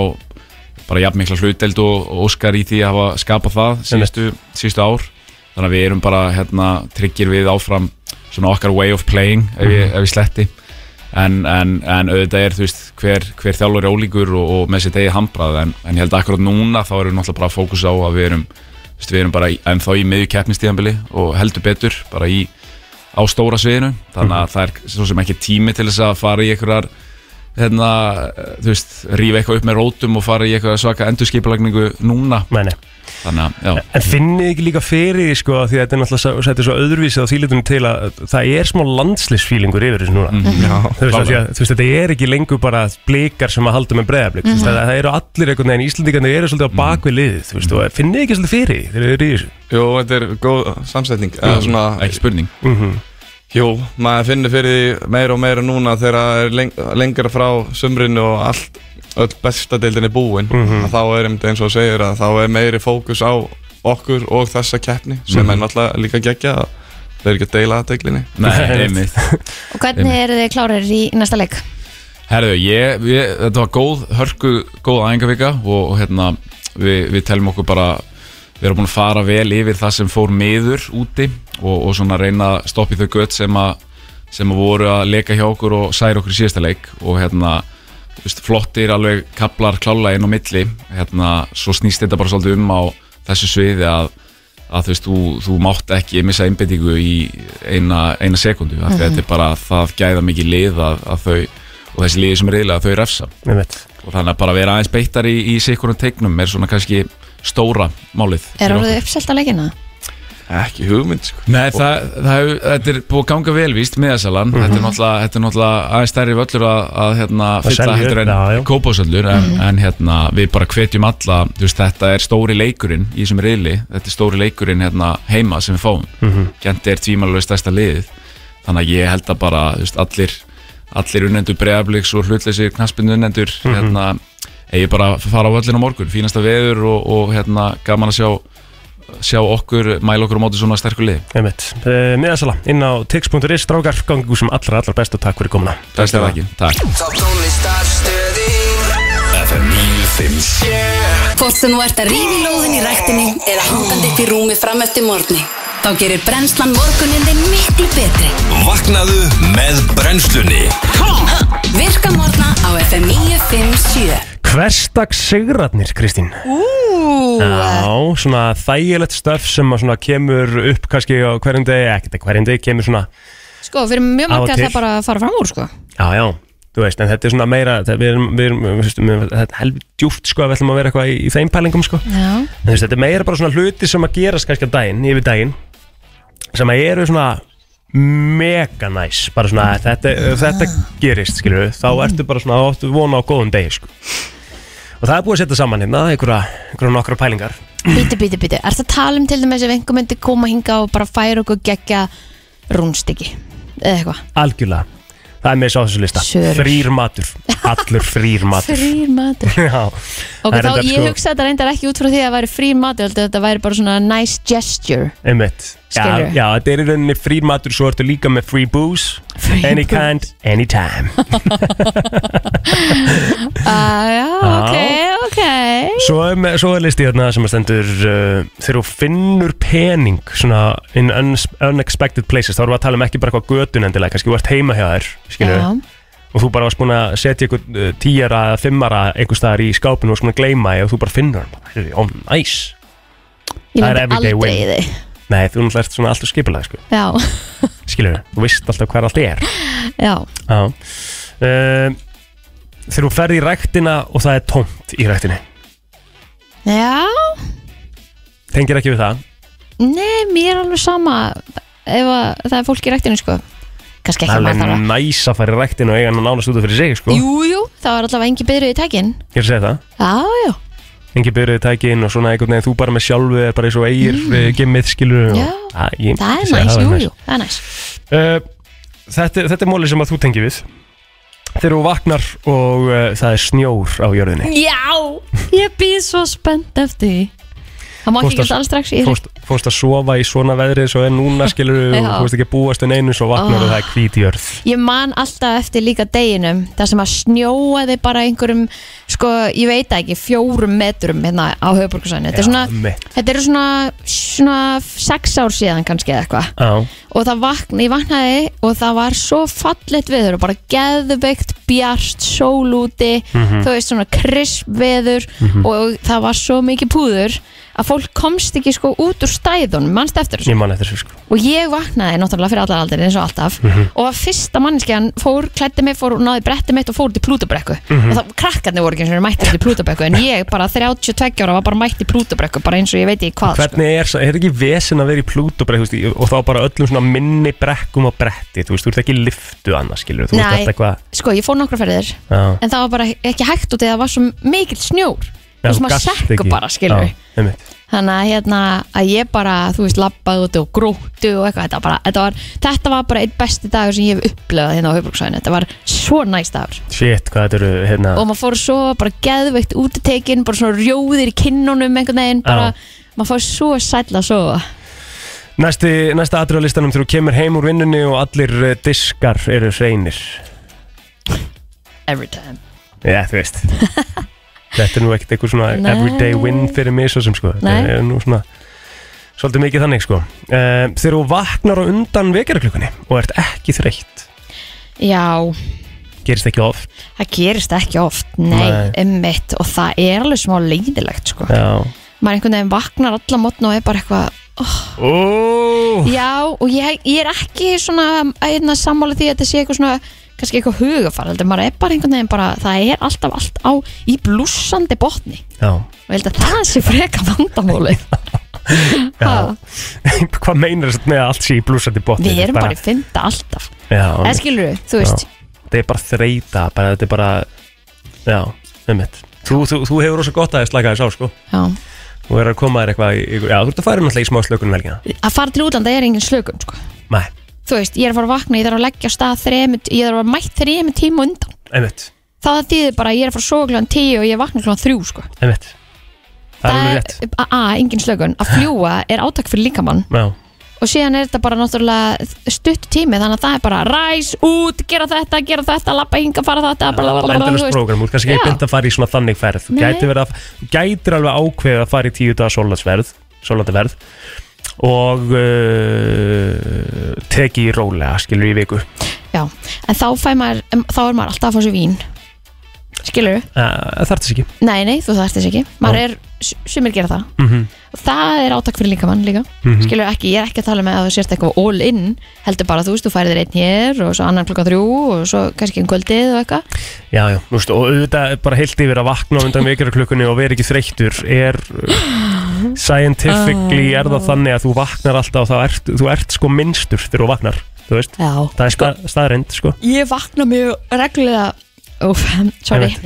S18: bara jafnmikla hlutdeild og og Óskar í því að hafa skapað það síðustu, síðustu ár þannig að við erum bara hérna, tryggir við áfram svona okkar way of playing ef ég,
S19: Mhm.
S18: ef ég sletti en, en, en auðvitað er þú veist hver, hver þjálfur er ólíkur og, og með sitt eigið handbrað en, en ég held að akkurat núna þá erum við náttúrulega bara að fókusa á að við erum, þú veist, við erum bara í- ennþá í miðju keppnistíðanbili og heldur betur bara í á stóra sviðinu þannig að það er svo sem ekki tími til þess að fara í einhverjar hérna, þú veist, rífa eitthvað upp með rótum og fara í eitthvað svaka endurskipalagningu núna
S1: Nei, nei.
S18: þannig að, já
S1: En finnið þið ekki líka fyrir því, sko, því að þetta er náttúrulega svo- þetta er svo öðruvísið á þýlitunum til að það er smá landslisfílingur yfir þessu núna
S18: Mhm. Já,
S1: þú, veist, af því
S18: klálega.
S1: að, þú veist, þetta er ekki lengur bara blikar sem að halda með breðablík mm
S18: Mhm.
S1: -hmm. það eru allir einhvern veginn, Íslandingarnir eru svolítið á bakvið liðið, þú veist, og finnið þið ekki svolítið fyrir því þegar þið eru í þessu
S19: Jó, þetta er góð samsetning eða
S1: Jú,
S19: svona,
S18: ekki spurning
S1: Mhm.
S19: Jú, maður finnir fyrir því meira og meira núna þegar það er leng lengra frá sumrinu og allt öll besta deildin er búin
S1: Mhm.
S19: að þá er einmitt eins og þú segir að þá er meiri fókus á okkur og þessa keppni sem
S18: Mhm.
S19: er náttúrulega líka geggja að það er ekki að deila að deiglinni
S18: Nei, einmitt
S2: Og hvernig eru þið klárir í næsta leik?
S18: Herðu, ég, ég, þetta var góð, hörku, góð æfingavika og, og hérna, við, við teljum okkur bara, við erum búin að fara vel yfir það sem fór miður úti og, og svona reyna að stoppa í þau gött sem að, sem að voru að leika hjá okkur og særa okkur í síðasta leik og hérna, þú veist, flottir alveg kaplar klála inn á milli, hérna, svo snýst þetta bara svolítið um á þessu sviði að, að þú veist, þú, þú mátt ekki missa einbindingu í eina, eina sekundu, af því að
S1: Mhm.
S18: þetta er bara það gæða mikið lið að, að þau og þessi liði sem er reyðlega þau refsa
S1: Einmitt.
S18: og þannig að bara vera aðeins beittar í, í sikkunum teiknum er svona kannski stóra málið
S2: Er orðið uppselt að leikina?
S19: Ekki hugmynd sko
S18: Nei, það, það, hef, þetta er búið að ganga vel víst miðasalan, þetta, er náttúrulega- þetta er náttúrulega aðeins stærri völlur að, að hérna,
S1: Mhm. Að
S18: fylla
S1: selja, Mhm.
S18: heldur en kópásöllur en, en hérna, við bara hvetjum alla þú veist, þetta er stóri leikurinn í þessum reyðli þetta er stóri leikurinn hérna, heima sem við fáum
S1: Mhm.
S18: Gent er tvímalulega stærsta liðið þannig að ég held að bara þú veist, allir, allir unnendur bregabliks og hlutleysir knaspin unnendur
S1: Mhm.
S18: hérna, eigi bara að fara á öllin á morgun fínasta veður og, og hérna, gaman að sjá, sjá okkur mæla okkur á móti svona sterkur liði
S1: Einmitt. Eh, Miðasala, inn á tix.is, strákar, gangu sem allra, allra best og takk fyrir komuna
S18: Besta þakki, takk
S5: Top tónlistarstöðin FM 957
S4: Hvort sem þú ert að rífi lóðin í rættinni eða hangandi upp í rúmi fram eftir morgni. Þá gerir brennslan morgunin þinn miklu betri.
S5: Vaknaðu með brennslunni
S4: Virka morgna á FM 957.
S1: Hverstags sigrarnir, Kristín
S4: Ú,
S1: Já, svona þægilegt stöf sem að svona kemur upp kannski á hverjum degi, ekkert að hverjum degi kemur svona
S2: Sko, fyrir mjög
S1: Af og
S2: marga er
S1: til.
S2: það bara að fara fram úr, sko
S1: Já, já, þú veist, en þetta er svona meira það- við erum, við erum, við erum þetta er helvið djúft sko að við ætlum að vera eitthvað í, í þeim pælingum sko
S2: Já
S1: en þú veist, þetta er meira bara svona hluti sem að gerast kannski á daginn, yfir daginn sem að eru svona mega næs, bara svona þetta, þetta gerist, skilur við þá
S2: Mm.
S1: ertu bara svona, þá áttu vona á góðum degi sko og það er búið að setja saman hérna einhverja, einhverja nokkra pælingar
S2: Bíti, bíti, bíti Er það tala um til dæmis ef einhver myndi koma hinga og bara færa okkur gegja rúnstiki eða eitthvað
S1: algjörlega, það er með svo á þessu lista
S2: Sörur.
S1: frýr matur, allur frýr matur
S2: Frýr matur
S1: já,
S2: Ok,
S1: það er
S2: þá
S1: reyndar,
S2: ég
S1: sko-
S2: hugsa þetta reyndar ekki út frá því að það væri frýr matur heldur Þetta væri bara svona nice gesture
S1: Einmitt. Já,
S2: Skilurðu?
S1: já, þetta er í rauninni frýr matur Svo ertu líka með free booze
S2: Free
S1: Any
S2: booze.
S1: kind, anytime
S2: ah, Já, ok, ok
S1: Svo er, með, svo er listi hérna sem að stendur uh, Þegar þú finnur pening Svona in uns- unexpected places Þá erum við að tala um ekki bara hvað götun endilega Kannski þú ert heima hjá þér skilurðu.
S2: Já.
S1: og þú bara varst búin að setja einhver tíjara eða fimmara einhver staðar í skápinu og varst búin að gleyma því og þú bara finnur hann bara, heyrðu, ó, næs
S2: Ég
S1: Það er
S2: lendi
S1: everyday
S2: aldrei
S1: win.
S2: í því.
S1: Nei, þú náttúrulega ert svona alltaf skipulega, sko
S2: Já,
S1: Skilur þú veist alltaf hvað allt er
S2: já,
S1: Já um, Þegar þú ferð í ræktina og það er tómt í ræktinni
S2: já
S1: Tengir ekki við það
S2: Nei, mér er alveg sama ef að það er fólk í ræktinu sko Kannski ekki
S1: Það
S2: að maður
S1: er
S2: þarf
S1: alveg
S2: að
S1: næs að fara í ræktina og eiga hann nánast út af fyrir sig, sko
S2: Jú, jú, það var allavega engin byrju í tækin
S1: Ég er að segja það
S2: Já, já,
S1: engin byrjuði tækin og svona einhvern veginn þú bara með sjálfu er bara eins og eigir mm. gimmið skilur
S2: Já, það er næs, jú, jú, það er næs
S1: Uh, þetta, þetta er móli sem að þú tengir við þegar þú vaknar og uh, það er snjór á jörðinni
S2: Já, ég býð svo spennt eftir því Það má ekki
S1: Fórstu að-
S2: geta alls strax ég...
S1: fórst, fórst að sofa í svona veðri eins og er núna skilur
S2: Já.
S1: og fórst ekki að búast en einu svo vaknar
S2: Ah.
S1: og það er hvít jörð
S2: Ég man alltaf eftir líka deginum Það sem að snjóaði bara einhverjum Sko, ég veit það ekki, fjórum metrum Hérna á höfuborgarsæðinu Þetta er
S1: Já,
S2: svona,
S1: mitt.
S2: þetta eru svona, svona Sex ár síðan kannski eða eitthvað
S1: Já,
S2: og það vakna, ég vaknaði og það var svo fallet veður og bara geðveikt, bjart, sól úti
S17: Mhm.
S2: þú veist svona krisp veður
S17: Mhm.
S2: og það var svo mikið púður að fólk komst ekki sko út úr stæðunum, mannst eftir þessu
S1: ég man eftir þessu sko
S2: og ég vaknaði náttúrulega fyrir allar aldir eins og alltaf
S1: Mhm.
S2: og að fyrsta manneskjan fór, klætti mig, fór og náði bretti mitt og fór út í Plútabrekku
S1: Mhm.
S2: og það, krakkarnir voru ekki eins og mætti út í Plútabrekku en ég bara 32 ára var bara mætt í Plútabrekku bara eins og ég veit ekki hvað sko.
S1: Hvernig er, er ekki vesen að vera í plút og, veist, í- og þá bara öllum svona minni brekkum og bretti, þú veist, þú ert ekki í lyftu annars skilur, þú ert
S2: Nei,
S1: alltaf eitthvað
S2: sko ég fór nokkra ferðir
S1: Já.
S2: en það var bara ekki hægt út eða það var svo mikill snjór eins
S1: Já,
S2: og
S1: þú
S2: maður
S1: gast
S2: sekkur
S1: ekki.
S2: bara skilur
S1: Já, einmitt.
S2: þannig að hérna að ég bara þú veist labbaði út og gróttu og eitthvað þetta var, bara, þetta var, þetta var bara einn besti dagur sem ég hef upplöðað hérna á Haubrúksvæðinu þetta var svo næst dagur
S1: Shit, hvað þetta eru hérna
S2: og maður fór svo bara geðveikt útitekin bara svona rjóðir í kinnunum einhvern veginn bara, maður fór svo sæll að sofa
S1: Næsti, næsta atriðalistanum þegar þú kemur heim úr vinnunni og allir eh, diskar eru hreinir
S2: every time
S1: Já, þú veist Þetta er nú ekkert einhver svona
S2: Nei.
S1: everyday win fyrir mig svo sem sko Þetta
S2: Nei.
S1: er nú svona svolítið mikið þannig sko Eh, Þegar þú vaknar á undan vekjarklukkunni og ert ekki þreytt
S2: já,
S1: gerist ekki oft
S2: það gerist ekki oft nei,
S1: Nei.
S2: ummitt og það er alveg smá leiðilegt sko
S1: Já
S2: maður einhvern veginn vaknar alla mótn og er bara eitthvað
S1: oh.
S2: Já, og ég, ég er ekki svona einna, sammála því að þetta sé eitthvað svona kannski eitthvað hugafar, heldur maður er bara einhvern veginn bara, það er alltaf allt á í blúsandi botni
S1: Já,
S2: og ég held að það sé freka vandamáli
S1: já. Hvað meinar þetta með að allt sé í blúsandi botni?
S2: Við erum bara í fynda alltaf
S1: Já,
S2: Eða skilurðu, þú veist.
S1: Það er bara þreita, bara, þetta er bara Já, um ummitt Þú, þú, þú hefur rosa gott að þess laka þess á sko
S2: Já.
S1: Þú er að koma þér eitthvað í, í- Já, þú ert að fara náttúrulega í smá slökun um velgina
S2: Að fara til útlanda er engin slökun sko.
S1: Nei,
S2: Þú veist, ég er að fara að vakna, ég þarf að leggja af stað þremi, ég þarf að vera mætt þremi tíma á undan
S1: ummitt,
S2: Það þýðir bara að ég er að fara að sofa kljóðan tíu og ég vakna kljóðan þrjú sko.
S1: ummitt um Það er alveg rétt
S2: A, a, engin slökun Að fljúa er átak fyrir líkamann
S1: Já,
S2: og síðan er þetta bara náttúrulega stutt tími þannig að það er bara ræs út, gera þetta, gera þetta, lappa hinga, fara þetta bara, bara, bara,
S1: endalust program, þú ert kannski ekki
S2: Já.
S1: beint að fara í svona þannig ferð Þú
S2: Nei.
S1: gætir, verið að, þú gætir alveg ákveðið að fara í tíu daga sólandsverð Sólandaverð Og uh, Teki í rólega, skilur í viku Eh,
S2: Já, en þá, fæ maður, em, þá er maður alltaf að fá sér vín skilur
S1: Eh, Það þarf þess ekki
S2: Nei, nei, þú þarft þess ekki maður
S1: Já.
S2: er, s- sumir gera það
S1: mm
S2: og það er átak fyrir líkamann líka
S1: Mhm.
S2: skilur ekki, ég er ekki að tala með að þú sért eitthvað all in heldur bara, þú veist, þú færir þér einn hér og svo annan klokkan þrjú og svo kannski um kvöldið og eitthvað
S1: Já, já, þú veist, og auðvitað er bara heilt yfir að vakna á undan vekjarklukkunni og vera ekki þreyttur er uh, scientifically er það þannig að þú vaknar alltaf og þá ert, þú ert sko minnstur þegar þú vaknar, þú veist
S2: já,
S1: það er sko, staðreind, sko
S2: ég vakna mjög reglulega Úf, sorry,
S1: Einmitt,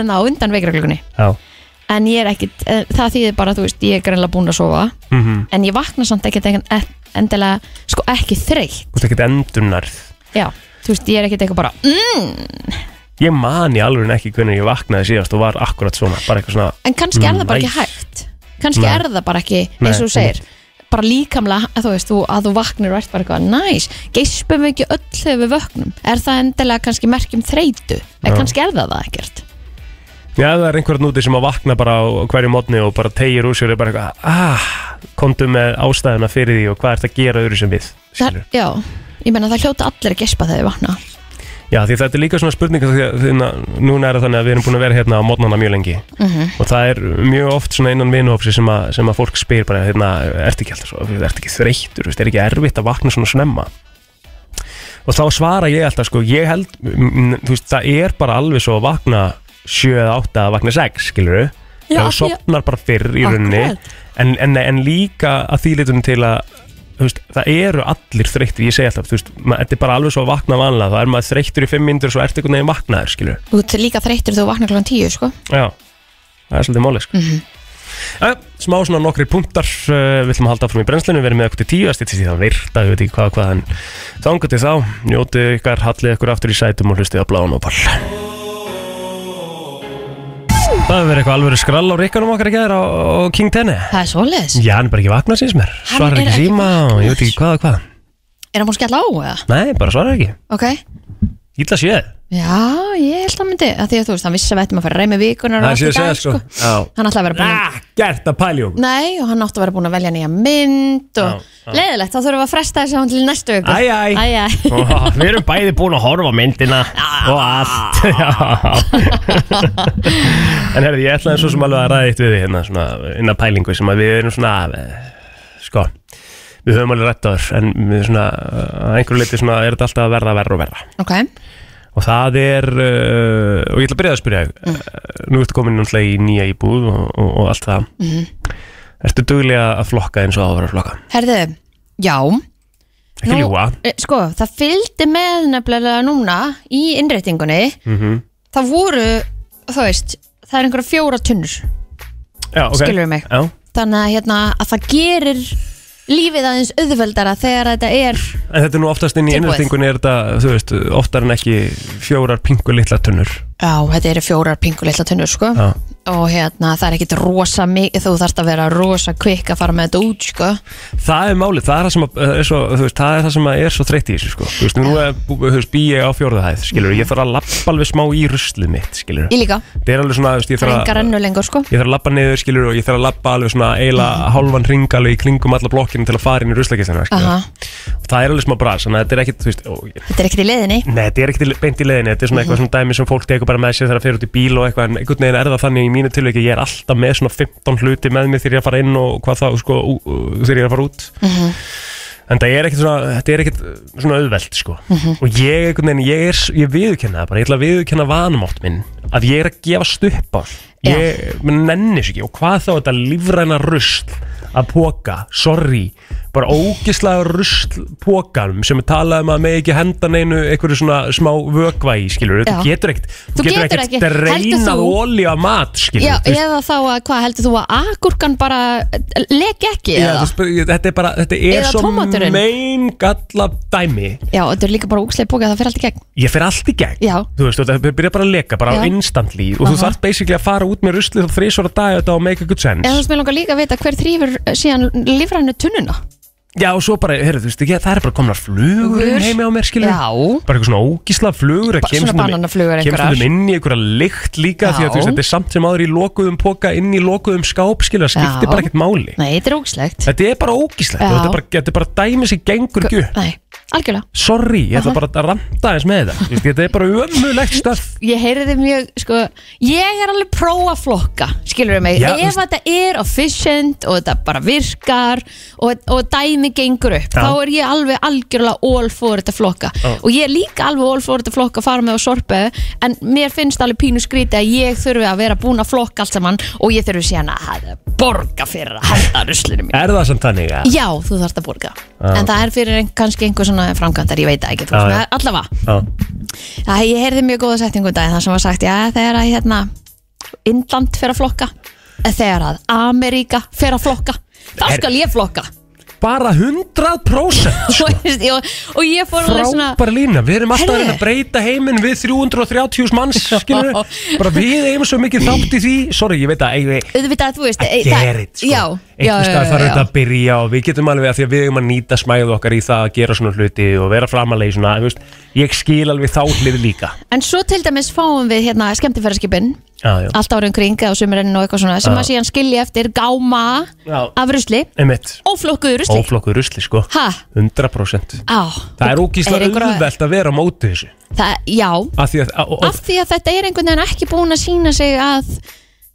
S2: en á undan veikraklugunni
S1: Já,
S2: en ég er ekkit, eh, það þýðir bara þú veist, ég er greinlega búin að sofa
S1: mm -hmm.
S2: en ég vakna samt ekkit en- endilega sko ekki þreytt,
S1: þú veist, ekkert endurnarð
S2: já þú veist, ég er ekkit eitthvað bara mm.
S1: Ég mani alveg ekki hvernig ég vaknaði síðast og var akkurat svona, bara eitthvað svona
S2: en kannski er það bara ekki
S1: næs.
S2: hægt kannski
S1: Mm, Nei.
S2: er það bara ekki,
S1: Nei,
S2: eins og þú segir bara líkamlega, að þú veist, þú, að þú vaknir og ert bara eitthvað, næs, geispum við ekki öll þegar við vöknum, er það endilega kannski merkjum þreytu,
S1: Já.
S2: en kannski er það það ekkert
S1: Já, ef það er einhvern úti sem að vakna bara á hverju mótni og bara tegir úr sér og er bara eitthvað, ah, komdu með ástæðuna fyrir því og hvað ert að gera öðru sem við
S2: það, já, ég meina það hljóta allir að gespa þegar við vakna
S1: Já, því þetta er líka svona spurning því að því að núna er það þannig að við erum búin að vera hérna á modnana mjög lengi
S20: Mhm.
S1: og það er mjög oft svona innan vinuhópsi sem, að- sem að fólk spyr bara, hérna, ertu ekki alltaf svo, ertu ekki þreyttur, veist, er ekki erfitt að vakna svona snemma og þá svara ég alltaf, sko, ég held, m- m- þú veist, það er bara alveg svo að vakna 7 eða 8 að vakna 6, skilur við, þá
S20: Já, af því að-
S1: sopnar bara fyrr í rauninni
S20: Akkurat.
S1: en, en, en líka að því litum til að þú veist, það eru allir þreyttir, ég segi alltaf þú veist, ma- þetta er bara alveg svo að vakna vanlega þá er maður þreyttur í fimm myndur og svo ertu einhvern veginn vaknaður skilur,
S2: Þú ert líka þreyttur þegar þú vaknar klokkan tíu, sko.
S1: já það er svolítið máli, sko
S2: Mhm.
S1: Æ, smá svona nokkri punktar uh, við ætlum að halda áfram í brennslinu, við erum með okkur til tíu að stýtti því það virta, við veit ekki hvað, hvað en þangu til þá, njótu ykkar, hallið ykkur aftur í sætum og hlustið á bláðan og ball Það hefur verið eitthvað alveg skrall á rikkanum okkar ekki á, á King Tenni
S2: Það er svoleiðis.
S1: Já, hann er bara ekki vaknað síns mér
S2: Hann
S1: Svarar
S2: er
S1: ekki
S2: ekki
S1: síma og ég veit ekki hvað og hvað
S2: Er hann búin að skella á, eða?
S1: Nei, bara svarar ekki
S2: Ok.
S1: Ítla séð
S2: Já, ég held að myndi, að því að þú veist, hann vissi að við ættum að fara að reymi vikunar og allt í dag, sko.
S1: Já
S2: Hann ætlaði að vera búin að...
S1: Gert að pæli okkur
S2: Nei, og hann átti að vera búin að velja nýja mynd og...
S1: Já, já.
S2: Leðilegt, þá þurfum við að fresta þessu hann til næstu viku.
S1: Æ, æ.
S2: Æ, æ.
S1: Ó, Við erum bæði búin að horfa á myndina
S2: Ah.
S1: og allt Já. En herði, ég ætlaði svo sem alveg að ræða eitt við því hérna, svona, innan pælingu sem að við erum svona eh, sko, við höfum alveg rætt á þér en við svona, eh, að einhverju leiti svona er þetta alltaf að verða verra og verra
S2: Ok,
S1: og það er uh, og ég ætla að byrja að spyrja mm. nú ertu komin náttúrulega í nýja íbúð og, og, og allt það
S2: Mhm.
S1: ertu duglega að flokka eins og á að vera að flokka
S2: herðu, já,
S1: ekki
S2: Nú-
S1: ljúa
S2: Eh, Sko, það fylgdi með nefnilega núna í innréttingunni
S1: mm
S2: Það voru, þú veist, það er einhverja fjóra tunnur
S1: já, ok
S2: Skilurðu mig?
S1: já,
S2: Þannig að, hérna, að það gerir lífið aðeins auðveldara þegar þetta er
S1: en þetta er nú oftast inn í
S2: Tilbúið.
S1: innrætingunni er þetta, þú veist, oftar en ekki fjórar pingu litla tunnur
S2: Já, þetta eru fjórar pingu litla tunnur, sko
S1: já.
S2: Og hérna, það er ekkit rosa mikið, þú þarft að vera rosa kvikk að fara með þetta út, sko
S1: það er málið, það er það sem að, eh, er svo, þú veist, það er það sem að er svo þreytt í þessu sko. þú veist, nú er, bú- þú veist, bý ég á fjórðahæð skilur, ég þarf að lappa alveg smá í ruslið mitt skilur,
S2: Ég líka,
S1: það er alveg svona þú veist, ég
S2: það
S1: þarf
S2: er
S1: að-
S2: engar ennu lengur, sko
S1: Ég þarf að labba niður, skilur, og ég þarf að labba alveg svona eila hálfan ring alveg í kringum alla blokkinu til að fara inn í ruslakistana, skilur.
S2: Aha,
S1: Og það er alveg smá bras, þannig að þetta er ekkit, þú veist, ó, ég-
S2: þetta er ekkit í leiðinni
S1: nei, þetta er ekkit í- beint í leiðinni, þetta er svona eitthvað svona dæmi sem fólk tekur bara með sér þegar það fer út í bíl og eitthvað, en einhvern veginn er það þannig í mínu tilveiki, ég er alltaf með svona 15 hluti með mig þegar ég er að fara inn og hvað þá, sko, ú- ú- þegar ég er að fara út.
S2: Mhm.
S1: En það er ekkit svona, þetta er ekkit uh, svona auðvelt, sko.
S2: Mhm.
S1: Og ég, einhvern veginn, ég er, s- ég viðurkenna það bara, ég ætla að viðurkenna vanumátt minn, að ég er að gefast upp á. Ég nenni sér ekki og hvað þá þetta lífræna rusl að póka, sorry, bara ógislega rusl pókanum sem er talað um að með ekki henda neinu einhverju svona smá vökva í, skilur, þú
S2: Já.
S1: getur ekkert,
S2: Þú getur ekki.
S1: ekkert
S2: Heldur
S1: reynað
S2: þú-
S1: olíu að mat, skilur,
S2: Já,
S1: þú veist.
S2: eða þá að, hvað heldur þú að agurkan bara eh, leki ekki
S1: Já,
S2: eða?
S1: þú spyr- ég- þetta er bara, þetta er
S2: Eða
S1: svo
S2: tómaturinn.
S1: mein galla dæmi
S2: Já, þetta er líka bara úkslega bókið að það fer allt í gegn
S1: ég fer allt í gegn
S2: Já,
S1: þú veist, þetta byrja bara að leka, bara á
S2: Já.
S1: instantly og þú
S2: Aha.
S1: þarf basically að fara út með ruslið þá þrísvara dag þetta á make a good sense
S2: eða þú veist, mér langar líka að vita hver þrýfur síðan lífrænu tunnuna
S1: Já, og svo bara, heyrðu, þú veist ekki, það er bara komnar flugur
S2: Flugur?
S1: heimi á mér, skilur
S2: Já.
S1: Bara eitthvað svona ógísla flugur
S2: Ba- svona bananaflugur
S1: Kemst
S2: einhverjar.
S1: um inn í einhverja lykt líka Því
S2: Já.
S1: að þú veist, þetta er samt sem áður í lokuðum poka Inn í lokuðum skáp, skilur, það skiptir
S2: Já.
S1: bara ekkert máli
S2: Nei, þetta er ógislegt
S1: Þetta er bara ógísla,
S2: Já.
S1: þetta er bara, þetta er bara dæmi sem gengur ekki upp.
S2: Nei, algjörlega
S1: Sorry, ég ætla bara að randa eins með þetta Þú veist, Þetta er bara ömulegt stöf
S2: Ég heyrði mjög, sko Ég er alveg pró að flokka, skilur mig
S1: Já, þú
S2: Ef
S1: veist-
S2: þetta er efficient og þetta bara virkar og, og dæmi gengur upp
S1: Já.
S2: þá er ég alveg algjörlega all for þetta flokka
S1: Já.
S2: og ég er líka alveg all for þetta flokka að fara með á sorpu en mér finnst alveg pínu skríti að ég þurfi að vera búin að flokka allt saman og ég þurfi síðan að borga fyrir að henda ruslinu mín
S1: Er það samt þannig, ja?
S2: Já, þú þarft að borga
S1: Já,
S2: En
S1: ok.
S2: það er fyrir ein, kannski einhver svona framkvæmdar, ég veit það ekki þú
S1: Já,
S2: veist,
S1: já.
S2: það- Allavega,
S1: Já.
S2: það, ég heyrði mjög góða setningu í dag Það sem var sagt, já þegar að hérna Indland fer að flokka eh, Þegar að Ameríka fer að flokka Þá
S1: Er-
S2: skal ég flokka
S1: Bara 100%
S2: Þú veist, og, og ég fór alveg svona
S1: frábæra lína við erum alltaf að
S2: Herðu.
S1: reyna að breyta heiminn við 330 manns skilur bara við eigum svo mikið þátt í því sorry, ég veit að eigum
S2: Auðvitað, þú veist eh, það-
S1: Gerrit, sko.
S2: Já, já,
S1: einhvers
S2: já,
S1: stað þarf
S2: já,
S1: þetta að byrja og við getum alveg að því að við eigum að nýta smæðu okkar í það að gera svona hluti og vera framalega í svona, þú veist, ég skil alveg þá hlið líka
S2: En svo til dæmis fáum við hérna skemmtifæraskipin
S1: Já, já.
S2: allt árið um kring eða á sumurinn og eitthvað svona sem
S1: Já.
S2: að síðan skilja eftir gáma
S1: Já.
S2: af rusli
S1: Einmitt.
S2: og flokkuðu rusli
S1: Óflokkuð rusli sko
S2: Ha?
S1: 100%
S2: Á,
S1: Það er
S2: Er
S1: ógíslega
S2: einhverja-
S1: auðvelt að vera á móti þessu
S2: það, Já,
S1: Af því að, að, að,
S2: af því að þetta er einhvern veginn ekki búin að sína sig að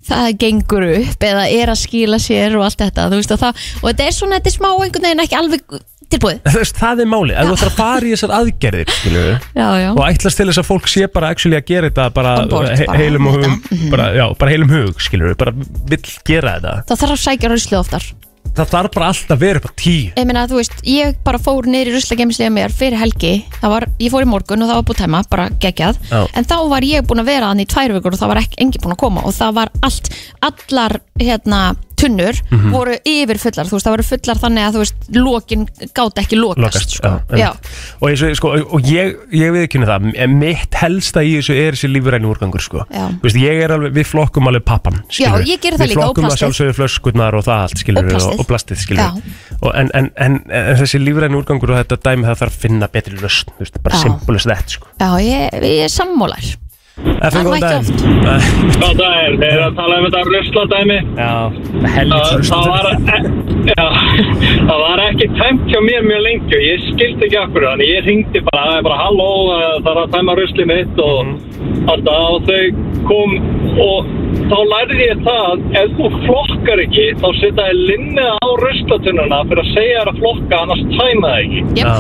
S2: það gengur upp eða er að skila sér og allt þetta þú veist, og, það, og þetta er svona, þetta er smá einhvern veginn ekki alveg tilbúið
S1: Þú veist, það er máli, ef þú ætlar að fara í þessar aðgerðir skilur
S2: Já, já.
S1: og ætlast til þess að fólk sé bara actually að gera þetta bara,
S2: On board,
S1: he
S2: bara. mhm.
S1: heilum, og hugum, bara, já, bara heilum hug skilur bara vill gera þetta
S2: það þarf að sækja rusli oftar
S1: það þarf bara alltaf að vera upp á tíu
S2: Ég meina, þú veist, ég bara fór niður í ruslagemslega mér fyrir helgi, það var, ég fór í morgun og það var búið tæma, bara geggjað
S1: Já.
S2: en þá var ég búin að vera þannig í tvær vikur og það var ekki, engi búin að koma og það var allt allar, hérna, tunnur
S1: Mhm.
S2: voru yfir fullar, þú veist, það voru fullar þannig að, þú veist, lokin gátt ekki lokast,
S1: lokast
S2: sko,
S1: já,
S2: já,
S1: einmitt. og, eins og, sko, og ég, ég við ekki það en mitt helsta í þessu er þessi lífræni úrgangur sko.
S2: Já.
S1: Þú veist, ég er alveg, við flokkum alveg pappan
S2: Já, ég geri það líka,
S1: við
S2: og
S1: flokkum að
S2: plastið.
S1: sjálfsögðu flöskurnar og það allt skilur
S2: Og plastið.
S1: og, og plastið skilur og, en, en, en, en þessi lífræni úrgangur og þetta dæmi það þarf að finna betri löst veist, bara
S2: Já.
S1: simple as that sko.
S2: já, ég, ég er sammólar
S1: FN, góðan
S2: mætti oft.
S1: daginn
S6: Hvað það er? Þeir eru að tala um þetta rusladæmi
S1: Já,
S6: helvits e- Já, það var ekki tæmt hjá mér mjög lengi og ég skildi ekki akkur þannig ég ringdi bara, það er bara halló eh, það er að tæma ruslið mitt og
S1: Mhm.
S6: þetta og þau kom og þá lærði ég það ef þú flokkar ekki þá setja ég linnið á ruslatunnuna fyrir að segja þér að flokka annars tæma það ekki
S1: Já.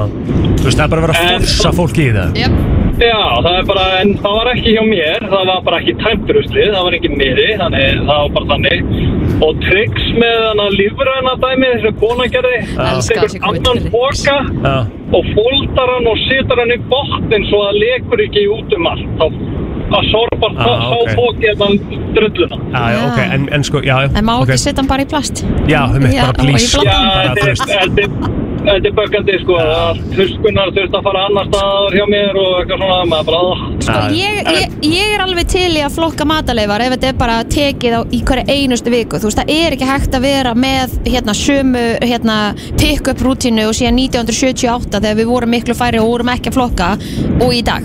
S1: Þú veist, það er bara að vera að
S6: En-
S1: forsa fólki í það
S2: Yep.
S6: Já, það er bara, en það var ekki hjá mér, það var bara ekki tæmturuslið, það var ekki niðri, þannig, það var bara þannig. Og triks með hana lífræna dæmi, þessu kona gerði, það
S2: Elska
S6: tekur
S2: þessi góðu
S6: annan boka
S1: Já.
S6: og fóldar hann og setur hann í botnin svo það lekur ekki út um allt. Þá að sorbar
S1: Ah,
S6: þá sá
S1: ok.
S6: bókið þann drulluna.
S1: Já, já, ok, en, en sko, já, já,
S2: en má
S1: ok.
S2: ekki setja hann bara í plast
S1: Já, um eitt,
S2: Já,
S1: bara
S2: og í
S1: blís
S2: blanda.
S1: Já, bara, þú
S6: Þetta
S1: veist,
S6: er- þetta er- þetta er bökandi, sko, að tuskunar þurft að fara annar staðar hjá mér og eitthvað svona, maður bara, "Ah."
S2: Sko, ég, ég, ég er alveg til í að flokka mataleifar ef þetta er bara tekið á í hverja einustu viku þú veist, það er ekki hægt að vera með hérna sömu, hérna pick-up rútínu og síðan 1978 þegar við vorum miklu færi og vorum ekki að flokka og í dag,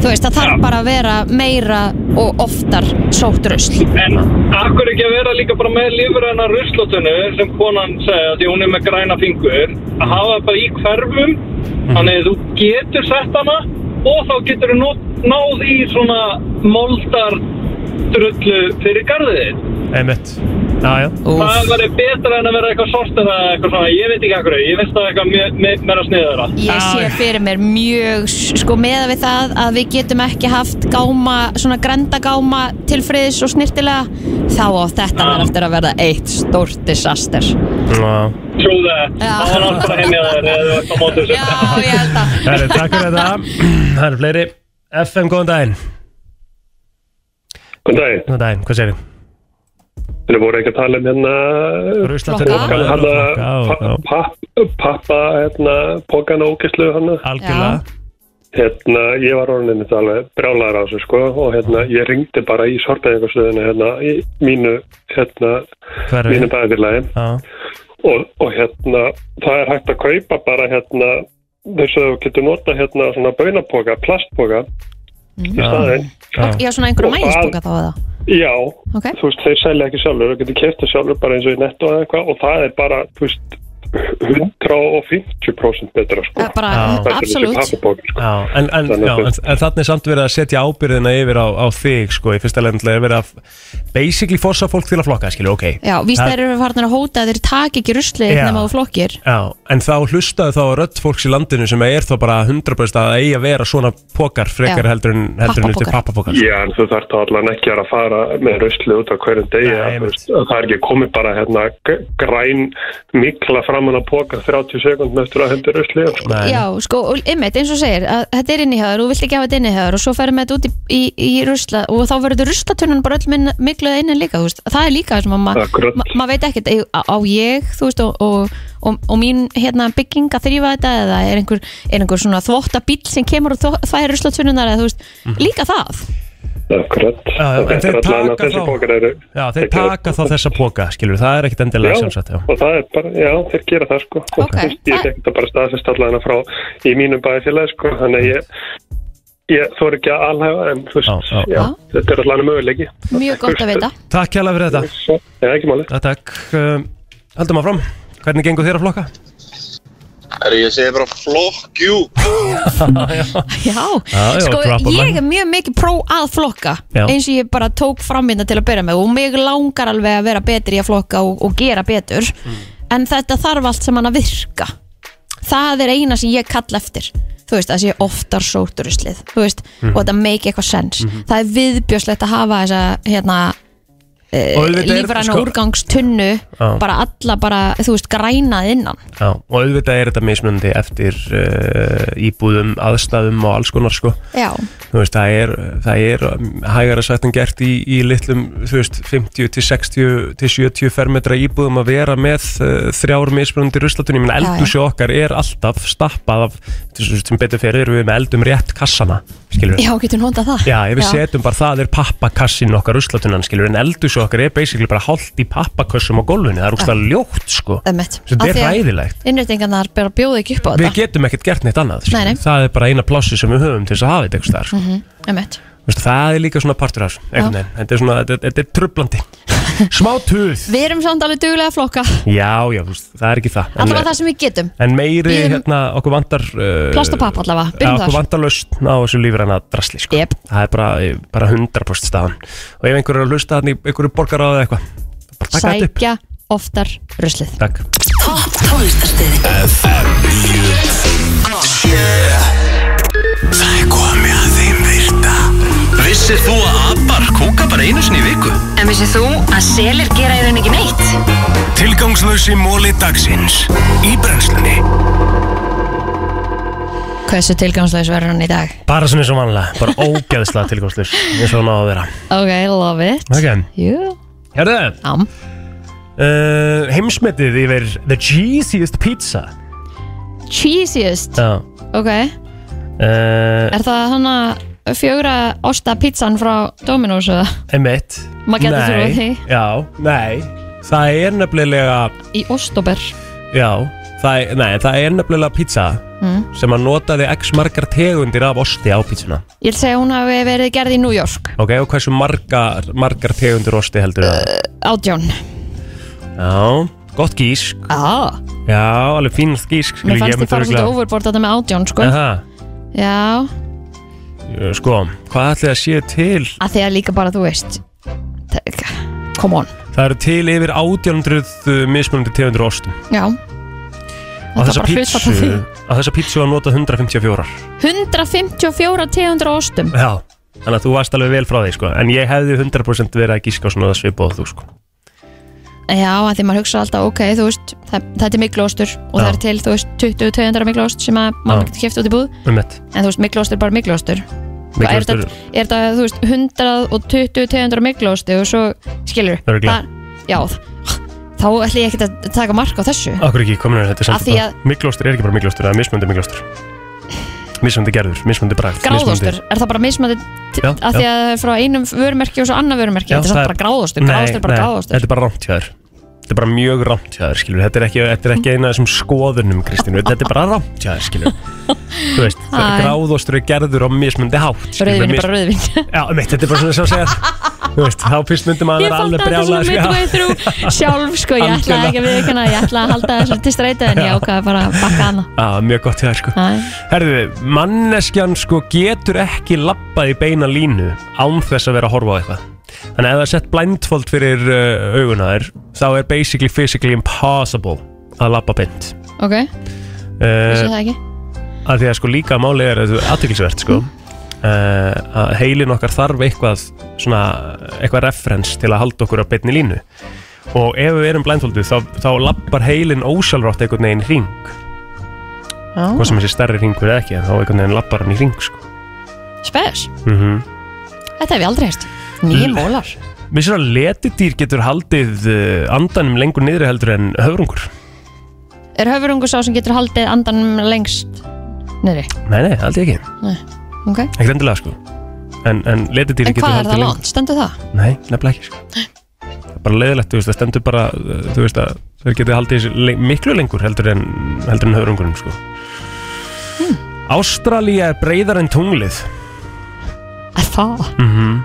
S2: þú veist, það þarf bara að vera meira og oftar sótt rusl
S6: En akkur ekki að vera líka bara með lífræna ruslatunnu sem konan segja því hún er með græna fingur að hafa það bara í hverfum þannig að þú getur sett hana og þá getur þú náð í svona moldar drullu fyrir garðið
S1: einmitt um Já, já
S6: Það verður betra en að vera eitthvað sortið eða eitthvað svona, ég veit ekki akkur, ég finnst það eitthvað me- me- meira sniðara
S2: Ég sé fyrir mér mjög, sko, meða við það að við getum ekki haft gáma, svona grendagáma til friðis og snirtilega, þá á þetta verður eftir að verða eitt stórt disaster.
S1: Já.
S6: Trú það, það var náttúrulega bara heimja þér eða þú ert á mótu þessu
S1: Herri, takk fyrir þetta Það eru fleiri FM, góðan daginn
S20: Góðan daginn,
S1: Góðan daginn, hvað segir þið?
S20: þeir voru ekki að tala um hérna
S1: Ruslatunnurnar og
S20: Hann
S1: flokka og- já.
S20: að pappa hérna pokana ógæslu hann uh.
S1: Algjörlega
S20: Hérna, ég var orðinni þetta alveg brjálæður á þessu sko og hérna, ég ringdi bara í sorpeðingarstöðinu hérna í mínu, hérna,
S1: Hverfi.
S20: mínu bæðfélagi
S1: Já.
S20: og, og hérna, það er hægt að kaupa bara hérna, þess að þú getur nota hérna svona baunapoka, plastpoka
S1: Mm.
S20: í staðinn.
S2: Já, svona einhverja
S20: Og það-
S2: mælisbóka þá eða?
S20: Já,
S2: Ok.
S20: þú veist, þeir selja ekki sjálfur og getur kæft það sjálfur bara eins og í netto eða eitthvað og það er bara, þú veist, 150% betra sko.
S2: Eh, bara, mm,
S20: Þetta er þessi
S2: absolutt.
S20: pappabók, sko.
S1: Já, en, en,
S20: Þannig
S1: já,
S20: að
S1: en, en þannig er samt verið að setja ábyrðina yfir á, á þig sko, í fyrsta lefnilega er verið að f- basically forsa fólk til að flokka, skilju, ok
S2: Já, víst
S1: Það-
S2: þær eru farnir að hóta að þeir taki ekki ruslið
S1: Já.
S2: nema á flokkir.
S1: Já, en þá hlustaðu þá á rödd fólks í landinu sem er þá bara 100% að eigi að vera svona pokar
S2: Já.
S1: frekar heldur en, heldur en út í
S2: Pappapokar.
S1: pappapokar
S20: Já, en þú þarf þá allan ekki að fara með ruslið út á hverjum degi Nei, veist, það er ekki komið bara hérna g- græn mikla framann að póka 30 sekundum eftir að hendi ruslið sko.
S2: Já, sko, og ymmit, eins og segir, að þetta er innihjáður og þú vilt ekki hafa þetta innihjáður og svo ferum við þetta út í, í, í rusla og þá verður ruslatunnan bara öll minna- mikluð innan líka, þú veist, það er líka sem að maður
S20: Akkurat.
S2: ma, ma veit ekkert ei- á, á ég, þú veist, og, og, og, og mín hérna bygging að þrýfa þetta eða er einhver, er einhver svona þvottabíll sem kemur og þvo- þvær ruslatunnunar eða þú veist, líka það.
S20: eh, Akkurat
S1: Já, já, en
S20: Þetta
S1: þeir
S20: er allan
S1: taka
S20: að þessi
S1: þá-
S20: pókar eru
S1: Já, þeir taka þá þessa póka, skilju, það er ekkit endilega sjálfsagt, já
S20: og það er bara, já, þeir gera það sko okay. og þú veist, ég tek þetta bara staðfest allan að frá í mínum bæði félagi sko, þannig að ég ég þor ekki að alhæfa en þú veist,
S1: já,
S20: já, þetta er allan möguleiki
S2: Mjög gott að vita
S1: Takk kjærlega fyrir þetta
S20: Já, ekki máli
S1: ja, Takk, um, haldum áfram Hvernig gengur þér að flokka?
S21: Herru, ég segi bara flokk, jú
S2: Já,
S1: Já, já,
S2: sko
S1: drop a
S2: ég
S1: line.
S2: er mjög mikið pró að flokka
S1: Já.
S2: eins og ég bara tók fram hérna til að byrja með og mig langar alveg að vera betri í að flokka og, og gera betur
S1: Mm.
S2: en þetta þarf allt sem hann að virka það er eina sem ég kalla eftir þú veist, að sé oftar sóturuslið þú veist,
S1: Mhm.
S2: og þetta make eitthvað sense
S1: Mhm.
S2: það er viðbjörsleitt að hafa þessa hérna eh,
S1: Og auðvitað er-
S2: lífræna
S1: sko-
S2: úrgangstunnu
S1: Já.
S2: bara alla bara, þú veist, grænað innan
S1: Já, og auðvitað er þetta mismunandi eftir uh, íbúðum, aðstæðum og alls konar sko.
S2: Já.
S1: Þú veist, það er, það er um, hægara sagt en gert í, í litlum, þú veist, 50 til 60 til 70 fermetra íbúðum að vera með uh, þrjár mismunandi ruslatun. Ég meina,
S2: Já, já.
S1: eldhúsi okkar er alltaf stappað af, þú veist, sem betur fyrir erum við með eldum rétt kassana, skilur
S2: Já, getur notað það
S1: Já, ef við setjum bara það er pappakassin okkar ruslatunan skilur en eldus okkar er basically bara hálft í pappakössum á gólfinu, það er úrst ljótt sko
S2: Ömmett.
S1: Sem þetta er ræðilegt
S2: Innréttingarnar bara bjóða ekki upp á
S1: Við
S2: þetta
S1: getum ekkert gert neitt annað skilur.
S2: Nei, nei.
S1: það er bara eina plássi sem við höfum til þess að hafa þetta einhvers þar sko.
S2: Mhm, Ömmett
S1: Þú veist, Það er líka svona partur af þessu,
S2: Já.
S1: einhvern veginn. þetta er svona, þetta, þetta er trublandi Smá tuð
S2: Við erum samt alveg duglega að flokka
S1: Já, já, þú veist, það er ekki það
S2: Allavega það sem við getum
S1: En meiri,
S2: Bíðum-
S1: hérna, okkur vantar uh,
S2: Plast og papp allavega,
S1: Já,
S2: byrjum
S1: okkur
S2: þar
S1: vantar lausn á þessu lífræna drasli sko.
S2: yep.
S1: Það er bara, bara 100% staðan Og ef einhver er að hlusta þannig, einhverju borgar á það eitthvað bara taka þetta upp.
S2: Sækja oftar ruslið
S1: Takk
S4: Topp tónlistarstöðin
S5: FM 957 Það er komið að þeim virta Vissir þú að abar kúka bara einu sinni í viku?
S4: En vissið þú að selir gera í raun ekki neitt?
S5: Tilgangslösi móli dagsins Í brennslunni
S2: Hversu tilgangslegs verður hann í dag?
S1: Bara sem eins og vanlega, bara ógeðslega tilgangslust eins og hann á að vera
S2: Ok, love it
S1: Ok.
S2: Jú
S1: Herðu
S2: Já
S1: uh, Heimsmetið yfir the cheesiest pizza
S2: Cheesiest
S1: Já
S2: Ok
S1: uh,
S2: Er það hann að fjögra osta pizzan frá Dominos eða?
S1: Emmett
S2: Maður getur
S1: Nei.
S2: trúað því.
S1: Já, nei Það er nefnilega
S2: Í ostober
S1: Já, það er, nei, það er nefnilega pizza
S2: mm.
S1: sem að notaði x margar tegundir af osti á pizzuna
S2: Ég vil segja að hún hafi verið gerð í New York
S1: Ok, og hversu margar, margar tegundir osti heldur það?
S2: Uh. Átjón
S1: Já, gott gísk
S2: ah.
S1: Já, alveg fín gísk
S2: Mér fannst þið fara svolítið overboard þetta með átjón sko
S1: Aha,
S2: Já
S1: eh, sko, hvað ætli að séu til?
S2: að því að líka bara þú veist Tek- come on
S1: Það eru til yfir 1800 mismunandi tegundir af ostum
S2: já,
S1: Á
S2: Það er
S1: þessa
S2: bara hlutfall af
S1: pítsu
S2: því.
S1: Á þessa pítsu var notað 154
S2: 154 tegundur á ostum
S1: Já, þannig að þú varst alveg vel frá því sko En ég hefði 100% verið að gíska á svona svipað og þú sko
S2: já, að því maður hugsa alltaf, ok, þú veist það, þetta er mikluostur og
S1: Já.
S2: það er til, þú veist 20 tegundur af mikluost sem að maður
S1: Já.
S2: getur kæft út í búð
S1: Um mitt
S2: en þú veist, mikluostur er bara mikluostur Hvað er
S1: Mikluostur-
S2: þetta, er þetta, þú veist, 120 tegundur af mikluosti og svo, skilur
S1: Örugglega.
S2: já, þá ætlum ég ekkert að taka mark á þessu
S1: Akkur ekki, komin að þetta er
S2: Af því að-
S1: samt Miklóstur er ekki bara miklóstur, það er mismunandi miklóstur Mismunandi gerður, mismunandi bragð
S2: gráðostur, er það bara mismandi
S1: Já,
S2: að því
S1: já.
S2: að það er frá einum vörumerki og svo annað vörumerki, þetta er samt bara gráðostur gráðostur er bara gráðostur
S1: Þetta er bara rámt hjá þér Þetta er bara mjög rámt hjá þér, skilur Þetta er ekki, þetta er ekki eina af þessum skoðunum, Kristín Þetta er bara rámt hjá þér, skilur Þú veist,
S2: Æ.
S1: gráðostur er gerður á mismunandi hátt skilur,
S2: Rauðvín er
S1: mis-
S2: bara rauðvín
S1: Já, mitt, þetta er bara svona sem að segja Þú veist, þá fyrst myndum að
S2: Ég
S1: vera
S2: fatt að
S1: alveg
S2: þetta
S1: sko. brjála
S2: svona midway through sjálf sko, ég ætlaði ekki að við ekki ég ætlaði að halda þessu til streyta en ég ákvaði bara að bakka hana
S1: Já, mjög gott hjá þér, sko
S2: Æ.
S1: Herðu, manneskjan sko getur ekki lappað í beina línu án þess að vera að horfa á eitthvað. Þannig að ef það er sett blindfold fyrir uh, auguna þér, þá er basically physically impossible að lappa beint.
S2: Ok,
S1: Eh.
S2: vissi það
S1: Uh,
S2: ekki
S1: að því að sko líka máli er aðtökilsvert sko.
S2: Mm.
S1: Uh, að heilin okkar þarf eitthvað svona, eitthvað reference til að halda okkur á beinni línu og ef við erum blindfoldu þá, þá lappar heilin ósjálfrátt einhvern veginn hring hvað sem þessi stærri hringur eða ekki en þá einhvern veginn lappar hann í hring sko.
S2: Spes,
S1: mm
S2: þetta hef ég aldrei hérst Nýjir mólar
S1: Vissir að letidýr getur haldið uh, andanum lengur niðri heldur en höfrungur?
S2: Er höfurungu sá sem getur haldið andanum lengst niðri?
S1: Nei, nei, haldið ekki.
S2: Nei, ok
S1: Ekki endilega, sko. En, en letidýr
S2: En
S1: getur
S2: hvað er
S1: haldið
S2: það langt? Stendur það?
S1: Nei, nefnilega ekki, sko. Það er bara leiðilegt, þú veist, það stendur bara, uh, þú veist, að þeir getur haldið þessu le miklu lengur heldur en,
S2: Hmm.
S1: heldur en höfrungurinn, sko. Ástralía er breyðar en tunglið.
S2: Er það?
S1: Mhm.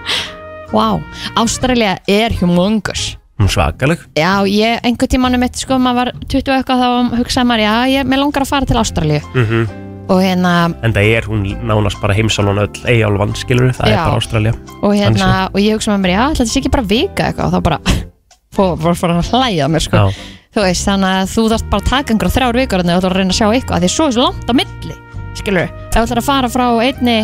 S2: Vá, Ástralja er humongous
S1: Hún er svakaleg
S2: Já, ég, einhvern tímanum mitt, sko, maður var 20 og eitthvað þá hugsaði maður, já, ég, mér langar að fara til Ástralju
S1: Mhm.
S2: og hérna,
S1: En það er hún nánast bara heimsálun öll Eyjálfan, skilur það er
S2: Já.
S1: bara Ástralja
S2: og
S1: Þannig séð.
S2: hérna, og ég hugsaði með mér, já, ætla þetta sé ekki bara vika eitthvað og þá bara, fór, fór, fór hann að hlæja að mér, sko,
S1: Já.
S2: þú veist, þannig að þú þarft bara að taka einhverja þrjár vikur þannig að þú ætlar að reyna að sjá eitthvað, af því svo er svo langt á milli, skilur, ef þú ætlar að fara frá einni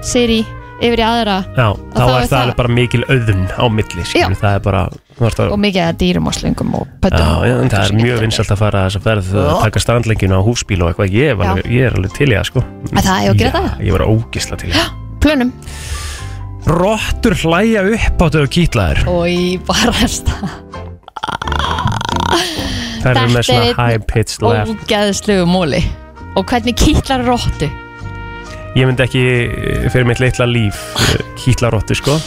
S2: seri yfir í aðra
S1: Já, þá
S2: þá
S1: er
S2: er
S1: það
S2: það-
S1: alveg bara mikil auðun á milli, skilur,
S2: Já.
S1: það er bara þú þarft að-
S2: og mikið að dýrum og slöngum og pöttum
S1: Já, já, en það er mjög vinsalt að fara þess að ferð að
S2: Já.
S1: taka strandlenginu á húsbíl og eitthvað ég, var,
S2: Já.
S1: alveg- ég er alveg til í það, sko
S2: Að það er að gera
S1: Já,
S2: það?
S1: Ég var ógisla til í það
S2: plönum
S1: Rottur hlæja upp áttu og kýtlaður
S2: og í barasta
S1: Það eru með svona
S2: einn
S1: high pitched laugh
S2: ógeðslegu móli og hvernig kýtlar róttu
S1: Ég myndi ekki eh, fyrir mitt litla líf kýtla rottu, sko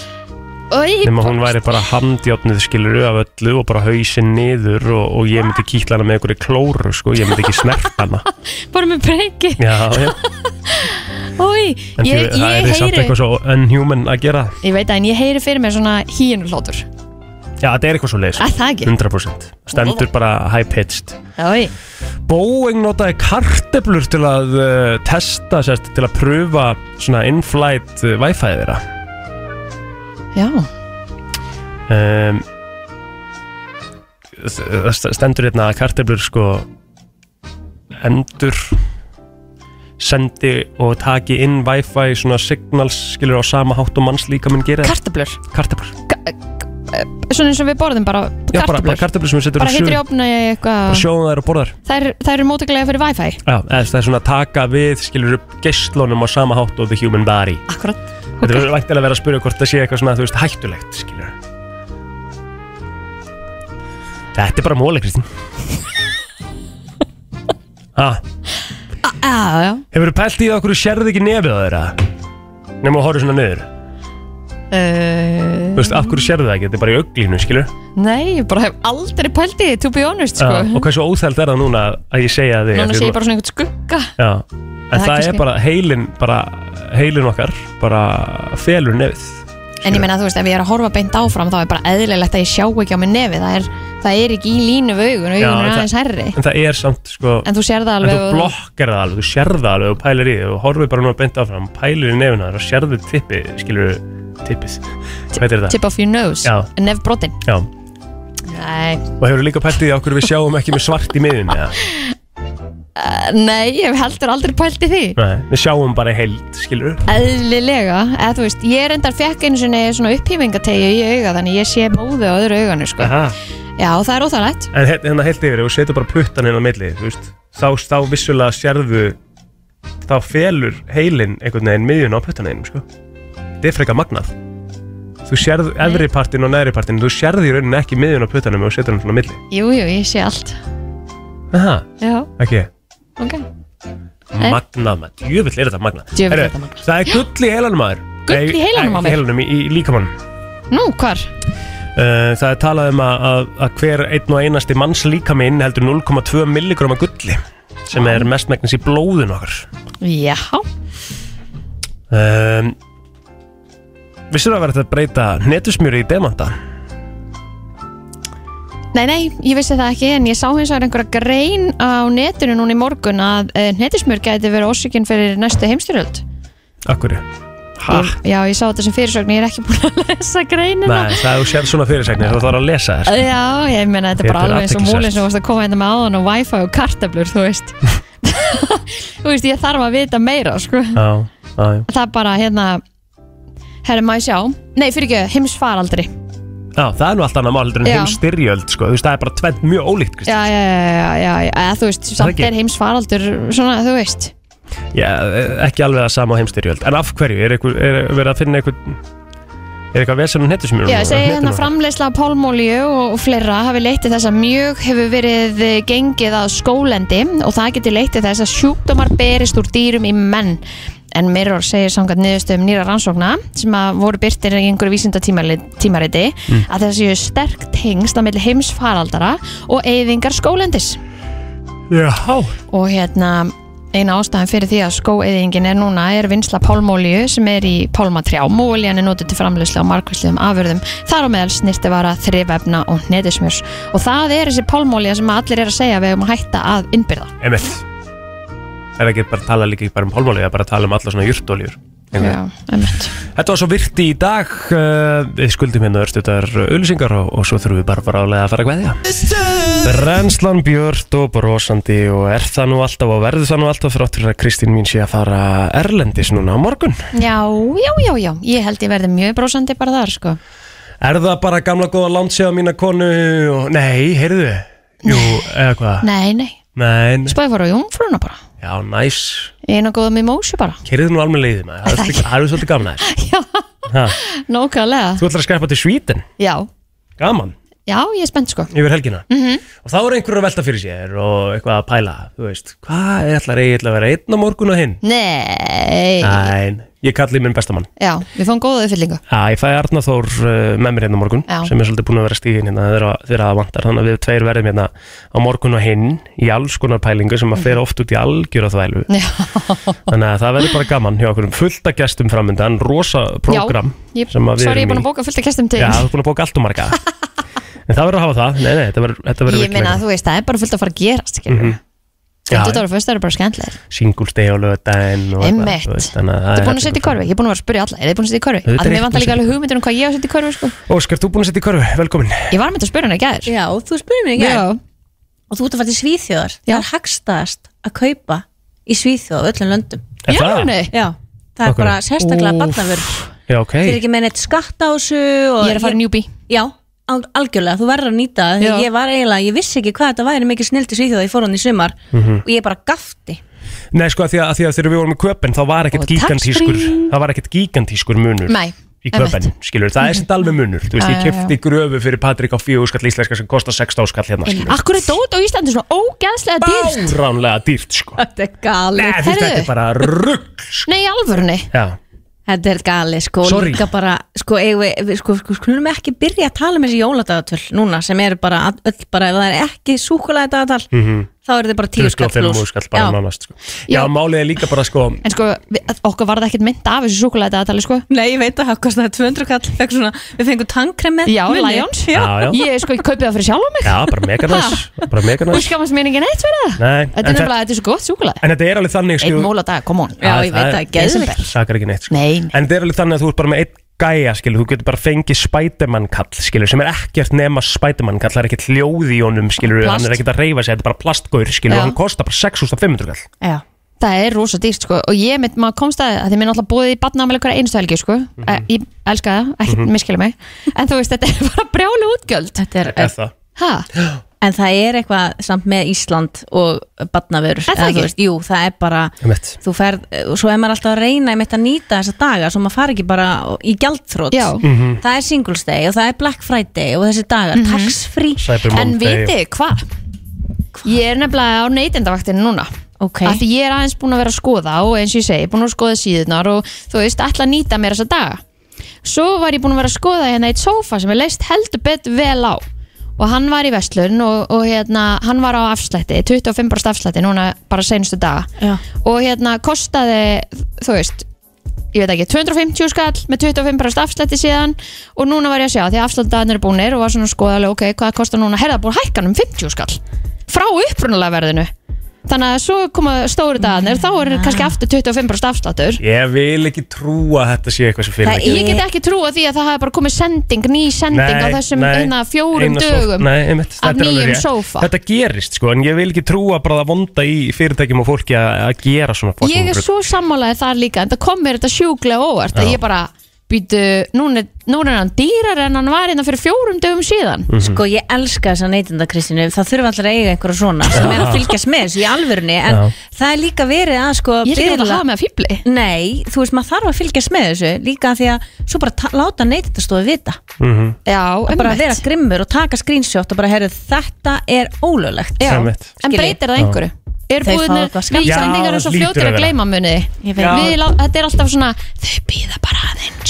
S2: Oj,
S1: Nefn að hún væri bara handjátnuð skiluru af öllu og bara hausinn niður og, og ég myndi kýtla hana með einhverju klóru sko, ég myndi ekki snerta hana
S2: bara með breyki
S1: Já, já,
S2: Oj,
S1: en
S2: ég,
S1: því-
S2: ég
S1: það er samt
S2: heyri
S1: eitthvað sko- svo unhuman að gera
S2: ég veit að en ég heyri fyrir mér svona hínu hlátur
S1: Já, þetta er eitthvað svo sko. leiðis
S2: Að það ekki?
S1: 100% Stendur bara high-pitched
S2: Oj,
S1: Boeing notaði karteblur til að uh, testa, sérst, til að pröfa svona in-flight uh, Wi-Fi þeirra
S2: já,
S1: um, það st- stendur hérna að karteblur sko endur sendi og taki inn Wi-Fi svona signals skilur á sama hátt og mannslíkaminn gerir
S2: karteblur
S1: karteblur
S2: svona eins og við borðum bara
S1: já bara, bara
S2: kartöflur
S1: karteblur sem við setur
S2: bara hittir í opna eitthvað
S1: sjóðum þær og borðar
S2: þær, þær eru mótuglega fyrir wifi
S1: já eða það er svona að taka við skilur upp geislunum á sama hátt og the human body
S2: akkurat
S1: þetta er væntilega að vera að spyrja hvort það sé eitthvað svona þú veist hættulegt skilur þetta er bara móli Kristín ah
S2: já, já,
S1: Hefur þú pælt í það okkur þú sérði ekki nefið á þeirra? Nefnum að horfa svona niður Þú
S2: uh,
S1: veist, af hverju sérðu það ekki? Þetta er bara í auglínu, skilur
S2: nei, ég bara hef aldrei pælt í því to be honest, sko
S1: Já, Ah, Og hversu óþælt er það núna að ég segja þig
S2: núna sé ég bara svona einhvern skugga
S1: Já, en
S2: Það
S1: það,
S2: er kannski-
S1: er bara heilin bara, heilin okkar bara felur nefið
S2: En ég meina, þú veist, ef ég er að horfa beint áfram þá er bara eðlilegt að ég sjá ekki á minn nefi það er, það er ekki í línu við augun augun er
S1: Já, en
S2: aðeins
S1: það-
S2: herri
S1: En það er samt, sko
S2: En þú sér það
S1: En
S2: alveg
S1: þú
S2: og-
S1: blokkar það alveg, þú sérð það alveg og pælir í þig og horfir bara núna beint áfram pælir í nefina þar og sérðu tippið, skilur tippið, hvað er það?
S2: Tip of your nose,
S1: Já.
S2: nef brotin
S1: Já,
S2: Nei,
S1: og hefur líka pælt í því okkur við sjáum ekki með svart í miðin eða?
S2: uh, nei, ég hef heldur aldrei pælt í því
S1: Nei, við sjáum bara í heild, skilur
S2: Eðlilega, eða þú veist, ég reyndar fekk einu sinni svona upphýfingategju í auga þannig ég sé móðu á öðru auganu, sko
S1: Aha.
S2: Já, það er óþægilegt
S1: En he- hérna heilt yfir, ef þú setur bara puttan hérna á milli, þú veist, þá, þá vissulega sérðu, þá felur heilin einhvern veginn miðjun á puttan einum, sko. Þetta er frekar magnað. Þú sérðu efri partin og neðri partin, þú sérðu í rauninni ekki miðjun á puttanum og setur hann svona á milli.
S2: Jú, jú, ég sé allt
S1: Aha,
S2: Já,
S1: ekki.
S2: ok Nei.
S1: Magnað maður, djöfull er þetta magnað.
S2: Djöfull er
S1: Heyrðu,
S2: þetta
S1: Það er gull í heilanum maður.
S2: Gull í
S1: Nei,
S2: heilanum á
S1: ekki
S2: mér?
S1: Í heilanum, í, í líkamannum.
S2: Nú, hvar?
S1: Uh, það er talað um að, að, að hver einn og einasti manns líkami inniheldur 0,2 milligram að gulli sem er mestmæknis í blóðun okkar
S2: Já,
S1: um, Vissir það að vera þetta að breyta netusmjöri í demanta?
S2: nei, nei, ég vissi það ekki en ég sá hins vegar einhverja grein á netinu núna í morgun að uh, netismur gæti verið orsökin fyrir næstu heimstyrjöld
S1: Akkur Ha?
S2: Já, ég sá þetta sem fyrirsögn, ég er ekki búin að lesa greinina
S1: Nei, það er þú sér svona fyrirsegnir þú þarf að lesa þér
S2: Já, ég meina þetta er
S1: Þetta
S2: bara
S1: er
S2: alveg eins og
S1: athyglisvert.
S2: múlin sem þú varst að koma hérna með áðan og wifi og kartablur, þú veist Þú veist, ég þarf að vita meira, sko
S1: Já, já, já.
S2: Það er bara, hérna, herri maður sjá Nei, fyrir ekki, heimsfaraldri
S1: já það er nú allt annað mál heldur en
S2: Já.
S1: heimstyrjöld sko. Þú veist, það er bara tvent mjög ólíkt Kristín.
S2: Já, já, já, já, já, já, eða þú veist, samt
S1: ekki?
S2: er heimsfaraldur, svona, þú veist
S1: Já, eh, ekki alveg að sama á heimstyrjöld En af hverju? Er, einhver, er verið að finna einhvern Er eitthvað vesen um netusmjörum?
S2: Já, segi hérna framleiðsla á pálmólíu og, og fleira hafi leitt til þess að mjög hefur verið eh, gengið að skólendi og það getur leitt til þess að sjúkdómar berist úr dýrum í menn. En Mirror segir samkvæmt niðurstöðum nýra rannsókna sem að voru byrtir í einhverju vísindatímariti
S1: Mm.
S2: að þessi séu sterk tengst á milli heimsfaraldara og eyðingar skólendis
S1: Já,
S2: og hérna eina ástæðan fyrir því að skóeðingin er núna er vinsla pálmólíu sem er í pálmatrjám og olían er notuð til framleyslu á margvísliðum afurðum þar á meðal snirtivara, þrifefna og netismjörs og það er þessi pálmólíja sem allir er að segja að við hefum að hætta að innbyrða
S1: Emmett Það er ekki bara að tala líka ekki bara um pálmálíu, það er bara að tala um alla svona jurtolíur
S2: Já, einmitt.
S1: Þetta var svo virti í dag uh, Við skuldum hérna örstuðar auðlýsingar og, og svo þurfum við bara bara álega að fara að kveðja Brennslan Björt og brosandi og er það nú alltaf og verður það nú alltaf þráttur að Kristín mín sé að fara Erlendis núna á morgun
S2: Já, já, já, já, ég held ég verði mjög brósandi bara þar sko
S1: Er það bara gamla góða lántsjáða mína konu og... Nei, heyrðu Jú, eða hvað
S2: Nei, nei,
S1: Nei, nei.
S2: spæði fór á jungfruna bara
S1: Já, næs
S2: eina góða mimósu bara
S1: Keirið nú alveg leiðið maður, það er svolítið- það er svolítið gaman aðeins Ha,
S2: Nókalega
S1: Þú ætlar að skrepa til Svítin,
S2: Já,
S1: gaman,
S2: já, ég er spennt sko
S1: yfir helgina
S2: mm
S1: Og þá er einhverjur að velta fyrir sér og eitthvað að pæla Þú veist, hvað ætlar ég að vera einn á morgun og hinn?
S2: Nei
S1: Næn, ég kalli minn bestamann
S2: Já, við fáum góða uppfyllingu
S1: Já, ég fæ Arna Þór uh, með mér hérna á morgun
S2: Já.
S1: sem er svolítið búin að vera stíðin hérna þegar- þegar það vantar þannig að við tveir verðum hérna á morgun og hinn í alls konar pælingu sem
S2: Mhm.
S1: að fer oft út í algjöra þvælu
S2: Já.
S1: þannig að það verður bara gaman hjá okkur um fullt að gestum framöndan, rosa prógram
S2: Já, ég, sorry, ég er búin að bóka fullt að kestum til
S1: Já, þú er búin að bóka allt og marga en það verður að hafa það, nei, nei, þetta verður- þetta verður
S2: Ég meina að þú veist, það er bara fullt að fara að gerast mm
S1: -hmm.
S2: Þetta
S1: Já,
S2: voru fyrst, það eru bara skemmtilegir
S1: singulsteg og lögdæn og
S2: Einmitt.
S1: þú veist, þannig að
S2: Þú
S1: það
S2: er
S1: er
S2: búin að setja í korfi, ég er búin að vera að spyrja alla Er þið búin að setja í korfi?
S1: Auðvitað
S2: Að
S1: er
S2: mér vantar líka
S1: búin að setja í
S2: alveg hugmyndir um hvað ég á að setja í korfi sko.
S1: Óskar, þú er búin að setja í korfi, velkomin
S2: Ég var með að spyrja hana í gær
S22: Já, þú spurði mér í gær Og þú ert að fara til Svíþjóðar Það er hagstæðast að kaupa í Svíþjóð á öllum löndum
S1: Er Já, það? nei.
S22: Já, það er
S1: Okkur.
S22: bara sérstaklega
S1: Úff.
S22: barnavör
S1: Já, ok
S22: Þeir eru ekki með neitt skatt á þessu og
S2: Ég er að fara í njúbí
S22: Já, al- algjörlega, þú verður að nýta
S2: Já.
S22: það Þegar ég var eiginlega, ég vissi ekki hvað þetta væri mikið snildi Svíþjóða Ég fór hann í sumar
S1: Mhm.
S22: og ég bara gafti
S1: Nei, sko, að því að, að því að þegar við vorum í köpen þá var ekkert
S22: Og
S1: gigantískur
S22: tax-free.
S1: það var ekkert gigantískur munur
S22: Nei,
S1: í köpen, skilur, það er sem alveg munur þú veist,
S2: Já,
S1: ég
S2: já,
S1: kefti gröfu fyrir Patrik á fjögur skall íslenska sem kostar 16 skall hérna, skilur
S2: Akkur er dót á Íslandi svona ógeðslega dýrt
S1: ránlega dýrt, sko
S22: Þetta er gali
S1: Nei, þú veist, þetta er bara rugg
S2: Nei, í alvörni
S1: Já,
S22: Þetta er gali, sko,
S1: Sorry.
S22: líka bara, sko, eigum við, við- sko, sko, skulum við ekki byrja að tala um þessi jóladagatölf núna sem eru bara, all- öll bara, ef það er ekki súkulega dagatal,
S1: mhm
S22: þá eru þið bara tíu skall
S1: 25 skall bara
S22: Já.
S1: nánast sko. Já, málið er líka bara sko
S2: En sko, við, að- okkur var það ekkert mynd af þessu súkulega dagatali sko
S22: Nei, ég veit að það kostaði 200 kall, fekk svona, við fengum tannkrem með
S2: Já,
S22: munni.
S2: Lions
S1: Já, já.
S2: Ég sko, ég kaupið það fyrir sjálf á mig
S1: Já, bara meganæs bara
S2: Og
S1: meganæs
S2: skammast mér engin eitt fyrir það
S1: Nei,
S2: Þetta er
S1: en,
S2: nefnilega, þetta er svo gott súkulega
S1: en þetta er alveg þannig
S2: Einn mól á dag, kom on
S1: Já, ég veit það, geðveikt. sakar ekki neitt sko.
S2: Nei, nei.
S1: En það er alveg þannig að þú ert bara með einn gæja skilur, þú getur bara fengið Spiderman kall skilur, sem er ekkert nema Spiderman kall það er ekkert hljóð í honum skilur,
S2: Plast.
S1: hann er ekkert að reyfa sig, þetta er bara plastgaur skilur,
S2: Já.
S1: og hann kostar bara 6500 kall
S22: Já.
S2: Það er rosa dýrt sko og ég mitt maður komst að að því mér náttúrulega búið í barnaamæli hverja einstu helgi sko e, ég elska það, ekki mm
S22: Mhm.
S2: mig en þú veist þetta er bara brjálu útgjöld
S22: Þetta er,
S2: Þetta er
S1: það
S22: ha? En það er eitthvað samt með Ísland og badnavörur
S2: Er það
S22: eða þú
S2: ekki?
S22: veist, Jú, það er bara
S1: Einmitt.
S22: þú ferð, og svo er maður alltaf að reyna einmitt að nýta þessa daga, svo maður fari ekki bara í gjaldþrótt
S2: Mhm.
S22: Það er Singles Day og það er Black Friday og þessi dagar, mm tax free
S2: Cyber En Monday. vitið hvað? Ég er nefnilega á neytendavaktinu núna
S22: okay.
S2: Af því ég er aðeins búin að vera að skoða og eins og ég segi, búin að skoða síðunar og þú veist, ætla að nýta mér þessa daga Svo var ég búin að vera að skoða hérna eitt sófa sem er leist heldur betur vel á og hann var í Vestlun og, og hérna, hann var á afslætti 25% afslætti núna bara seinustu daga
S22: Já.
S2: og hérna kostaði þú veist, ég veit ekki 250 skall með 25% afslætti síðan og núna var ég að sjá því að afslættaðan eru búnir og var svona að skoða alveg ok, hvað kostar núna herða búin hækkan um 50 skall frá upprunalega verðinu þannig að svo koma stóru dagarnir þá er kannski aftur 25% afslættur
S1: Ég vil ekki trúa að þetta sé eitthvað sem fyrir
S2: Það, ég get ekki trúa því að það hafi bara komið sending, ný sending á þessum hérna fjórum dögum
S1: nei, einmitt,
S2: af
S1: þetta er alveg
S2: nýjum
S1: rétt.
S2: sófa.
S1: Þetta gerist sko, en ég vil ekki trúa bara að vonda í fyrirtækjum og fólki að að gera svona fucking
S2: Ég er
S1: rugl.
S2: svo sammálaðið þar líka en það kom mér þetta sjúklega óvart að
S1: Já.
S2: ég bara býtu, núna, er- núna er hann dýrar en hann var hérna fyrir fjórum dögum síðan
S22: Sko ég elska þessa neytinda Kristínu Það þurfa allir að eiga einhverja svona sem er að fylgjast með þessu í alvörunni en
S2: Já.
S22: það er líka verið að sko
S2: Ég er ekki að láta hafa með að fýbli
S22: Nei, þú veist maður þarf að fylgjast með þessu líka af því að svo bara ta- láta neytindastofu vita
S1: Mhm.
S2: Já,
S22: að bara vera grimmur og taka screenshot og bara heyrðu þetta er ólöglegt
S1: Já, Einmitt. en
S22: Skilji.
S1: breytir það einhverju?
S2: er
S22: Þeir fá
S2: búinir,
S22: eitthvað
S2: við
S22: skammt.
S2: Íslandingar
S1: Já,
S2: erum svo
S1: það hlýtur
S2: fljótir
S1: að
S2: að
S1: vera.
S2: gleyma muni
S22: Ég veit.
S2: Við lá- þetta er alltaf svona
S1: Ég held að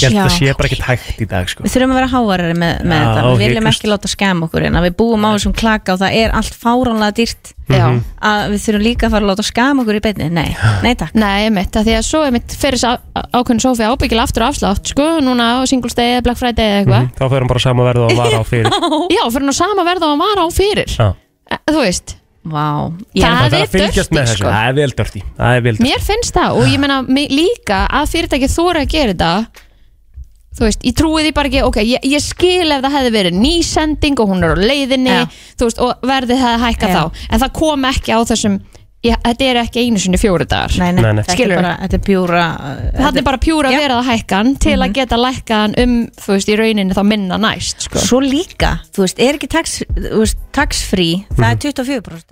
S1: það
S22: Já.
S1: sé bara ekkert hægt í dag sko.
S22: Við þurfum að vera hávarari með, með
S1: Já,
S22: þetta Við viljum
S1: hiklaust.
S22: ekki láta skema okkur en að við búum á þessum klaka og það er allt fáránlega dýrt
S1: Já.
S22: að við þurfum líka að fara að láta skema okkur í beinni Nei, nei takk
S2: Nei, mitt, því að svo er mitt fyrir sá- á- ákveðin sófi ábyggilega aftur og afslátt sko, núna á Singles Day eða Black Friday eða eitthvað
S1: Þá fer hann bara sama verð og hann var á fyrir
S2: Já, fyrir nú sama verð og hann var á fyrir
S1: Mhm. Já.
S2: Eh, Þú veist
S22: Vá,
S1: Það
S2: Það
S1: þarf
S2: er
S1: að fylgjast
S2: dörti
S1: með þessu
S2: sko
S1: Það er vel dörti Það er vel dörti
S2: Mér finnst það og ég meina mig- líka að fyrirtæki þóra að gera þetta þú veist, ég trúi því bara ekki ok, ég, ég skil ef það hefði verið nýsending og hún er á leiðinni þú veist, og verðið hefði hækkað
S22: Já.
S2: þá en það kom ekki á þessum ég, þetta er ekki einu sinni fjóru dagar
S22: Nei, nei, þetta er
S2: skilur
S22: bara, þetta er uh, bjúra
S2: Þetta er bara pjúra að vera að hækka hann til
S22: Mhm.
S2: að geta lækka hann um, þú veist, í rauninni þá minna næst, sko.
S22: Svo líka, þú veist, er ekki tax, þú veist, taxfree, það er 24%